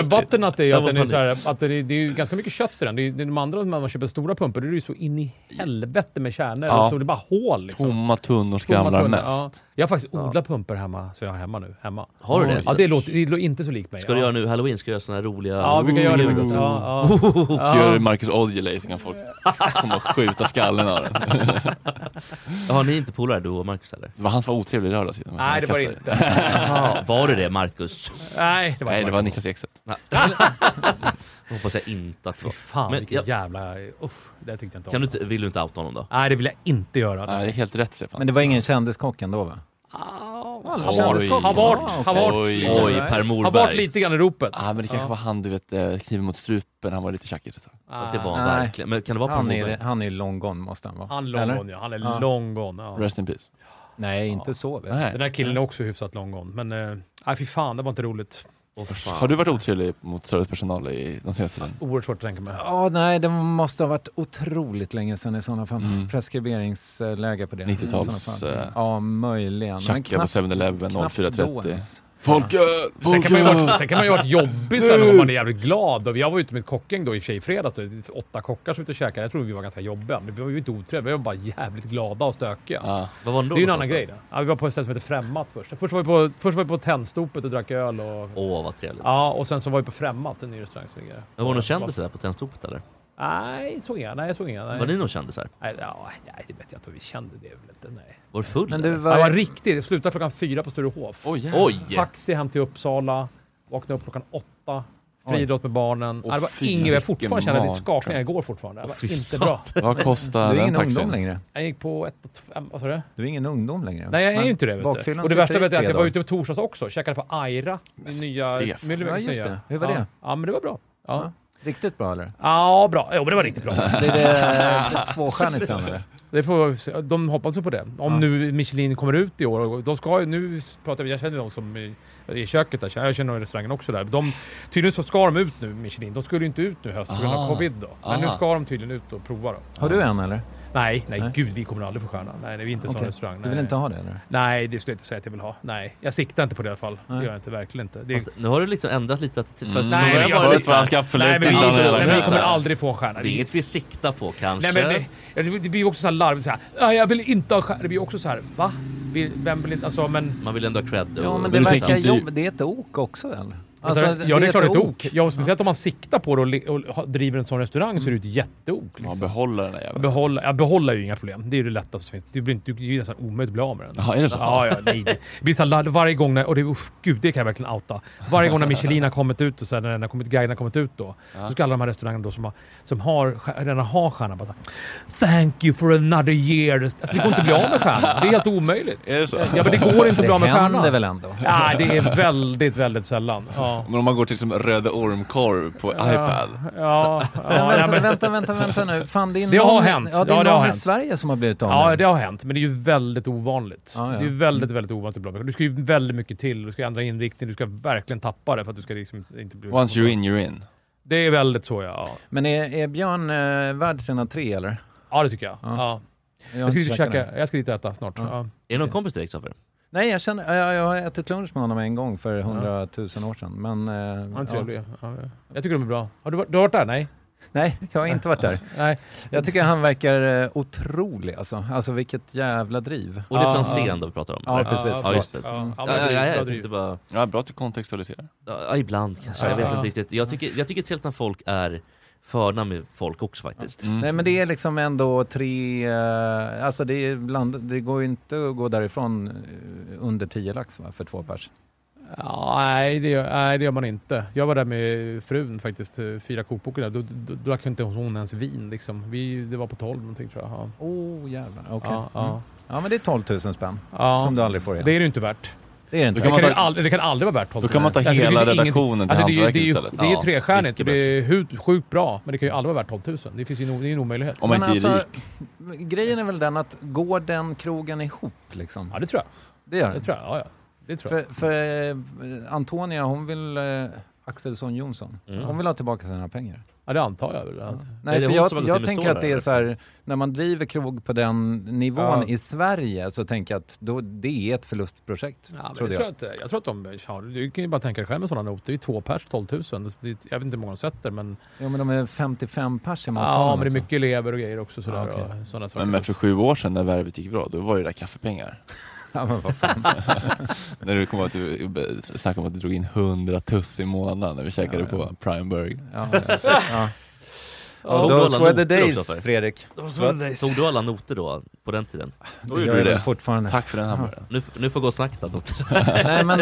S8: Butternut är ju
S3: Jag
S8: att
S3: var
S8: den är
S3: panik.
S8: så här, att den är, det är ju ganska mycket kött i den. Det är, det är de andra när man köper stora pumpor, det är ju så in i helvete med kärnor.
S3: Ja.
S8: Och så Det är bara hål liksom.
S3: Tomma tunnor
S8: Tomma
S3: skramlar
S8: tunnor,
S3: mest.
S8: ja. Jag har faktiskt odlat pumpor hemma, så jag har hemma nu. Hemma.
S2: Har du det?
S8: Ja, det låter, det låter inte så likt mig.
S2: Ska du
S8: ja.
S2: göra nu halloween? Ska du göra såna här roliga...
S8: Ja, jag brukar göra det faktiskt. Ja, ja.
S3: Så gör du Marcus Aujalay så kan folk komma och skjuta skallen av den.
S2: Har ni är inte polare du och Marcus eller?
S3: Det var han som var otrevlig i lördags.
S8: Nej, det var det inte.
S2: Jaha, var det det Marcus?
S8: Nej, det var
S3: Nej,
S8: inte
S3: det var Niklas Ekstedt.
S2: Det hoppas jag inte att det var.
S8: Fan,
S2: Men
S8: vilken
S2: jag-
S8: jävla... Uff, det tyckte jag inte om.
S2: kan du inte, vill du inte outa honom då?
S8: Nej, det vill jag inte göra. Ah.
S3: Nej, det är helt rätt Stefan.
S7: Men det var ingen kändiskock ändå va?
S8: Har varit, har varit.
S3: Oj,
S8: lite. Har varit lite grann i ropet.
S3: Ja, Ah, men det kanske
S8: Ja.
S3: var han du vet, eh, kniven mot strupen, han var lite tjackig. ett tag.
S8: Att det
S2: var
S7: han Nej. verkligen.
S2: Men kan det vara
S7: han,
S2: Per
S7: är,
S2: Morberg?
S7: han är long gone måste han vara.
S8: Han är long gone, ja. Han är long gone, ja.
S3: Rest in peace.
S7: Nej, inte så. Vet
S3: Nej.
S8: Den här killen är också hyfsat lång gång. Men eh, nej, fy fan, det var inte roligt.
S3: Har du varit otrevlig mot servicepersonal i de senaste tiden?
S8: Oerhört svårt att tänka mig.
S7: Ja, nej, det måste ha varit otroligt länge sedan i sådana fall. Preskriberingsläge på det.
S3: 90-tals,
S7: i sådana fall.
S3: Mm. eh,
S7: Ja, möjligen. Men
S3: Tjacka på
S7: knappt-
S3: 7-Eleven
S7: knappt då
S3: 0430.
S7: ens.
S3: Folköl!
S8: Sen kan, man ju
S3: folköl!
S8: varit, sen kan man ju ha varit jobbig sen om man är jävligt glad. Och Jag var ute med ett kockgäng då i och för sig i fredags. Då. Det är Åtta kockar som ute och käkade. Jag trodde vi var ganska jobbiga. Men vi var ju inte otrevliga. Vi var bara jävligt glada och stökiga.
S3: Ja.
S2: Vad var ni
S8: Det
S2: då
S8: är ju en
S2: någonstans
S8: annan
S2: då?
S8: grej. Då. Ja, vi var på ett ställe som heter Främmat först. Först var vi på, först var vi på Tennstopet och drack öl. Och,
S2: Åh vad trevligt.
S8: ja, och sen så var vi på Främmat, en ny restaurang som ligger
S2: Men Var det någon kändis där på Tennstopet eller?
S8: Nej, såg inga. Nej, såg inga. Nej.
S2: Var ni någon kändisar?
S8: Nej, ja, nej, det vet jag inte. Vi kände det väl inte. Nej.
S2: Var du full
S7: Men du
S2: eller?
S7: var-
S8: Jag var riktigt. Det slutade klockan fyra på Sturehof.
S3: Oj, jävlar.
S2: Oj!
S8: Taxi hem till Uppsala. Vaknade upp klockan åtta. Friidrott med barnen.
S3: Åh,
S8: Nej, det var
S3: fy,
S8: inget. Jag
S3: vilken
S8: fortfarande känner lite
S3: mardröm.
S8: skakningar. Jag går fortfarande. Det var
S2: Åh, fy
S8: inte
S2: satan.
S8: bra.
S3: Vad
S7: Du
S3: kostar
S7: är
S3: den
S7: ingen ungdom
S3: taxin?
S7: längre.
S8: Jag gick på ett och fem. Vad sa du?
S7: Du är ingen ungdom längre.
S8: Nej, jag är
S7: Men
S8: ju inte det. Vet du.
S7: bakfyllan
S8: Och det värsta
S7: sitter i
S8: vet jag är att
S7: tre
S8: jag var
S7: dagar.
S8: ute på torsdags också. Käkade på Aira. Min nya...
S3: Stefan.
S8: Myllymäcks
S7: Ja, just
S8: nya.
S7: det. Hur var
S8: ja.
S7: det?
S8: Ja, men det var bra. Ja,
S7: Riktigt bra eller?
S8: ja bra. Jo, men det var riktigt bra.
S7: Blir det tvåstjärnigt sen eller?
S8: Det får, vi se. de hoppas ju på det. Om
S7: Ja.
S8: nu Michelin kommer ut i år. och De ska ju, nu pratar vi, jag känner de som i, i köket där. Jag känner några i restaurangen också där. De, tydligen så ska de ut nu, Michelin. De skulle ju inte ut nu i höst på grund av
S3: Ah.
S8: covid då. Men nu
S3: Ah.
S8: ska de tydligen ut och prova då.
S7: Har du en eller?
S8: Nej, nej,
S7: Nej.
S8: gud, vi kommer aldrig få stjärna. Nej, nej vi är inte en sån
S7: Okej.
S8: restaurang. Nej.
S7: Du vill inte ha det eller?
S8: nej, det skulle jag inte säga att jag vill ha. Nej, jag siktar inte på det i alla fall.
S7: Nej.
S8: Det gör jag inte, verkligen inte. Det,
S2: Fast, nu har du liksom ändrat lite attityd. för att-
S8: Nej, men
S2: var
S8: jag
S2: bara
S8: sitter
S2: lite så här-
S3: Varför han ska
S8: nej, men vi,
S3: förlita
S2: så-
S3: den hela
S8: nej, men vi
S3: tiden.
S8: kommer aldrig få en stjärna.
S2: Det är inget vi siktar på kanske.
S8: Nej, men det, ja, det, det blir ju också så här larvigt. Så här, "Nej, jag vill inte ha stjärna. Det blir ju också så här, va? Vill- Vem vill inte... Alltså, men...
S2: Man vill ändå ha cred. och-
S7: Ja, men
S2: och
S7: det
S3: Men du
S2: liksom-
S7: verkar
S3: tänkte ju-
S7: jobbigt. Det är ett ok också väl?
S8: Alltså, ja, det är klart ett ok.
S7: ok.
S8: Ja, speciellt om man siktar på det och, le- och ha- driver en sån restaurang så är det ju ett jätteok.
S3: Man
S8: Liksom.
S3: behåller den där jäveln.
S8: Behålla, ja, behålla är ju inga problem. Det är ju det lättaste som finns. Det blir inte- det är ju nästan omöjligt att bli av med den.
S3: Jaha, är det så?
S8: Ja, ja, nej. Det blir så här larv- varje gång när... Och det, usch, gud, det kan jag verkligen outa. Varje gång när Michelin har kommit ut och så här, när den har kommit, guiden har kommit ut då. Så ska alla de här restaurangerna då som, har, som har, stjär- redan har stjärnan bara så här, Thank you for another year. Alltså, det går inte att bli av med stjärnan. Det är helt omöjligt.
S3: Är det så?
S8: Ja, men det går inte att bli av
S7: Det
S8: med stjärnan.
S7: händer väl ändå?
S8: Ja, det är väldigt, väldigt sällan. Ja.
S3: Men om man går till liksom Röde Ormkorv på iPad.
S8: Ja,
S7: Men
S8: ja,
S7: vänta,
S8: nej, men,
S7: vänta, vänta, vänta nu. Fan, det är
S8: Det
S7: någon,
S8: har hänt.
S7: Ja, det är
S8: Ja, det
S7: någon
S8: har
S7: i
S8: hänt.
S7: Sverige som har blivit av med
S8: ja,
S7: den.
S8: det har hänt. Men det är ju väldigt ovanligt.
S7: Ja, ja.
S8: Det är ju väldigt, väldigt ovanligt att bli av med- Du ska ju väldigt mycket till. Du ska ändra inriktning. Du ska verkligen tappa det för att du ska liksom inte bli...
S3: Once you're in, you're in.
S8: Det är väldigt så, ja.
S7: Men är, är Björn eh, värd sina tre eller?
S8: Ja, det tycker jag. Ja.
S7: Ja. har
S8: Jag ska dit
S7: inte
S8: och
S7: käkat
S8: käka.
S7: den.
S8: Jag ska dit och äta snart. Ja.
S2: Är det någon kompis till dig Kristoffer?
S7: Nej, jag, känner, jag, jag har ätit lunch med honom en gång för hundratusen år sedan. Men, eh,
S8: Han är
S7: ja.
S8: trevlig. Ja. ja. Jag tycker de är bra. Har du, varit- du har varit där? Nej?
S7: Nej, jag har inte varit där.
S8: Nej.
S7: Jag tycker han verkar eh, otrolig alltså. Alltså vilket jävla driv.
S2: Och det är
S8: Ja,
S2: Franzén då vi pratar om?
S7: Ja,
S2: eller?
S7: precis.
S2: Ja, just det.
S8: förlåt. Ja, ja,
S2: Ja,
S8: men
S2: ja, ja,
S8: bra
S2: jag
S8: driv.
S2: tänkte bara...
S3: Ja, bra att du kontextualiserar.
S2: Ja, ibland kanske.
S8: Ja.
S2: Jag vet
S8: Ja.
S2: inte riktigt. Jag tycker, jag tycker till när folk är förna med folk också faktiskt.
S3: Mm.
S7: Nej men det är liksom ändå tre, eh, alltså det, är bland, det går ju inte att gå därifrån eh, under tio lax va, för två pers.
S8: Ja, nej, det gör, nej, det gör man inte. Jag var där med frun faktiskt, eh, fyra kokboken där. Då, då, då drack inte hon ens vin liksom. Vi, det var på 12 någonting tror jag. Ja.
S7: Åh oh, jävlar, okej.
S8: Ja, ja.
S7: Mm. ja men det är 12 000 spänn
S8: Ja.
S7: som du aldrig får igen.
S8: Det är det ju inte värt.
S7: Det är det
S3: Då
S7: inte.
S8: Det
S3: kan
S8: kan,
S3: man
S8: ju
S3: ta-
S8: aldrig, det kan aldrig vara värt 12
S3: Då kan man ta
S8: Alltså, det
S3: hela
S8: finns ju inget-
S3: redaktionen till
S8: alltså, det, är ju, det, är
S3: hantverket
S8: ju,
S3: istället.
S8: det är ju
S2: Ja,
S8: trestjärnigt och
S2: mycket
S8: det är hur, sjukt bra. Men det kan ju aldrig vara värt 12 000. Det finns ju en, o- det är ju en omöjlighet.
S3: Om man
S7: Men
S3: inte är
S7: alltså,
S3: rik.
S7: grejen är väl den att går den krogen ihop liksom?
S8: Ja, det tror jag.
S7: Det gör
S8: Det
S7: den.
S8: tror jag. Ja, ja. Det tror jag.
S7: För, för eh, Antonia hon vill, eh, Axelsson Jonsson.
S8: Mm.
S7: Hon vill ha tillbaka sina pengar.
S8: Ja, det antar jag väl. Alltså.
S7: Nej, för jag, jag tänker att det är så här, när man driver krog på den nivån
S8: Ja.
S7: i Sverige så tänker jag att då, det är ett förlustprojekt.
S8: Ja, men
S7: trodde
S8: jag,
S7: jag.
S8: tror att, jag tror att de har, du kan ju bara tänka dig själv med sådana noter. Det är två pers, 12 000. Så Det är, jag vet inte hur många de sätter, men...
S7: Ja, men de är 55 pers i liksom.
S8: Ja, men det är mycket elever och grejer också. Sådär,
S7: Ja, okej.
S8: och sådana saker.
S3: Men, men för sju år sedan när värvet gick bra, då var det där kaffepengar.
S7: Ja, men vad fan.
S3: när du kom att du snackade om att du drog in 100 tuss i månaden när vi käkade på Primeburg.
S7: Ja, ja, ja. Oh, those were the days, Fredrik.
S2: Those were the days. Tog du alla noter då, på den tiden?
S7: Då gjorde jag det. fortfarande. Tack för den hamburgaren.
S2: Nu, nu får gå och snacka
S7: Nej men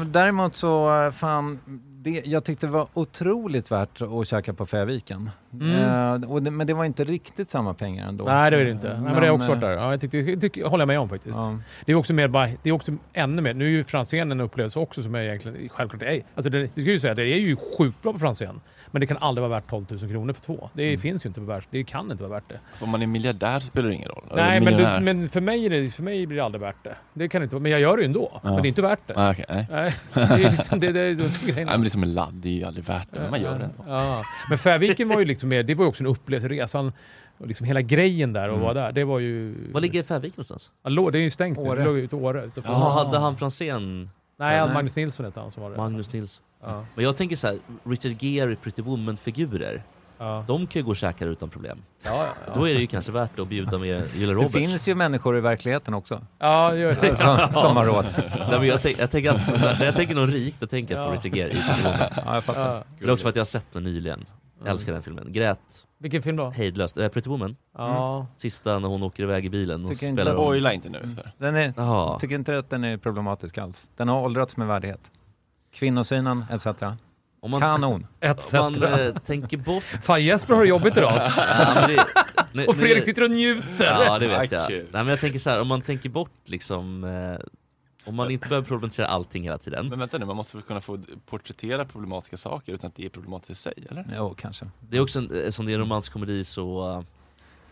S7: eh, däremot så, eh, fan, det, jag tyckte det var otroligt värt att käka på Fäviken.
S8: Mm.
S7: Eh, och det, men det var inte riktigt samma pengar ändå.
S8: Nej, det är det inte. Nej, men, det har jag också varit
S7: eh,
S8: där. Ja, jag tyckte, jag tycker- håller jag med om faktiskt.
S7: Ja.
S8: Det är också mer bara, det är också ännu mer. Nu är ju Franzén en upplevelse också som jag egentligen självklart är. Alltså det, det ska jag ju säga, det är ju sjukt bra på Franzén. Men det kan aldrig vara värt 12 000 kronor för två. Det
S7: Mm.
S8: finns ju inte på världs... Det kan inte vara värt det.
S3: Alltså, om man är miljardär spelar det ingen roll. Eller
S8: Nej, men,
S3: miljonär.
S8: du, men för, mig är det, för mig blir det aldrig värt det. Det kan det inte vara. Men jag gör det ju ändå.
S3: Ja.
S8: Men det är inte värt det.
S3: Ah, okej, nej.
S8: det är liksom det, det, det, är
S3: Nej,
S8: grejen.
S3: men det är som en ladd, det är ju aldrig värt det, men man gör det ändå.
S8: Ja. Men Färviken var ju liksom mer, det var ju också en upplevelse. Resan och liksom hela grejen där och
S2: Mm.
S8: vara där. Det var ju...
S2: Var ligger Färvik någonstans?
S8: Ja, lå- det är ju stängt nu.
S2: Åre.
S8: Det låg ju ute i Åre. utanför-
S7: Ah.
S2: Jaha, hade han Franzén?
S8: Nej, han- Magnus Nilsson hette han som var det.
S2: Magnus Nilsson.
S8: Ja.
S2: Men jag tänker så här, Richard Gere i Pretty Woman-figurer.
S8: Ja.
S2: De kan ju gå och käka där utan problem.
S8: Ja, ja, ja.
S2: Då är det ju kanske värt det att bjuda med Julia
S7: Det
S2: Roberts.
S7: finns ju människor i verkligheten också.
S8: Ja, det gör det.
S7: Som, som har råd.
S2: Nej, men jag, tänk, jag tänker att, när jag tänker någon rik, då tänker jag på
S8: Ja.
S2: Richard Gere i
S7: Ja, jag fattar. Ja.
S2: Det är också för att jag har sett den nyligen. Jag älskar den filmen. Grät.
S8: Vilken film då?
S2: Hejdlöst. Eh, Pretty Woman.
S8: Ja.
S2: Sista när hon åker iväg i bilen. Hon
S7: Tycker inte
S2: spelar
S7: att-
S2: hon-
S7: Spoila inte nu,
S3: för.
S7: Den är,
S2: Jaha.
S7: tycker inte att den är problematisk alls. Den har åldrats med värdighet. Kvinnosynen, etc.
S2: Om man-
S7: Kanon.
S8: Etc.
S2: Om man eh, tänker bort...
S8: Fan Jesper har det jobbigt idag alltså.
S2: Ja, men det- nu-
S8: Och
S2: nu-
S8: Fredrik sitter och njuter.
S2: Ja, det vet
S8: Ja,
S2: jag. Nej,
S8: kul.
S2: men jag tänker så här, om man tänker bort liksom... Eh, om man inte behöver problematisera allting hela tiden.
S3: Men vänta nu, man måste väl kunna få porträttera problematiska saker utan att det är problematiskt i sig, eller?
S7: Jo, kanske.
S2: Det är också en, eh, som det är en romantisk komedi så eh,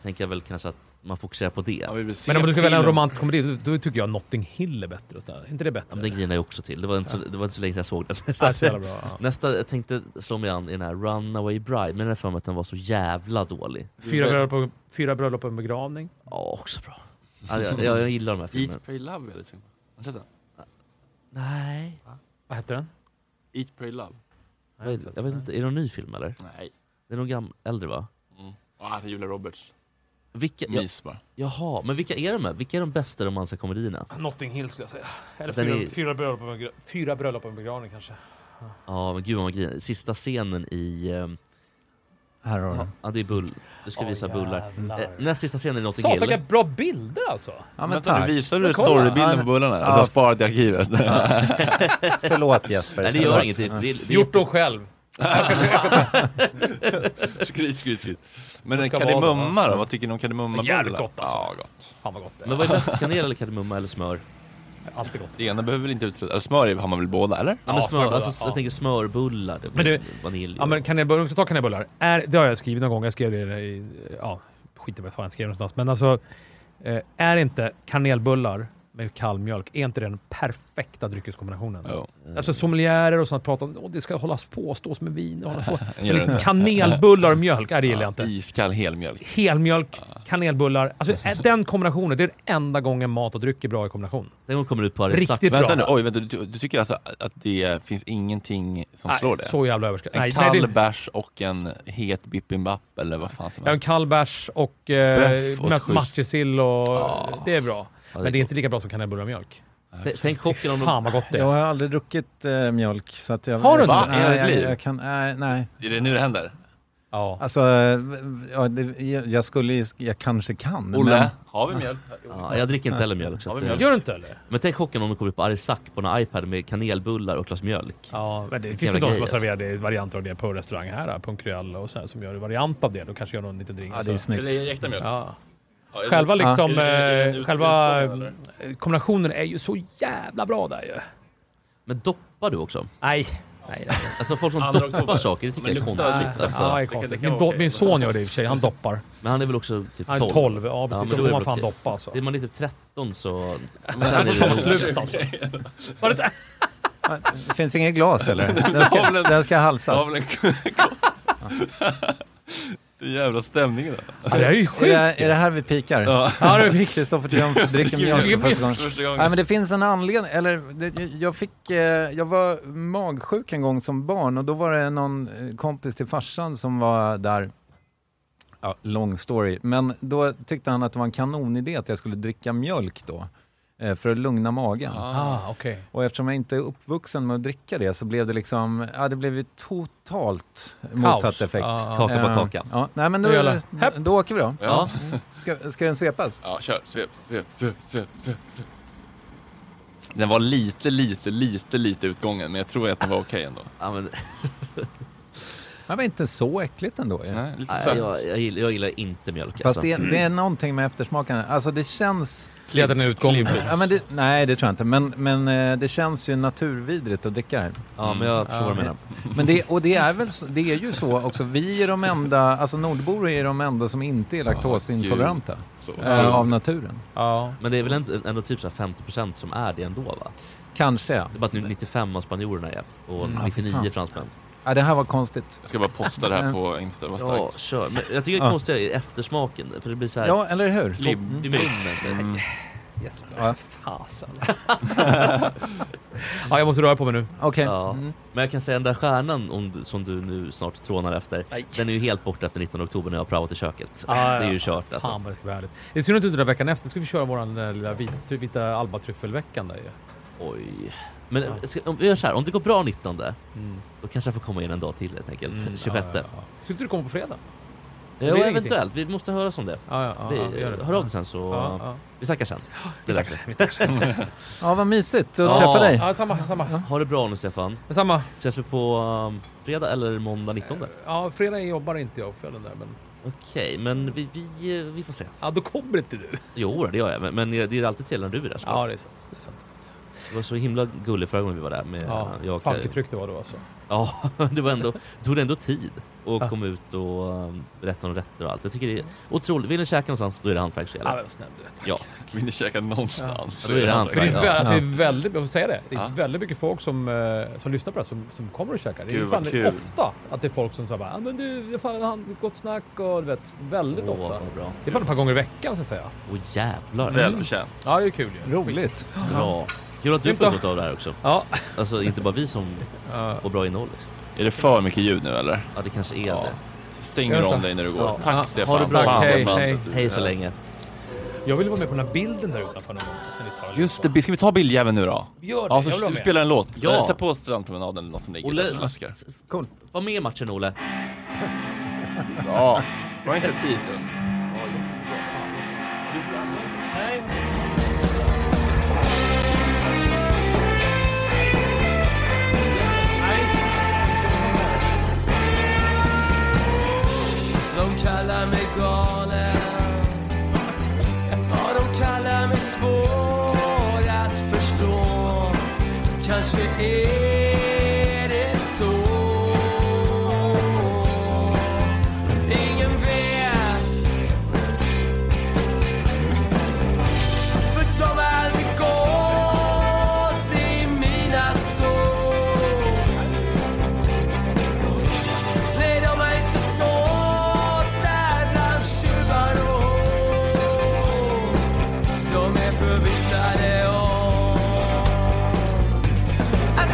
S2: tänker jag väl kanske att man fokuserar på det.
S8: Men om du ska välja en romantisk komedi, då, då tycker jag Notting Hill är bättre. och sådär. Är inte det bättre?
S2: Ja, men den grinar jag också till. Det var inte så, det var inte så länge sedan jag såg den.
S8: så jävla bra, ja.
S2: Nästa, jag tänkte slå mig an i den här Runaway Bride, men jag har för mig att den var så jävla dålig.
S8: Fyra bröllop, och, fyra bröllop och en begravning.
S2: Ja, också bra. Ja, jag, jag, jag gillar de här filmerna.
S3: Eat, Pray, Love är det till. Har du sett den?
S2: Nej.
S8: Vad heter den?
S3: Eat, Pray, Love.
S2: Jag vet, jag vet inte, är det någon ny film eller?
S3: Nej.
S2: Det är någon gammal, äldre va?
S3: Mm. Ah, det är Julia Roberts.
S2: Vilka,
S3: Mys bara.
S2: Jaha, men vilka är de här? Vilka är de bästa romantiska komedierna?
S8: Ah, Notting Hill skulle jag säga. Eller
S2: Den
S8: fyra,
S2: är-
S8: fyra, bröllop och en, gra- fyra bröllop och en begravning kanske.
S2: Ja, men gud vad man grinar. Sista scenen i... ehm,
S7: Här har
S2: ja,
S7: du.
S2: ja, det är bull. Du ska
S8: Åh,
S2: visa bullar.
S8: jävlar.
S2: Eh, Näst sista scenen i Notting
S8: Satan
S2: Hill.
S8: vilka bra bilder alltså!
S7: Ja, men
S3: Vänta, nu
S7: tack.
S3: visar
S8: Men
S3: du
S8: kolla.
S3: storybilden
S7: Ja,
S3: på bullarna?
S7: ja.
S3: Att jag sparat i arkivet?
S7: Förlåt Jesper.
S2: Nej, det gör
S7: Förlåt.
S2: inget. Det, det, det, är
S8: Gjort dem själv.
S3: skryt, skryt, skryt. Men en
S8: ska vara det,
S3: kardemumma
S8: va?
S3: då? Vad tycker ni om kardemummabullar?
S8: Jävligt gott alltså.
S3: Ja, gott.
S8: Fan vad gott det är.
S2: Men vad är bäst, kanel eller kardemumma eller smör?
S8: Alltid gott.
S3: Det ena behöver väl inte utesluta... eller Smör har man väl båda, eller?
S2: Ja, men
S8: Ja,
S2: smör,
S8: smörbullar,
S2: alltså,
S8: ja.
S2: Jag tänker smörbullar, det
S8: Men
S2: blir
S8: du-
S2: vanilj.
S8: Ja, men kanelbullar, om vi ska ta kanelbullar. Är, det har jag skrivit någon gång. Jag skrev det i... Ja, skit i vad fan jag skrev någonstans. Men alltså, eh, är inte kanelbullar med kall mjölk, är inte det den perfekta dryckeskombinationen?
S3: Jo.
S8: Alltså sommelierer och sånt pratar om åh det ska hållas på, stås med vin och hålla på. Men
S3: Gillar du
S8: liksom,
S3: inte?
S8: kanelbullar och mjölk, nej, det gillar jag inte.
S3: Iskall helmjölk.
S8: Helmjölk, kanelbullar. Alltså eh, den kombinationen, det är den enda gången mat och dryck är bra i kombination.
S2: Den kommer ut på Aris
S8: Riktigt
S2: Sack.
S8: bra.
S3: Vänta nu, oj, vänta, du, du tycker alltså att det finns ingenting som
S8: Nej,
S3: slår det?
S8: så jävla överskattad.
S3: En
S8: Nej, nej,
S3: kall
S8: det-
S3: bärs och en het bippinbapp eller vad fan som
S8: Ja, en
S3: helst.
S8: kall bärs och
S3: Böff
S8: eh,
S3: och ett
S8: mö-
S3: schysst-
S8: matjessill och... Det är bra.
S2: det är
S8: Men det
S2: gott.
S8: är inte lika bra som kanelbullar och mjölk.
S2: T- Tänk chocken om de...
S8: Fan vad gott det
S7: Jag
S8: är.
S7: har aldrig druckit eh, mjölk så att jag...
S8: Har du inte?
S7: jag,
S3: Va? Är det
S7: Nej,
S3: ett
S7: jag,
S3: liv?
S7: jag kan, nej, nej.
S3: Är det nu det händer?
S8: Ja.
S7: Alltså, eh, ja, det, jag- jag skulle ju- jag kanske kan.
S3: Olle, har vi mjölk?
S2: Ja, jag dricker inte heller mjölk. Så
S3: Har vi
S2: att,
S3: mjölk?
S2: eh,
S8: Gör du inte eller?
S2: men tänk chocken om de kommer ut på Aris Sack på en iPad med kanelbullar och ett glas mjölk.
S8: Ja, men det
S2: Vilken
S8: finns ju
S2: jävla
S8: de som har
S2: grej,
S8: serverat det i varianter av det på restaurang här, på en Cruella och så här, som gör en variant av det. Då kanske gör någon liten drink.
S7: Ja, det är
S8: så.
S7: snyggt.
S3: äkta mjölk?
S8: ja. Själva liksom,
S3: Är det- är det en
S8: eh,
S3: utbildning
S8: själva
S3: på det,
S8: eh, kombinationen är ju så jävla bra där ju.
S2: Men doppar du också?
S8: Nej. Nej, nej.
S2: Alltså folk som
S3: Andra
S2: doppar
S3: oktober.
S2: saker, det tycker
S3: Men
S2: jag är
S3: luktar-
S2: konstigt. Alltså.
S8: ja, det är
S3: det kan- det
S8: konstigt.
S3: kan
S8: Min,
S3: vara
S8: do-
S3: okej.
S8: min son gör det i och för sig. Han doppar.
S2: Men han är väl också typ
S8: Han
S2: 12?
S8: är 12. Ja,
S2: Ja, men då
S8: precis. då
S2: är
S8: får
S2: det
S8: man fan
S2: okej.
S8: doppa alltså.
S2: Är man inte 13 så... Sen
S8: Det
S2: är
S8: får
S2: det
S8: ta
S2: nog-
S8: slut alltså. Var det inte-
S7: Det finns inget glas eller? Den ska, den ska halsas.
S3: Det är jävla stämningen där.
S7: Ja, det är ju sjukt. Är det- är det här vi pikar?
S3: Ja.
S7: Ja, det är Kristoffer Triumf dricker
S3: Vilken
S7: mjölk för första gången.
S3: första gången.
S7: Nej, men det finns en anledning, eller det, jag fick, eh, jag var magsjuk en gång som barn och då var det någon eh, kompis till farsan som var där. Ja, long story. Men då tyckte han att det var en kanonidé att jag skulle dricka mjölk då. eh, För att lugna magen.
S8: Ah, okej.
S7: Och eftersom jag inte är uppvuxen med att dricka det så blev det liksom, ja det blev ju totalt motsatt effekt.
S8: Ja, ja.
S2: Kaka på
S7: Eh,
S2: kaka.
S7: Ja, nej men då,
S8: Nu gäller
S7: då, då åker vi då.
S3: Ja.
S7: Mm. Ska, ska den svepas?
S3: Ja, kör. Svep, svep, svep, svep, svep. svep. Den var lite, lite, lite, lite utgången, men jag tror att den var okej ändå.
S2: Ja, men...
S7: Det var inte så äckligt ändå ju.
S3: Nej, lite
S2: Nej,
S3: sött.
S2: jag, jag, gillar, jag gillar inte mjölk
S7: Fast
S2: alltså.
S7: det, det är någonting med eftersmaken. Alltså det känns...
S8: Leder den utgången.
S7: Ja, men det, nej, det tror jag inte. Men, men eh, det känns ju naturvidrigt att dricka det här.
S2: Ja, men
S3: Mm.
S2: jag förstår vad du menar.
S7: Men det, och det är väl så, det är ju så också. Vi är de enda, alltså nordbor är de enda som inte är laktosintoleranta.
S3: Så.
S7: eh, av naturen.
S8: Ja.
S2: Men det är väl ändå, ändå typ så här 50% som är det ändå va?
S7: Kanske. ja.
S2: Det är bara att nu 95 av spanjorerna är och
S7: Mm, ja, fy
S2: 99
S7: fan.
S2: fransmän.
S7: Ja, det här var konstigt.
S3: Jag ska bara posta det här på Insta, vad
S2: Ja,
S3: starkt.
S2: kör. Men jag tycker det
S7: Ja.
S2: konstiga är eftersmaken, för det blir så här...
S7: Ja, eller hur?
S2: Klibb i munnen. typ.
S3: Mm.
S2: Jesper,
S7: Ja.
S2: fasen.
S8: Ja, jag måste röra på mig nu.
S7: Okej.
S2: Ja.
S7: Mm.
S2: Men jag kan säga den där stjärnan om du, som du nu snart trånar efter, den är ju helt borta efter 19 oktober när jag har praoat i köket.
S8: Ah,
S2: det är
S8: ja.
S2: ju kört alltså.
S8: Fan vad det ska bli härligt. Det är synd att du inte är där veckan efter. Ska vi köra våran eh, lilla vita, vita albatryffelveckan där ju.
S2: Oj. Men ska, om, vi gör så här, om det går bra 19
S8: Mm.
S2: då kanske jag får komma in en dag till helt enkelt.
S8: Mm,
S2: 26.
S8: ja, ja, ja. Skulle inte du komma på fredag?
S2: Ja,
S8: Det blir
S2: eventuellt. Vi måste höras om det.
S8: Ja, ja, ja,
S2: vi,
S8: ja, gör det.
S2: Hör av dig sen så...
S8: Ja, ja.
S2: Vi snackar sen. Det är dags.
S8: Vi snackar sen.
S7: Ja, vad mysigt att
S2: Ja.
S7: träffa dig.
S8: Ja, samma, samma.
S2: Ha det bra nu Stefan.
S8: Samma.
S2: Ses vi på um, fredag eller måndag 19? Okej,
S8: Ja, fredag jobbar inte jag kvällen där, men...
S2: men vi, vi, eh, vi får se.
S8: Ja, då kommer inte du.
S2: Jo, det gör jag. Men, men eh, det är alltid trevligt när du är där. så.
S8: Ja, det är sant. Det är sant. det är sant.
S2: Det var så himla gulligt förra gången vi var där. Med,
S8: Ja,
S2: jag och
S8: fan
S2: Kaj.
S8: vilket tryck det var då alltså.
S2: Ja, det var ändå, det tog ändå tid och
S8: Ja.
S2: kom ut och um, berätta om rätter och allt. Jag tycker det är otroligt. Vill ni käka någonstans, då är det hantverk som
S8: Ja,
S2: gäller.
S8: men snäll du. tack.
S2: Ja,
S3: Vill ni käka någonstans?
S2: Ja, då är det
S8: Det är,
S2: hantverk.
S8: vä-
S2: Ja.
S8: alltså,
S7: Ja.
S8: det är väldigt, jag får säga det, det är
S3: Ja.
S8: väldigt mycket folk som, eh, som lyssnar på det här, som, som kommer och käkar. Det är ju
S3: Gud,
S8: fan
S3: vad kul.
S8: ofta att det är folk som säger bara, ah, men du, fan, han, gott snack och du vet, väldigt
S2: Åh,
S8: ofta.
S2: vad bra.
S8: Det är fan ett par gånger i veckan ska jag säga.
S2: Åh jävlar. Alltså,
S3: Välförtjänt.
S8: Ja, det är kul ju.
S7: Roligt.
S2: Bra. Kul att du
S8: Grymt
S2: får
S8: då.
S2: något av det här också.
S8: Ja.
S2: Alltså inte bara vi som
S8: Ja.
S2: får bra innehåll. Liksom.
S3: Är det för mycket ljud nu eller?
S2: Ja, det kanske är det.
S3: Stänger
S8: Vänta.
S3: om dig när du går.
S2: Ja.
S3: Tack
S8: Ja,
S3: Stefan.
S2: Ha det bra.
S3: Fan,
S8: Hej,
S3: Stefan,
S8: hej.
S3: att du-
S2: Hej så
S3: Ja.
S2: länge.
S8: Jag vill vara med på den här bilden där utanför någon gång. när ni tar en
S3: Just
S8: liten-
S3: det, ska vi ta bildjäveln nu då?
S8: Gör det,
S3: Ja,
S8: jag vill
S3: så
S8: vara
S3: vi
S8: med.
S3: spelar en låt.
S2: Ja.
S3: Sätt på strandpromenaden eller något som ligger. där som läskar.
S7: Cool.
S2: var med i matchen Olle.
S3: Bra. Bra initiativ.
S10: De kallar mig galen Ja, de kallar mig svår att förstå Kanske är det så Ingen vet För de har aldrig gått i mina skor Nej, de har inte stått där bland tjuvar och hår. De är förvissade om att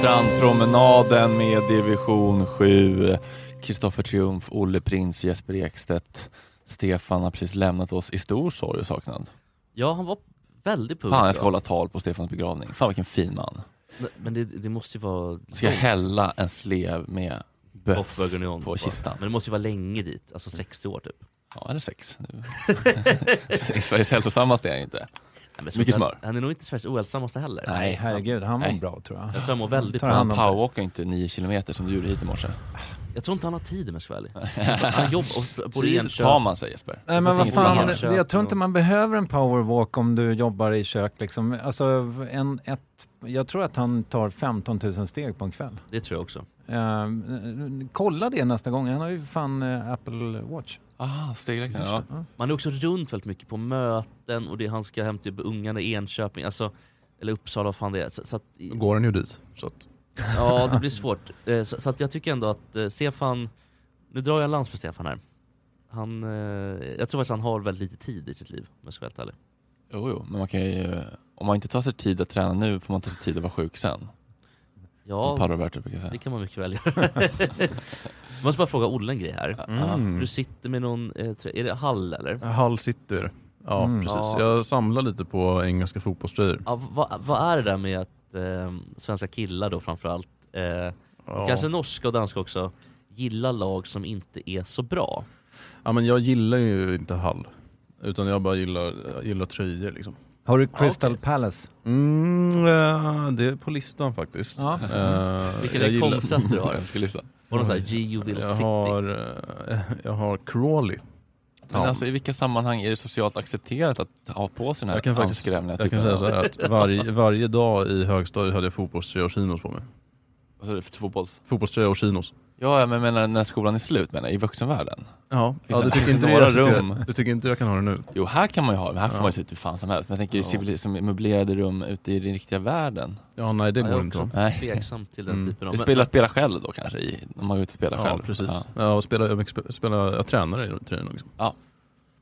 S3: Strandpromenaden med Division 7. Kristoffer Triumf, Olle Prins, Jesper Ekstedt. Stefan har precis lämnat oss i stor sorg och saknad.
S2: Ja, han var väldigt pung.
S3: Fan, jag ska
S2: tror
S3: hålla tal på Stefans begravning. Fan vilken fin man.
S2: Nej, Men det, det måste ju vara...
S3: Ska jag hälla en slev med böff på kistan?
S2: Men det måste ju vara länge dit, alltså 60 år typ.
S3: Ja, eller sex. Sveriges hälsosammaste är han inte. Mycket smör.
S2: Han, han är nog inte Sveriges ohälsosammaste heller.
S3: Nej,
S7: herregud, han mår bra, tror jag.
S2: Jag tror han mår väldigt
S3: bra. Han
S2: bra.
S3: powerwalkar inte nio kilometer som du gjorde hit i morse.
S2: Jag tror inte han har tid om jag ska vara ärlig. Alltså, han jobbar och bor i
S3: Tid
S2: Enköping.
S3: tar man sig, Jesper.
S7: Nej men vad fan, det-
S2: Enköping
S7: jag tror inte man behöver en powerwalk om du jobbar i kök liksom. Alltså, en, ett, jag tror att han tar 15 000 steg på en kväll.
S2: Det tror jag också.
S7: Ehm, kolla det nästa gång, han har ju fan eh, Apple Watch.
S3: Ah, stegräknare.
S7: Första, ja.
S2: Man är också runt väldigt mycket på möten och det han ska hämta upp ungarna i Enköping, alltså, eller Uppsala, vad fan det är. Så, så att,
S1: Går han ju dit. Så att...
S2: Ja, det blir svårt. Eh, Så, så att jag tycker ändå att eh, Stefan, nu drar jag en lans för Stefan här. Han, eh, jag tror faktiskt han har väldigt lite tid i sitt liv om jag ska vara helt ärlig.
S3: Jo, jo, men man kan ju, om man inte tar sig tid att träna nu får man ta sig tid att vara sjuk sen.
S2: Ja,
S3: Som Paolo Roberto brukar säga.
S2: det kan man mycket väl göra. Jag måste bara fråga Olle en grej här.
S1: Mm. Eh,
S2: Du sitter med någon, eh, trö- är det Hall eller?
S1: Hall City. Ja,
S2: Mm.
S1: precis.
S2: Ja.
S1: Jag samlar lite på engelska fotbollströjor.
S2: Ja, vad, vad är det där med att eh, svenska killar då framförallt, eh, och kanske norska och danska också, gillar lag som inte är så bra?
S1: Ja, men jag gillar ju inte Hall. Utan jag bara gillar, jag gillar tröjor liksom.
S7: Har du Crystal Palace?
S1: Mm, eh, det är på listan faktiskt.
S7: Ja.
S1: Eh,
S2: Vilken
S1: jag
S2: är det
S1: gillar-
S2: konstigaste du har?
S3: Önskar listan.
S2: Var det någon sån här G.U. Will
S1: jag
S2: City?
S1: Har, eh, jag har Crawley.
S3: Men alltså i vilka sammanhang är det socialt accepterat att ha på sig den här
S1: jag kan faktiskt
S3: anskrämliga
S1: jag kan
S3: typen
S1: säga så här att varje, varje dag i högstadiet hade jag fotbollströja och chinos på mig.
S3: Vad sa du för fotbolls?
S1: Fotbollströja och chinos.
S3: Ja, men jag menar när skolan är slut menar jag, i vuxenvärlden.
S1: Ja,
S3: Finns
S1: ja
S3: det
S1: du tycker inte
S3: några
S1: jag,
S3: rum?
S1: Du tycker inte jag kan ha det nu?
S3: Jo, här kan man ju ha det, här får
S1: Ja.
S3: man ju se ut hur fan som helst. Men jag tänker ju
S1: Ja.
S3: civili- som möblerade rum ute i den riktiga världen.
S1: Ja, nej det
S2: Ja, jag
S1: går
S2: är
S1: inte.
S2: också
S3: Nej.
S2: tveksam till
S1: Mm.
S2: den typen av...
S3: Du
S2: men-
S3: spelar, spelar själv då kanske, i, om man går ut och spelar
S1: Ja,
S3: själv?
S1: precis.
S3: Ja.
S1: Ja, och spela, jag, spela, jag tränar i tröjorna liksom.
S3: Ja.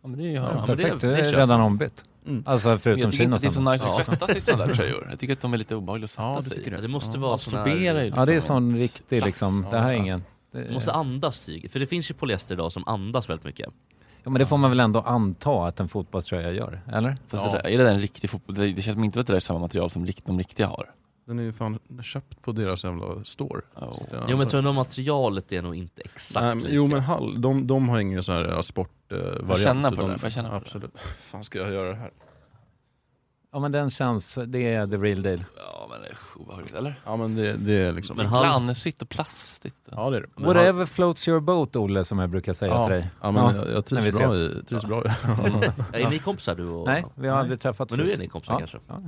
S3: Ja, men det är ju
S1: Ja,
S3: ja, men det-
S7: Perfekt, du
S3: det
S7: är
S3: köper
S7: redan
S3: jag.
S7: ombytt.
S1: Mm.
S7: Alltså
S3: Men
S7: förutom
S3: jag tycker
S7: Kina.
S3: inte det är så nice att
S7: stannar.
S3: svettas i sådana där tröjor. Jag tycker att de är lite obehagliga att svettas i.
S2: det. Det måste vara sån här-
S3: Absorberar ju
S7: Ja det är
S3: liksom.
S7: sån riktig liksom, det här är ingen... det
S2: Du
S7: är-
S2: måste andas tyg, för det finns ju polyester idag som andas väldigt mycket.
S7: Ja men det får man väl ändå anta att en fotbollströja gör, eller?
S3: Fast det där, är det där en riktig fotboll? Det, det känns som inte att det där är samma material som rikt, de riktiga har.
S1: Den är ju fan köpt på deras jävla store.
S2: Jo men jag tror ändå materialet är nog inte exakt
S1: Nej, men-
S2: lika.
S1: jo men Hall, de, de har ingen sån här ja, sportvariant.
S3: Får jag känna på
S1: utan-
S3: den? Får eh, jag känna på den?
S1: Absolut. fan ska jag göra det här?
S7: Ja men den känns, det är the real deal.
S3: Ja men det är obehagligt, eller?
S1: Ja men det, det är liksom...
S3: Men han... Glansigt och plastigt.
S1: Ja det är det.
S7: Whatever floats your boat Olle, som jag brukar säga
S1: ja.
S7: till dig.
S1: Ja men
S7: Ja,
S1: jag, jag
S7: när vi
S1: trivs bra
S7: ses.
S1: i... Trivs bra i.
S2: Ja, är ni kompisar du och
S7: Nej, vi har aldrig träffats
S2: Men nu är
S7: förut.
S2: ni kompisar
S7: Ja.
S2: kanske?
S7: Ja.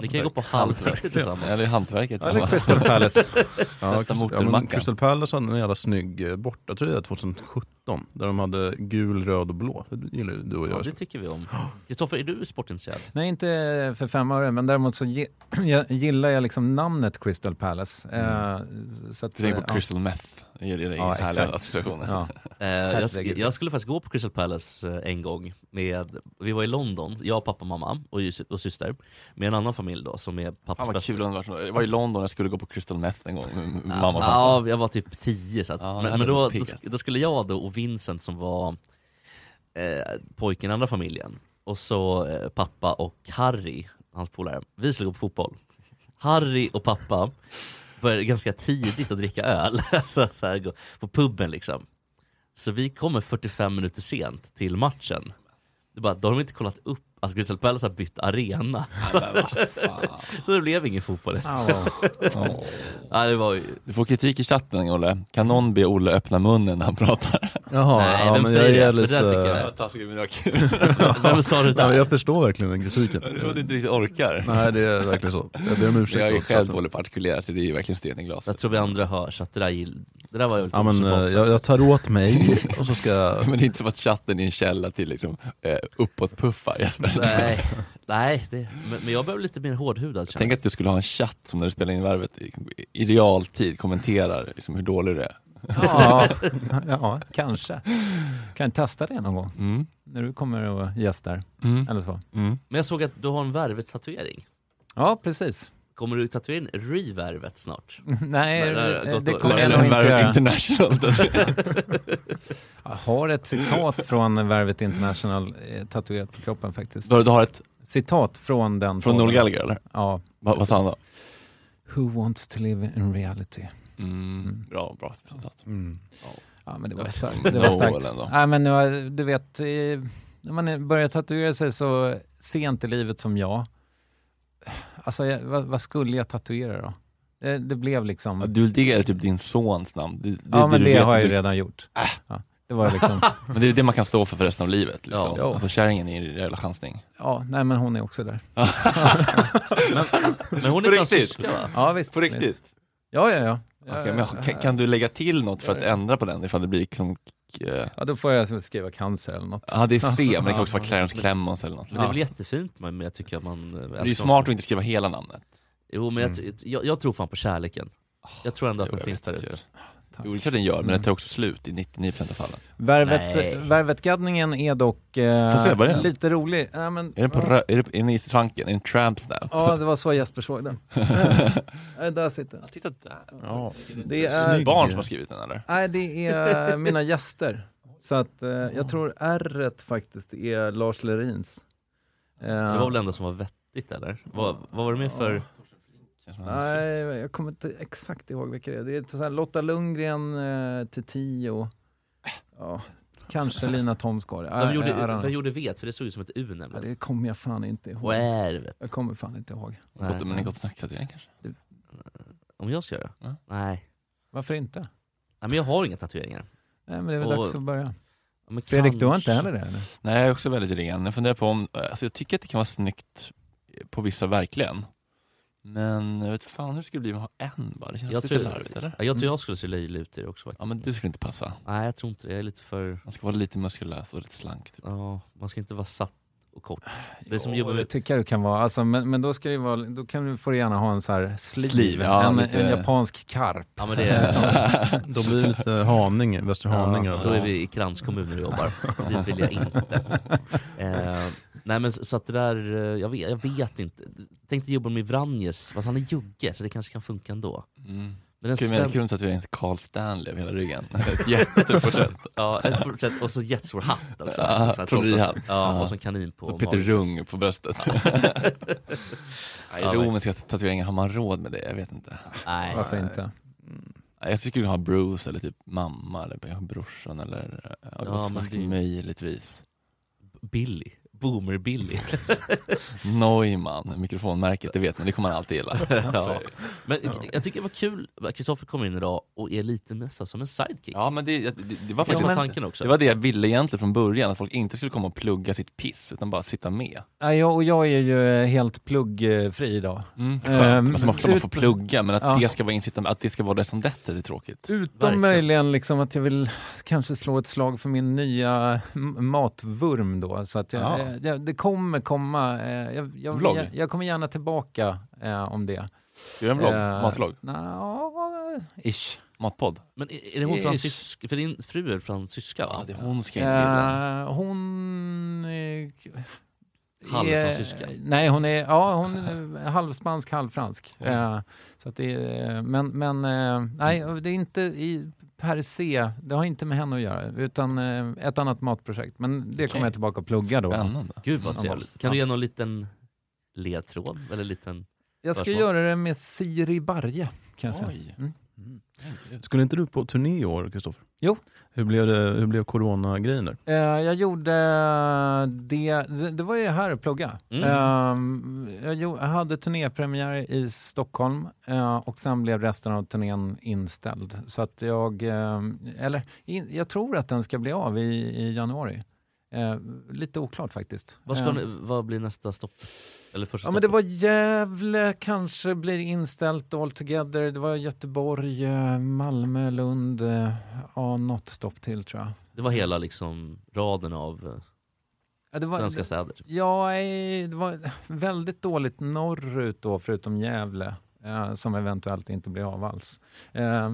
S2: Ni kan ju gå på halvsätt tillsammans.
S3: Eller hantverket.
S7: Eller Crystal Palace.
S1: ja,
S3: Testa
S1: Crystal, ja, men
S3: motormackan.
S1: Crystal Palace hade en jävla snygg eh, bortatröja 2017. Där de hade gul, röd och blå. Det gillar ju du och jag.
S2: Ja, det tycker vi om. Kristoffer, är du sportintresserad?
S7: Nej, inte för fem öre, men däremot så gi- jag gillar jag liksom namnet Crystal Palace.
S1: Mm.
S7: Eh, så att,
S3: Du tänker på
S7: ja.
S3: crystal meth. Det är det
S7: Ja,
S3: härliga
S7: exakt.
S3: associationer.
S7: Ja.
S2: Eh, jag, sk- jag skulle faktiskt gå på Crystal Palace eh, en gång. Med, vi var i London, jag, pappa, mamma och, ju- och syster. Med en annan familj då som är pappas
S3: Fan vad
S2: bästa
S3: kul det hade varit. Jag var i London jag skulle gå på crystal meth en gång med mamma och pappa.
S2: Ja, jag var typ 10 så att,
S3: Ja, det
S2: men,
S3: hade
S2: men då, då,
S3: varit pigga.
S2: sk- då skulle jag då och Vincent som var eh, pojken i andra familjen och så eh, pappa och Harry, hans polare, vi skulle gå på fotboll. Harry och pappa började ganska tidigt att dricka öl alltså, så här, gå- på puben liksom. Så vi kommer 45 minuter sent till matchen. Det är bara, då har de inte kollat upp att Crystal Palace har bytt arena. Så, så det blev ingen fotboll. Ja, det var ju...
S3: Du får kritik i chatten Olle. Kan någon be Olle öppna munnen när han pratar?
S1: Jaha,
S2: Nej,
S1: ja,
S2: vem
S1: men
S2: säger
S1: jag är
S2: det? För
S1: lite...
S2: det där tycker jag-
S3: var taskigt men det var kul.
S2: Vem sa det
S1: Ja,
S2: där?
S1: men jag förstår verkligen den kritiken.
S3: Jag tror att du inte riktigt orkar.
S1: Nej det är verkligen så. Jag ber om ursäkt
S3: Jag är
S1: också.
S3: själv dålig på att artikulera så det är ju verkligen sten i glaset.
S2: Jag tror vi andra hör, så att det där, gill- det där var ju lite
S1: Ja, men, eh,
S2: osupportat.
S1: jag, jag tar åt mig och så ska jag...
S3: Men det är inte som att chatten är en källa till liksom, eh, uppåtpuffar Jesper.
S2: Nej, nej det, men, men jag behöver lite mer hårdhudad känner
S3: Tänk att du skulle ha en chatt som när du spelar in värvet i, i realtid kommenterar liksom hur dålig du är.
S7: Ja, ja, kanske. Kan testa det någon gång,
S3: Mm.
S7: när du kommer och gästar.
S3: Mm.
S7: Eller så.
S3: Mm.
S2: jag. Men jag såg att du har en värvetatuering.
S7: Ja, precis.
S2: Kommer du tatuera in revervet snart?
S8: Nej,
S2: När har gått
S8: det
S2: och-
S8: kommer jag nog inte göra. jag har ett citat från Värvet International eh, tatuerat på kroppen faktiskt.
S3: Du har- du har ett
S8: citat från
S3: Från
S8: den? podden.
S3: Noel Gallagher eller?
S8: Ja.
S3: Va, vad sa han då?
S8: Who wants to live in reality?
S3: Mm. Bra, bra citat.
S8: Ja, men det
S3: Jag
S8: var
S3: vet
S8: starkt.
S3: inte
S8: Det
S3: om
S8: var
S3: Noel
S8: starkt.
S3: ändå.
S8: Nej, men nu har- du vet, eh, när man börjar tatuera sig så sent i livet som jag, alltså jag, vad, vad skulle jag tatuera då? Det, det blev liksom...
S3: Ja, Du vill digga typ din sons namn? Det, det,
S8: Ja, men
S3: du
S8: det
S3: vet
S8: har
S3: att
S8: jag ju
S3: du-
S8: redan gjort.
S3: Äh.
S8: Ja, det var liksom...
S3: men det är det man kan stå för för resten av livet. Liksom.
S8: Ja.
S3: Alltså kärringen är en jävla chansning.
S8: Ja, nej men hon är också där.
S3: Men hon är På riktigt? fransyska, va?
S8: Ja visst.
S3: På riktigt?
S8: visst. Ja, ja, ja.
S3: Okej, men jag- kan, kan du lägga till något för att ändra på den ifall det blir klunk... eh,
S8: Ja, då får jag skriva cancer eller något.
S3: Ja, det är C, men det kan också vara Clarence Clemons eller något.
S2: Men det är väl jättefint, men men jag tycker att man... eh,
S3: Det är ju
S2: älskar
S3: smart
S2: också.
S3: att inte skriva hela namnet.
S2: Jo, men jag, t- jag, jag tror fan på kärleken. Jag tror ändå att den
S3: jag
S2: finns där
S3: vet att
S2: ute.
S3: Jo, det är klart den gör, men
S8: Mm.
S3: den tar också slut i 99% av fallen.
S8: Värvet,
S3: Nej.
S8: Värvetgaddningen är dock eh,
S3: Får se, vad är den?
S8: lite rolig. Ja, men,
S3: Är den, på,
S8: ja.
S3: rö- är den, är den i tanken? Är den tramps där?
S8: Ja, det var så Jesper såg den. Eh, där sitter den.
S3: Titta där.
S8: Ja.
S3: Det är barn som har skrivit den eller?
S8: Nej, det är eh, mina gäster. Så att eh, jag tror r faktiskt är Lars Lerins. Eh,
S2: Det var väl det enda som var vettigt, eller? Vad, vad var det mer för...
S8: Nej, jag kommer inte exakt ihåg vilka det är. Det är så här Lotta Lundgren eh, till tio. Ja, kanske Lina Thomsgård. I-
S2: Vem
S8: I- I don't
S2: gjorde,
S8: know.
S2: vem gjorde vet? För det såg ut som ett U
S8: Ja,
S2: nämligen.
S8: det kommer jag fan inte ihåg.
S2: Och ärvet.
S8: Jag kommer fan inte ihåg.
S2: Nej. Gott- men det är gott
S3: tatuering kanske?
S2: Om jag ska göra? Nej.
S8: Varför inte?
S2: Nej, men jag har inga tatueringar.
S8: Nej, men det är väl
S2: Och-
S8: dags att börja.
S2: Ja, men
S8: Fredrik, du har
S2: kanske.
S8: inte heller det? Eller?
S3: Nej, jag är också väldigt ren. Jag funderar på om, alltså jag tycker att det kan vara snyggt på vissa verkligen. Men jag vet fan hur det skulle bli om jag har en bara. Det känns
S2: Jag
S3: lite
S2: tror,
S3: larvigt eller?
S2: ja, jag tror jag skulle se löjlig ut i det också faktiskt.
S3: Ja men du skulle inte passa.
S2: Nej jag tror inte det, jag är lite för...
S3: Man ska vara lite muskulös och lite slank. Typ.
S2: Ja, man ska inte vara satt och kort. Det är som
S8: Jo,
S2: jobbar
S8: det
S2: med...
S8: tycker jag du kan vara. Alltså, men, men då ska det vara, då kan du, får du gärna ha en så här sleeve,
S3: Sleeve, ja,
S8: en,
S3: lite-
S8: en japansk karp.
S2: Ja, men det är-
S8: Sånt.
S1: Då blir det lite eh, Haninge, Västra Haninge.
S2: Ja, då är vi i kranskommuner och jobbar. Dit vill jag inte. Eh, nej men så så att det där, eh, jag vet, jag vet inte. Tänkte jobba med Vranjes, fast han är jugge så det kanske kan funka ändå.
S3: Mm.
S2: Men en
S3: Kul med
S2: sven-
S3: kul med tatuering till Carl Stanley över hela ryggen. Ett jätteporträtt.
S2: Ja, ett porträtt och så jättestor hatt också.
S3: Ja,
S2: Så här
S3: trollerihatt.
S2: torkad. Ja, och så en kanin på
S3: Och Peter
S2: magen.
S3: Rung på bröstet. Nej,
S2: Ja, men-
S3: romerska tatueringar, har man råd med det? Jag vet inte.
S2: Nej.
S8: Varför inte?
S3: Nej, Jag tycker vi har Bruce eller typ mamma eller brorsan eller ja,
S2: Ja,
S3: gott
S2: men
S3: snack
S2: det-
S3: möjligtvis.
S2: Billy. Boomer-Billy.
S3: Neumann, mikrofonmärket, det vet ni, det kommer man alltid gilla. Så är
S2: ja.
S3: det.
S2: Men jag tycker det var kul att Kristoffer kom in idag och är lite med så här som en sidekick.
S3: Ja men det, det, det var
S2: Det
S3: faktiskt
S2: var tanken också.
S3: Det var det jag ville egentligen från början, att folk inte skulle komma och plugga sitt piss utan bara sitta med.
S8: Ja, jag, och jag är ju eh, helt pluggfri idag.
S3: Mm, skönt.
S8: Ehm,
S3: alltså, man får
S8: ut-
S3: ut... plugga men att
S8: Ja.
S3: det ska vara incitament, att det ska vara det som detta det är tråkigt.
S8: Utom möjligen liksom att jag vill kanske slå ett slag för min nya m- matvurm då. Så att jag,
S3: Ja.
S8: eh, det, det kommer komma. eh, Jag, jag,
S3: Vlogg?
S8: jag, jag kommer gärna tillbaka eh, om det.
S3: Ska du göra en vlogg?
S8: Eh,
S3: Matvlogg?
S8: Nja, ish.
S3: Matpodd?
S2: Men är, är det hon
S8: Ish.
S2: fransyska? För din fru är fransyska va?
S3: Ja, det är hon ska in i bilden.
S8: Eh, hon... är-
S2: Halvfransyska.
S8: är- Nej, hon är, ja, hon är halvspansk, halvfransk.
S2: Oj.
S8: Eh, så att det är, men, men eh, nej, och det är inte i per se, det har inte med henne att göra, utan eh, ett annat matprojekt. Men det kommer jag tillbaka och plugga då.
S3: Spännande.
S2: Gud vad
S8: Ja.
S2: trevligt. Kan du ge någon liten ledtråd? Eller liten...
S8: Jag ska
S2: Försmak.
S8: göra det med Siri Barje, kan jag säga.
S3: Oj.
S8: Mm.
S1: Skulle inte du på turné i år, Kristoffer?
S8: Jo.
S1: Hur blev, det, hur blev coronagrejen där?
S8: Eh, jag gjorde det, det, det var ju här att plugga.
S1: Mm.
S8: Eh, jag, gjo- jag hade turnépremiär i Stockholm eh, och sen blev resten av turnén inställd. Så att jag, eh, eller in, jag tror att den ska bli av i, i januari. Eh, lite oklart faktiskt.
S2: Vad, ska
S8: Eh,
S2: ni, vad blir nästa stopp? Eller första
S8: Ja men det var Gävle kanske blir inställt all together. Det var Göteborg, eh, Malmö, Lund. eh, Ja, något stopp till tror jag.
S2: stoppet? det var hela liksom raden av eh,
S8: Ja, det var-
S2: svenska
S8: det-
S2: städer. typ.
S8: Ja, eh, det var väldigt dåligt norrut då, förutom Gävle, eh, som eventuellt inte blir av alls. Eh,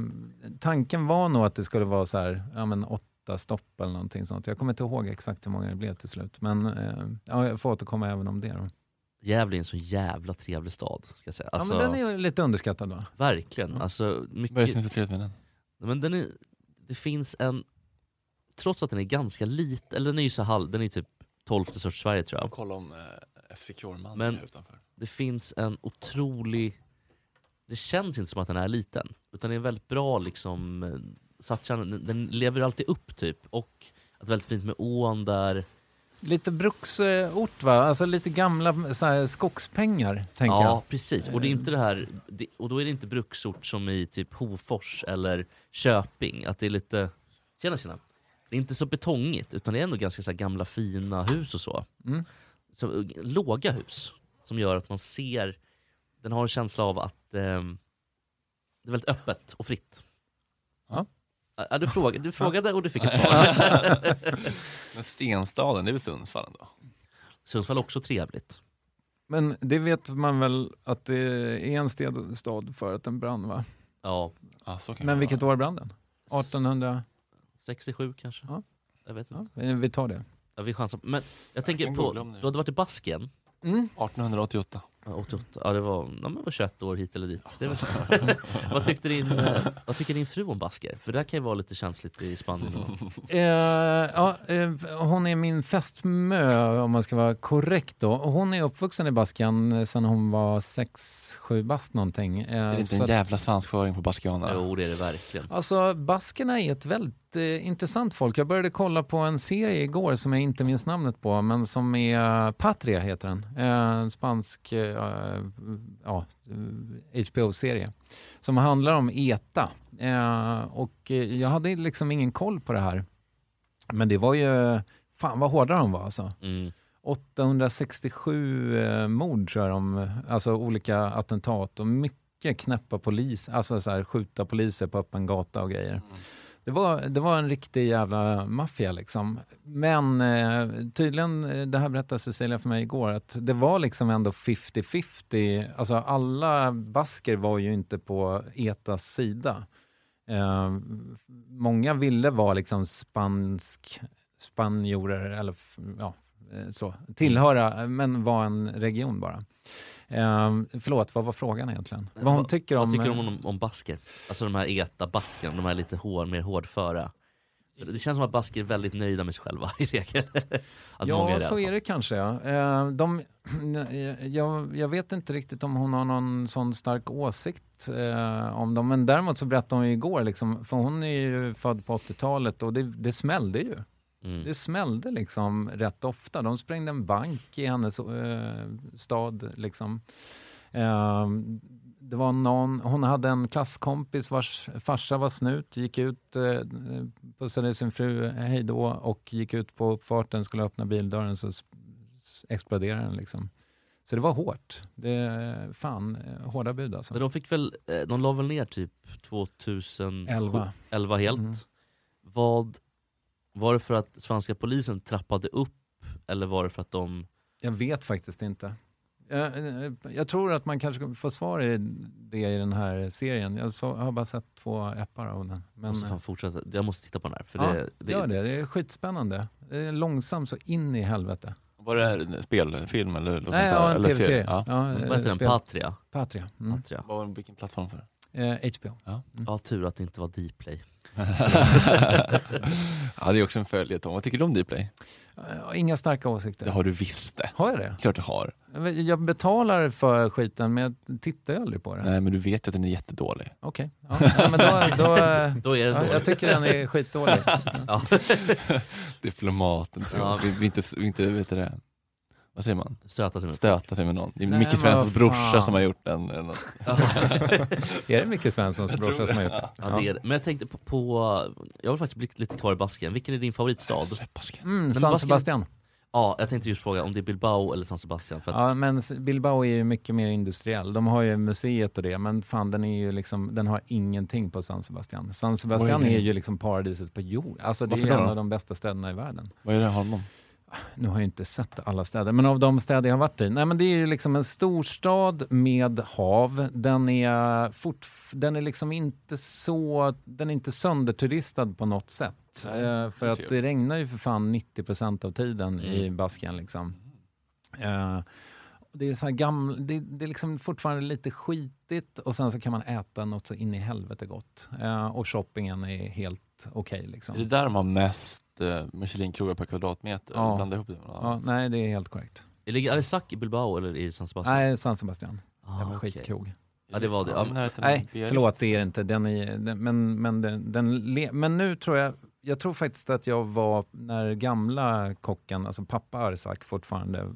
S8: tanken var nog att det skulle vara så här, ja men åtta stopp eller ehm, någonting sånt. Jag kommer inte ihåg exakt hur många det blev till slut, men eh, ja, jag får återkomma även om det då.
S2: Gävle är en så jävla trevlig stad. Ska jag säga. Alltså,
S8: ja, men den är ju lite underskattad va?
S2: Verkligen. Alltså, mycket...
S8: Vad är det som
S3: är så trevligt med den?
S2: Men den är, det finns en, trots att den är ganska liten, eller den är ju så halv, den är ju typ 12 störst i Sverige tror jag.
S3: Kolla om eh, FC Kjorman
S2: Men
S3: är utanför.
S2: det finns en otrolig... Det känns inte som att den är liten. Utan det är en väldigt bra liksom... eh, Satsar, den, den lever alltid upp typ. Och att väldigt fint med ån där.
S8: Lite bruksort va? Alltså lite gamla så här, skogspengar, tänker jag.
S2: ja, precis. Och, det är inte det här, det, och då är det inte bruksort som i typ Hofors eller Köping. Att det är lite... Tjena tjena. Det är inte så betongigt utan det är ändå ganska så här gamla fina hus och så.
S8: Mm.
S2: så eh, låga hus som gör att man ser, den har en känsla av att ehm, det är väldigt öppet och fritt.
S8: Ja.
S2: Ja, du, frågade, du frågade och du fick ett
S3: Ja.
S2: svar.
S3: Men Stenstaden, det är väl Sundsvall ändå?
S2: Sundsvall är också trevligt.
S8: Men det vet man väl att det är en sted- stad för att den brann va?
S2: Ja.
S8: Men vilket år brann den? 1800?
S2: 67 kanske? Jag vet inte.
S8: Eh, Vi tar det.
S2: Ja, vi chansar. på- Men jag tänker
S3: kan
S2: på,
S3: googla om det.
S2: du hade varit i Basken?
S8: Mm.
S3: 1888.
S2: Ja, 88. Ja, det var, ja, men det var 21 år hit eller dit. Det var, vad, tyckte din, eh, vad tycker din fru om basker? För det här kan ju vara lite känsligt i Spanien. och-
S8: Eh, ja, eh, hon är min fästmö om man ska vara korrekt då. Och Hon är uppvuxen i Baskan eh, sedan hon var 6-7 bast någonting. Eh,
S3: är det inte
S8: så
S3: en
S8: att-
S3: jävla svansföring på baskianerna?
S2: Jo, det är det verkligen.
S8: Alltså baskerna är ett väldigt eh, intressant folk. Jag började kolla på en serie igår som jag inte minns namnet på, men som är Patria heter den. Eh, En spansk eh, ja, eh, HBO-serie som handlar om ETA. Eh, och eh, jag hade liksom ingen koll på det här. Men det var ju, fan vad hårda de var alltså.
S2: Mm.
S8: 867 eh, mord tror jag de, alltså olika attentat och mycket knäppa polis, alltså så här, skjuta poliser på öppen gata och grejer. Det var, det var en riktig jävla maffia liksom. Men eh, tydligen, eh, det här berättade Cecilia för mig igår, att det var liksom ändå 50-50. Alltså alla basker var ju inte på ETAs sida. Eh, många ville vara liksom spansk, spanjorer eller f- ja, eh, så, tillhöra, eh, men vara en region bara. Eh, förlåt, vad var frågan egentligen? Vad hon tycker om... eh,
S2: Vad tycker hon om, om basker? Alltså de här ETA-basken, de här lite hår, mer hårdföra. Det känns som att basker är väldigt nöjda med sig själva i regel. Att många det
S8: Ja,
S2: i
S8: så
S2: alla
S8: är det kanske. Ja. Eh, De, jag, jag vet inte riktigt om hon har någon sån stark åsikt eh, om dem. Men däremot så berättade hon ju igår, liksom, för hon är ju född på 80-talet och det, det smällde ju.
S2: Mm.
S8: Det smällde liksom rätt ofta. De sprängde en bank i hennes eh, stad. Liksom. Eh, det var någon, hon hade en klasskompis vars farsa var snut, gick ut, eh, pussade sin fru hej då och gick ut på uppfarten, skulle öppna bildörren så s- s- exploderade den. Liksom. Så det var hårt. Det, fan, eh, hårda bud alltså.
S2: Men de fick väl, eh, de la väl ner typ 2011
S8: Elva.
S2: 11 helt.
S8: Mm.
S2: Vad, var det för att svenska polisen trappade upp eller var det för att de...
S8: Jag vet faktiskt inte. Jag, eh, jag tror att man kanske får svar i det i den här serien. Jag, så, har bara sett två appar av den.
S2: måste
S8: Men,
S2: Alltså, fan
S8: eh,
S2: fortsätta. Jag måste titta på den här. För
S8: ja,
S2: det, det,
S8: gör det. Det är skitspännande. Det är långsam så in i helvete.
S3: Var det en spelfilm eller?
S8: Nej, ja, en
S3: eller
S8: tv-serie.
S3: Ja.
S8: Ja, eh,
S2: Vad heter den?
S8: spel-
S2: Patria?
S8: Patria. Mm.
S2: Patria.
S3: Vad var den- Vilken plattform för det?
S8: Eh, HBO.
S3: Ja.
S2: Ja, tur att det inte var Dplay.
S3: ja, det är också en följetong. Vad tycker du om Dplay?
S8: Eh, Inga starka åsikter.
S3: Det har du visst det.
S8: Har jag det?
S3: Klart du har.
S8: Jag betalar för skiten men jag tittar ju aldrig på den.
S3: Nej, men du vet ju att den är jättedålig.
S8: Okej. Ja, ja, men då, då, eh,
S2: Då är den
S8: ja,
S2: dålig.
S8: Jag tycker den är skitdålig.
S2: Ja.
S3: Diplomaten tror jag.
S2: Ja.
S3: Vi, vi inte, vi inte vet det. där. Vad säger man?
S2: Stöta sig med
S3: Stöta sig med någon. Det är
S8: Nej,
S3: Micke
S8: men
S3: Svenssons
S8: vad
S3: brorsa
S8: fan.
S3: som har gjort den. eller något.
S8: är det Micke Svenssons brorsa som har gjort det?
S2: Ja, det är det. Men jag tänkte på, på jag vill faktiskt bli lite kvar i Baskien. Vilken är din favoritstad?
S8: Mm,
S2: Men
S8: San
S2: Baskien-
S8: Sebastian.
S2: Ja, jag tänkte just fråga om det är Bilbao eller San Sebastian. För att,
S8: Ja, men s- Bilbao är ju mycket mer industriell. De har ju museet och det, men fan den är ju liksom, den har ingenting på San Sebastian. San Sebastian
S3: Oj.
S8: är ju liksom paradiset på jord. Alltså det
S3: Varför
S8: är
S3: då
S8: en
S3: då?
S8: av de bästa städerna i världen.
S3: Vad är det honom?
S8: Nu har jag inte sett alla städer, men av de städer jag har varit i. Nej, men det är ju liksom en storstad med hav. Den är, fort, den är liksom inte så, den är inte sönderturistad på något sätt.
S3: Nej,
S8: Eh, för
S3: det
S8: att
S3: ser jag.
S8: det regnar ju för fan 90 procent av tiden
S2: Mm.
S8: i Baskien liksom. Eh, Det är, så här gammal, det, det är liksom fortfarande lite skitigt och sen så kan man äta något så in i helvete gott. Eh, och shoppingen är helt okej. liksom.
S3: Är det där de har mest eh, Michelinkrogar per kvadratmeter?
S8: Ja.
S3: Blanda ihop det med något
S8: ja,
S3: annat.
S8: nej, det är helt korrekt.
S2: Ligger Arisak i Bilbao eller i San Sebastian?
S8: Nej, San Sebastian.
S2: Ah,
S8: Jävla
S2: okej.
S8: skitkrog.
S2: Ja, det var det. Ja, men-
S8: Nej, förlåt det är det inte. Den är, den, men, men, den, den, le- men nu tror jag, jag tror faktiskt att jag var när gamla kocken, alltså pappa Arsak fortfarande eh,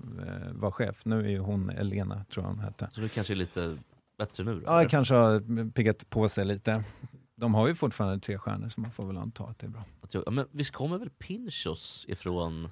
S8: var chef. Nu är ju hon Elena, tror jag hon hette.
S2: Så du kanske är lite bättre nu då?
S8: Ja, jag kanske har piggat på sig lite. De har ju fortfarande tre stjärnor så man får väl anta att det är bra.
S2: Att jag, ja, men visst kommer väl Pinchos ifrån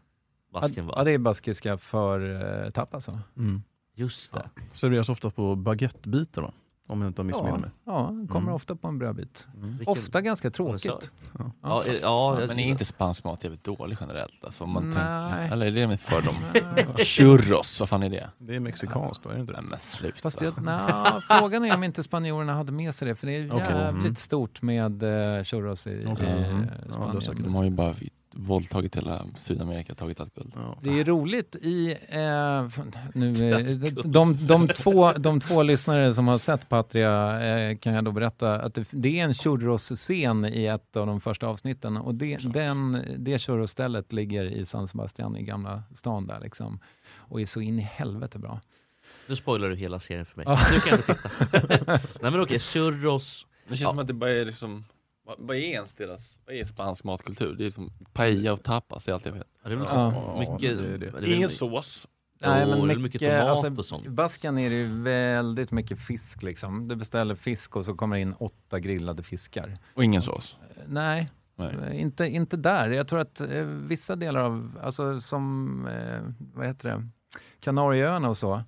S8: ja,
S2: Basken?
S8: ja, det är baskiska för eh, tapas va?
S7: Mm.
S2: Just det.
S7: Serveras ofta på baguettebitar va? Om jag inte har missminner
S8: Ja,
S7: mig.
S8: ja, kommer
S7: Mm.
S8: ofta på en brödbit.
S7: Vilken
S8: Ofta ganska tråkigt.
S7: Ja.
S2: Ja, eh,
S3: Ja,
S2: ja, jag-
S3: men är inte spansk mat jävligt dålig generellt? Alltså, om man
S8: Nej.
S3: tänker, eller är det min fördom?
S8: Nej.
S3: Churros, vad fan är det?
S7: Det är mexikanskt då, är det inte det?
S3: Nej men sluta.
S8: Fast jag, nja, frågan är om inte spanjorerna hade med sig det, för det är
S7: Okej.
S8: jävligt
S7: Mm.
S8: stort med eh, churros i,
S7: Okej.
S8: i eh,
S7: Mm. Ja,
S8: Spanien.
S3: De har ju bara våldtagit hela Sydamerika, tagit allt guld.
S8: det är roligt i... Eh, fan, nu, eh, de, de, två, de två lyssnare som har sett Patria eh, kan jag då berätta att det, det är en churros-scen i ett av de första avsnitten. Och det, den, det churros-stället ligger i San Sebastian i Gamla stan där liksom. Och är så in i helvete bra.
S2: Nu spoilar du hela serien för mig.
S8: Ja.
S2: Nu kan jag inte titta. Nej men okej, churros.
S3: Det känns som att det bara är liksom, vad, vad är ens deras, vad är spansk matkultur? Det är liksom paella och tapas, det är allt jag vet.
S2: Ja, det är väl
S8: Ja.
S2: mycket-
S7: det är det.
S2: väl-
S3: Ingen sås.
S8: Nej,
S2: Och
S8: men
S2: det är
S8: mycket,
S2: väl mycket tomat
S8: alltså,
S2: och sånt.
S8: I Baskan är det ju väldigt mycket fisk liksom. Du beställer fisk och så kommer det in åtta grillade fiskar.
S3: Och ingen sås.
S8: Nej,
S3: Nej.
S8: eh, Inte, inte där. Jag tror att eh, vissa delar av, alltså som, eh, vad heter det, Kanarieöarna och så.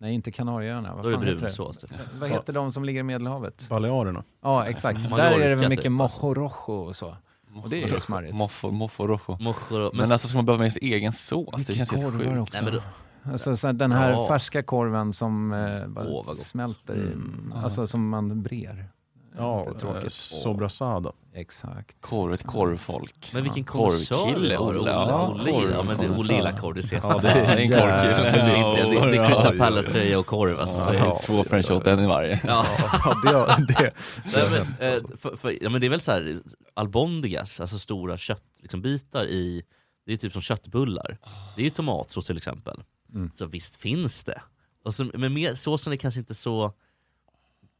S8: Nej, inte Kanarieöarna. Vad
S2: Då är det
S8: fan heter
S2: brunsås, typ.
S8: Eh, Vad heter de som ligger i Medelhavet?
S7: Balearerna.
S8: Ja, exakt.
S2: Mallorca,
S8: Där är det väl
S2: typ,
S8: mycket
S2: alltså.
S8: mojo rojo och så. Och det är ju smarrigt.
S3: Moffo, moffo, rojo.
S2: Mojo,
S3: Men alltså ska man behöva med sin egen sås? Det känns helt
S8: korvar
S3: sjukt.
S8: också.
S2: Nej, men då-
S8: Alltså så här, den här
S2: Ja.
S8: färska korven som eh, bara
S2: Åh, vad gott.
S8: smälter i, alltså som man brer.
S7: Ja,
S8: Lite
S7: och, eh,
S8: tråkigt.
S7: sobrasada.
S8: Exakt.
S3: Korv, ett korvfolk.
S2: Men vilken
S3: Korvkille,
S2: korvkille Olle.
S3: Olle, ja.
S2: Ja, Olle, ja, men det är Olle gillar korv, det ser
S3: Ja, det är en korvkille.
S2: Det är inte- det- Det är
S3: Ja, ja,
S2: Crystal
S3: ja.
S2: Palace-tröja och korv alltså. så är det-
S3: Ja, Två french hot, en i varje.
S2: Ja.
S7: Ja, det, har- det. alltså.
S2: Nej, men, eh, för, för, ja, men det är väl så här albondigas, alltså stora köttbitar liksom, bitar i, det är typ som köttbullar. Det är ju tomatsås till exempel.
S8: Mm.
S2: Så visst finns det. Och så, men mer, såsen är kanske inte så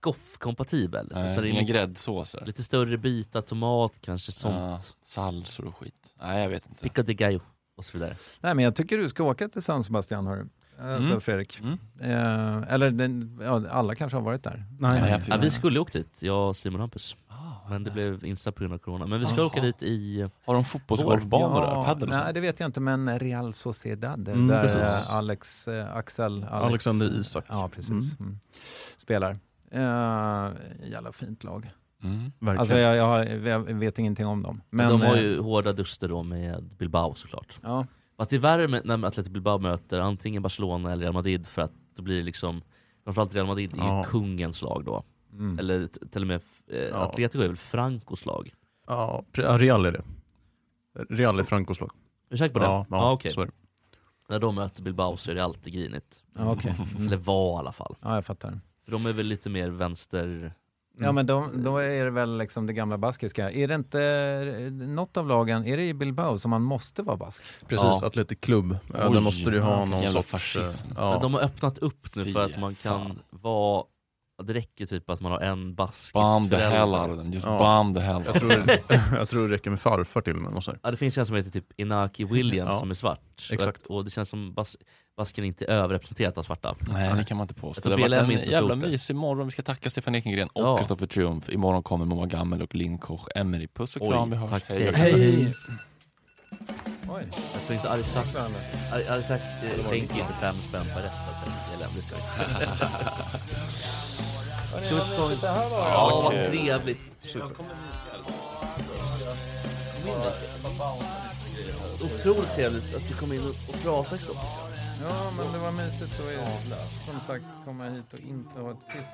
S2: goff-kompatibel.
S3: Nej,
S2: utan det är
S3: Inga
S2: mycket-
S3: gräddsåser.
S2: Lite större bitar, tomat kanske, sånt.
S3: Salsor och skit. Nej, jag vet inte.
S2: Pico de gallo och så vidare.
S7: Typ.
S8: Nej, men jag tycker du ska åka till San Sebastian, hör du. Alltså,
S2: Mm.
S8: Fredrik.
S3: Mm.
S8: Eh, eller den, ja, alla kanske har varit där.
S7: Nej,
S3: Nej, jag
S2: Ja,
S3: tycker-
S2: vi skulle åka dit, jag och Simon Hampus.
S3: Ah,
S2: Men det blev inställt på grund av corona. Men vi ska
S3: Jaha.
S2: åka dit i...
S3: Har de fotbollsgolfbanor där? Padel och
S8: nej,
S3: sånt?
S8: det vet jag inte, men Real Sociedad,
S7: Mm,
S8: där
S7: precis.
S8: eh, Alex, eh, Axel, Alex,
S7: Alexander Isak.
S8: Ja, precis. Mm. Spelar. Eh, jävla fint lag.
S3: Mm.
S7: Verkligen.
S8: Alltså, jag, jag, har, jag vet ingenting om dem.
S2: Men, de har
S8: eh,
S2: ju hårda duster då med Bilbao såklart.
S8: ja,
S2: Fast det är värre med, när Atletico Bilbao möter antingen Barcelona eller Real Madrid för att då blir det liksom, framförallt Real Madrid är ju
S7: Ja.
S2: kungens lag då.
S8: mm.
S2: Eller t- till och med eh,
S7: Ja.
S2: Atletico är väl Francos lag?
S7: Ja, pre- ja, Real är det. Real är Francos lag.
S2: Är du säker på det?
S7: Ja, ja,
S2: okej.
S7: så är det.
S2: När de möter Bilbao så är det alltid grinigt.
S8: ja, okej.
S2: Eller
S8: Mm.
S2: var i alla fall.
S8: Ja, jag fattar.
S2: För de är väl lite mer vänster...
S7: Mm.
S8: Ja, men de, då är det väl liksom det gamla baskiska. Är det inte eh, något av lagen, är det i Bilbao som man måste vara bask?
S7: Precis,
S2: Ja.
S7: Athletic Club. Ja,
S3: Oj,
S7: där måste du ha
S3: vilken
S7: någon
S3: jävla
S7: sorts...
S3: fascism.
S7: eh,
S2: Men
S7: Ja.
S2: de har öppnat upp nu
S3: Fy
S2: för att man kan
S3: fan.
S2: vara... Det räcker typ att man har en baskisk
S3: Bomb the
S2: förälder.
S3: hell out of them. Just
S7: Ja.
S3: bomb the hell out of
S7: Jag,
S3: them.
S7: tror, jag tror det räcker med farfar till och med. Och så här.
S2: Ja, det finns en som heter typ Inaki Williams
S7: Ja,
S2: som är svart.
S7: exakt.
S2: Och, och det känns som bas, basken inte är överrepresenterat av svarta.
S3: Nej, det kan man inte påstå.
S2: Jag tror
S3: Det har
S2: BLM
S3: varit en
S2: inte
S3: jävla
S2: stort där.
S3: mysig morgon. Vi ska tacka Stefan Ekengren och
S2: Ja.
S3: Kristoffer Triumf. Imorgon kommer Moa Gammel och Linn Koch Emery. Puss och
S2: Oj,
S3: kram, vi hörs.
S2: tack.
S3: Hej.
S2: Hej.
S8: Oj.
S2: Jag tror inte Arisak Arisak eh, tänker inte fem spänn per rätt så att säga. Det är lämpligt. Slut Ja, vad trevligt. Kom in då. Otroligt trevligt att du kom in och och pratade. liksom.
S8: Ja, men det var mysigt att som sagt komma hit och inte ha ett piss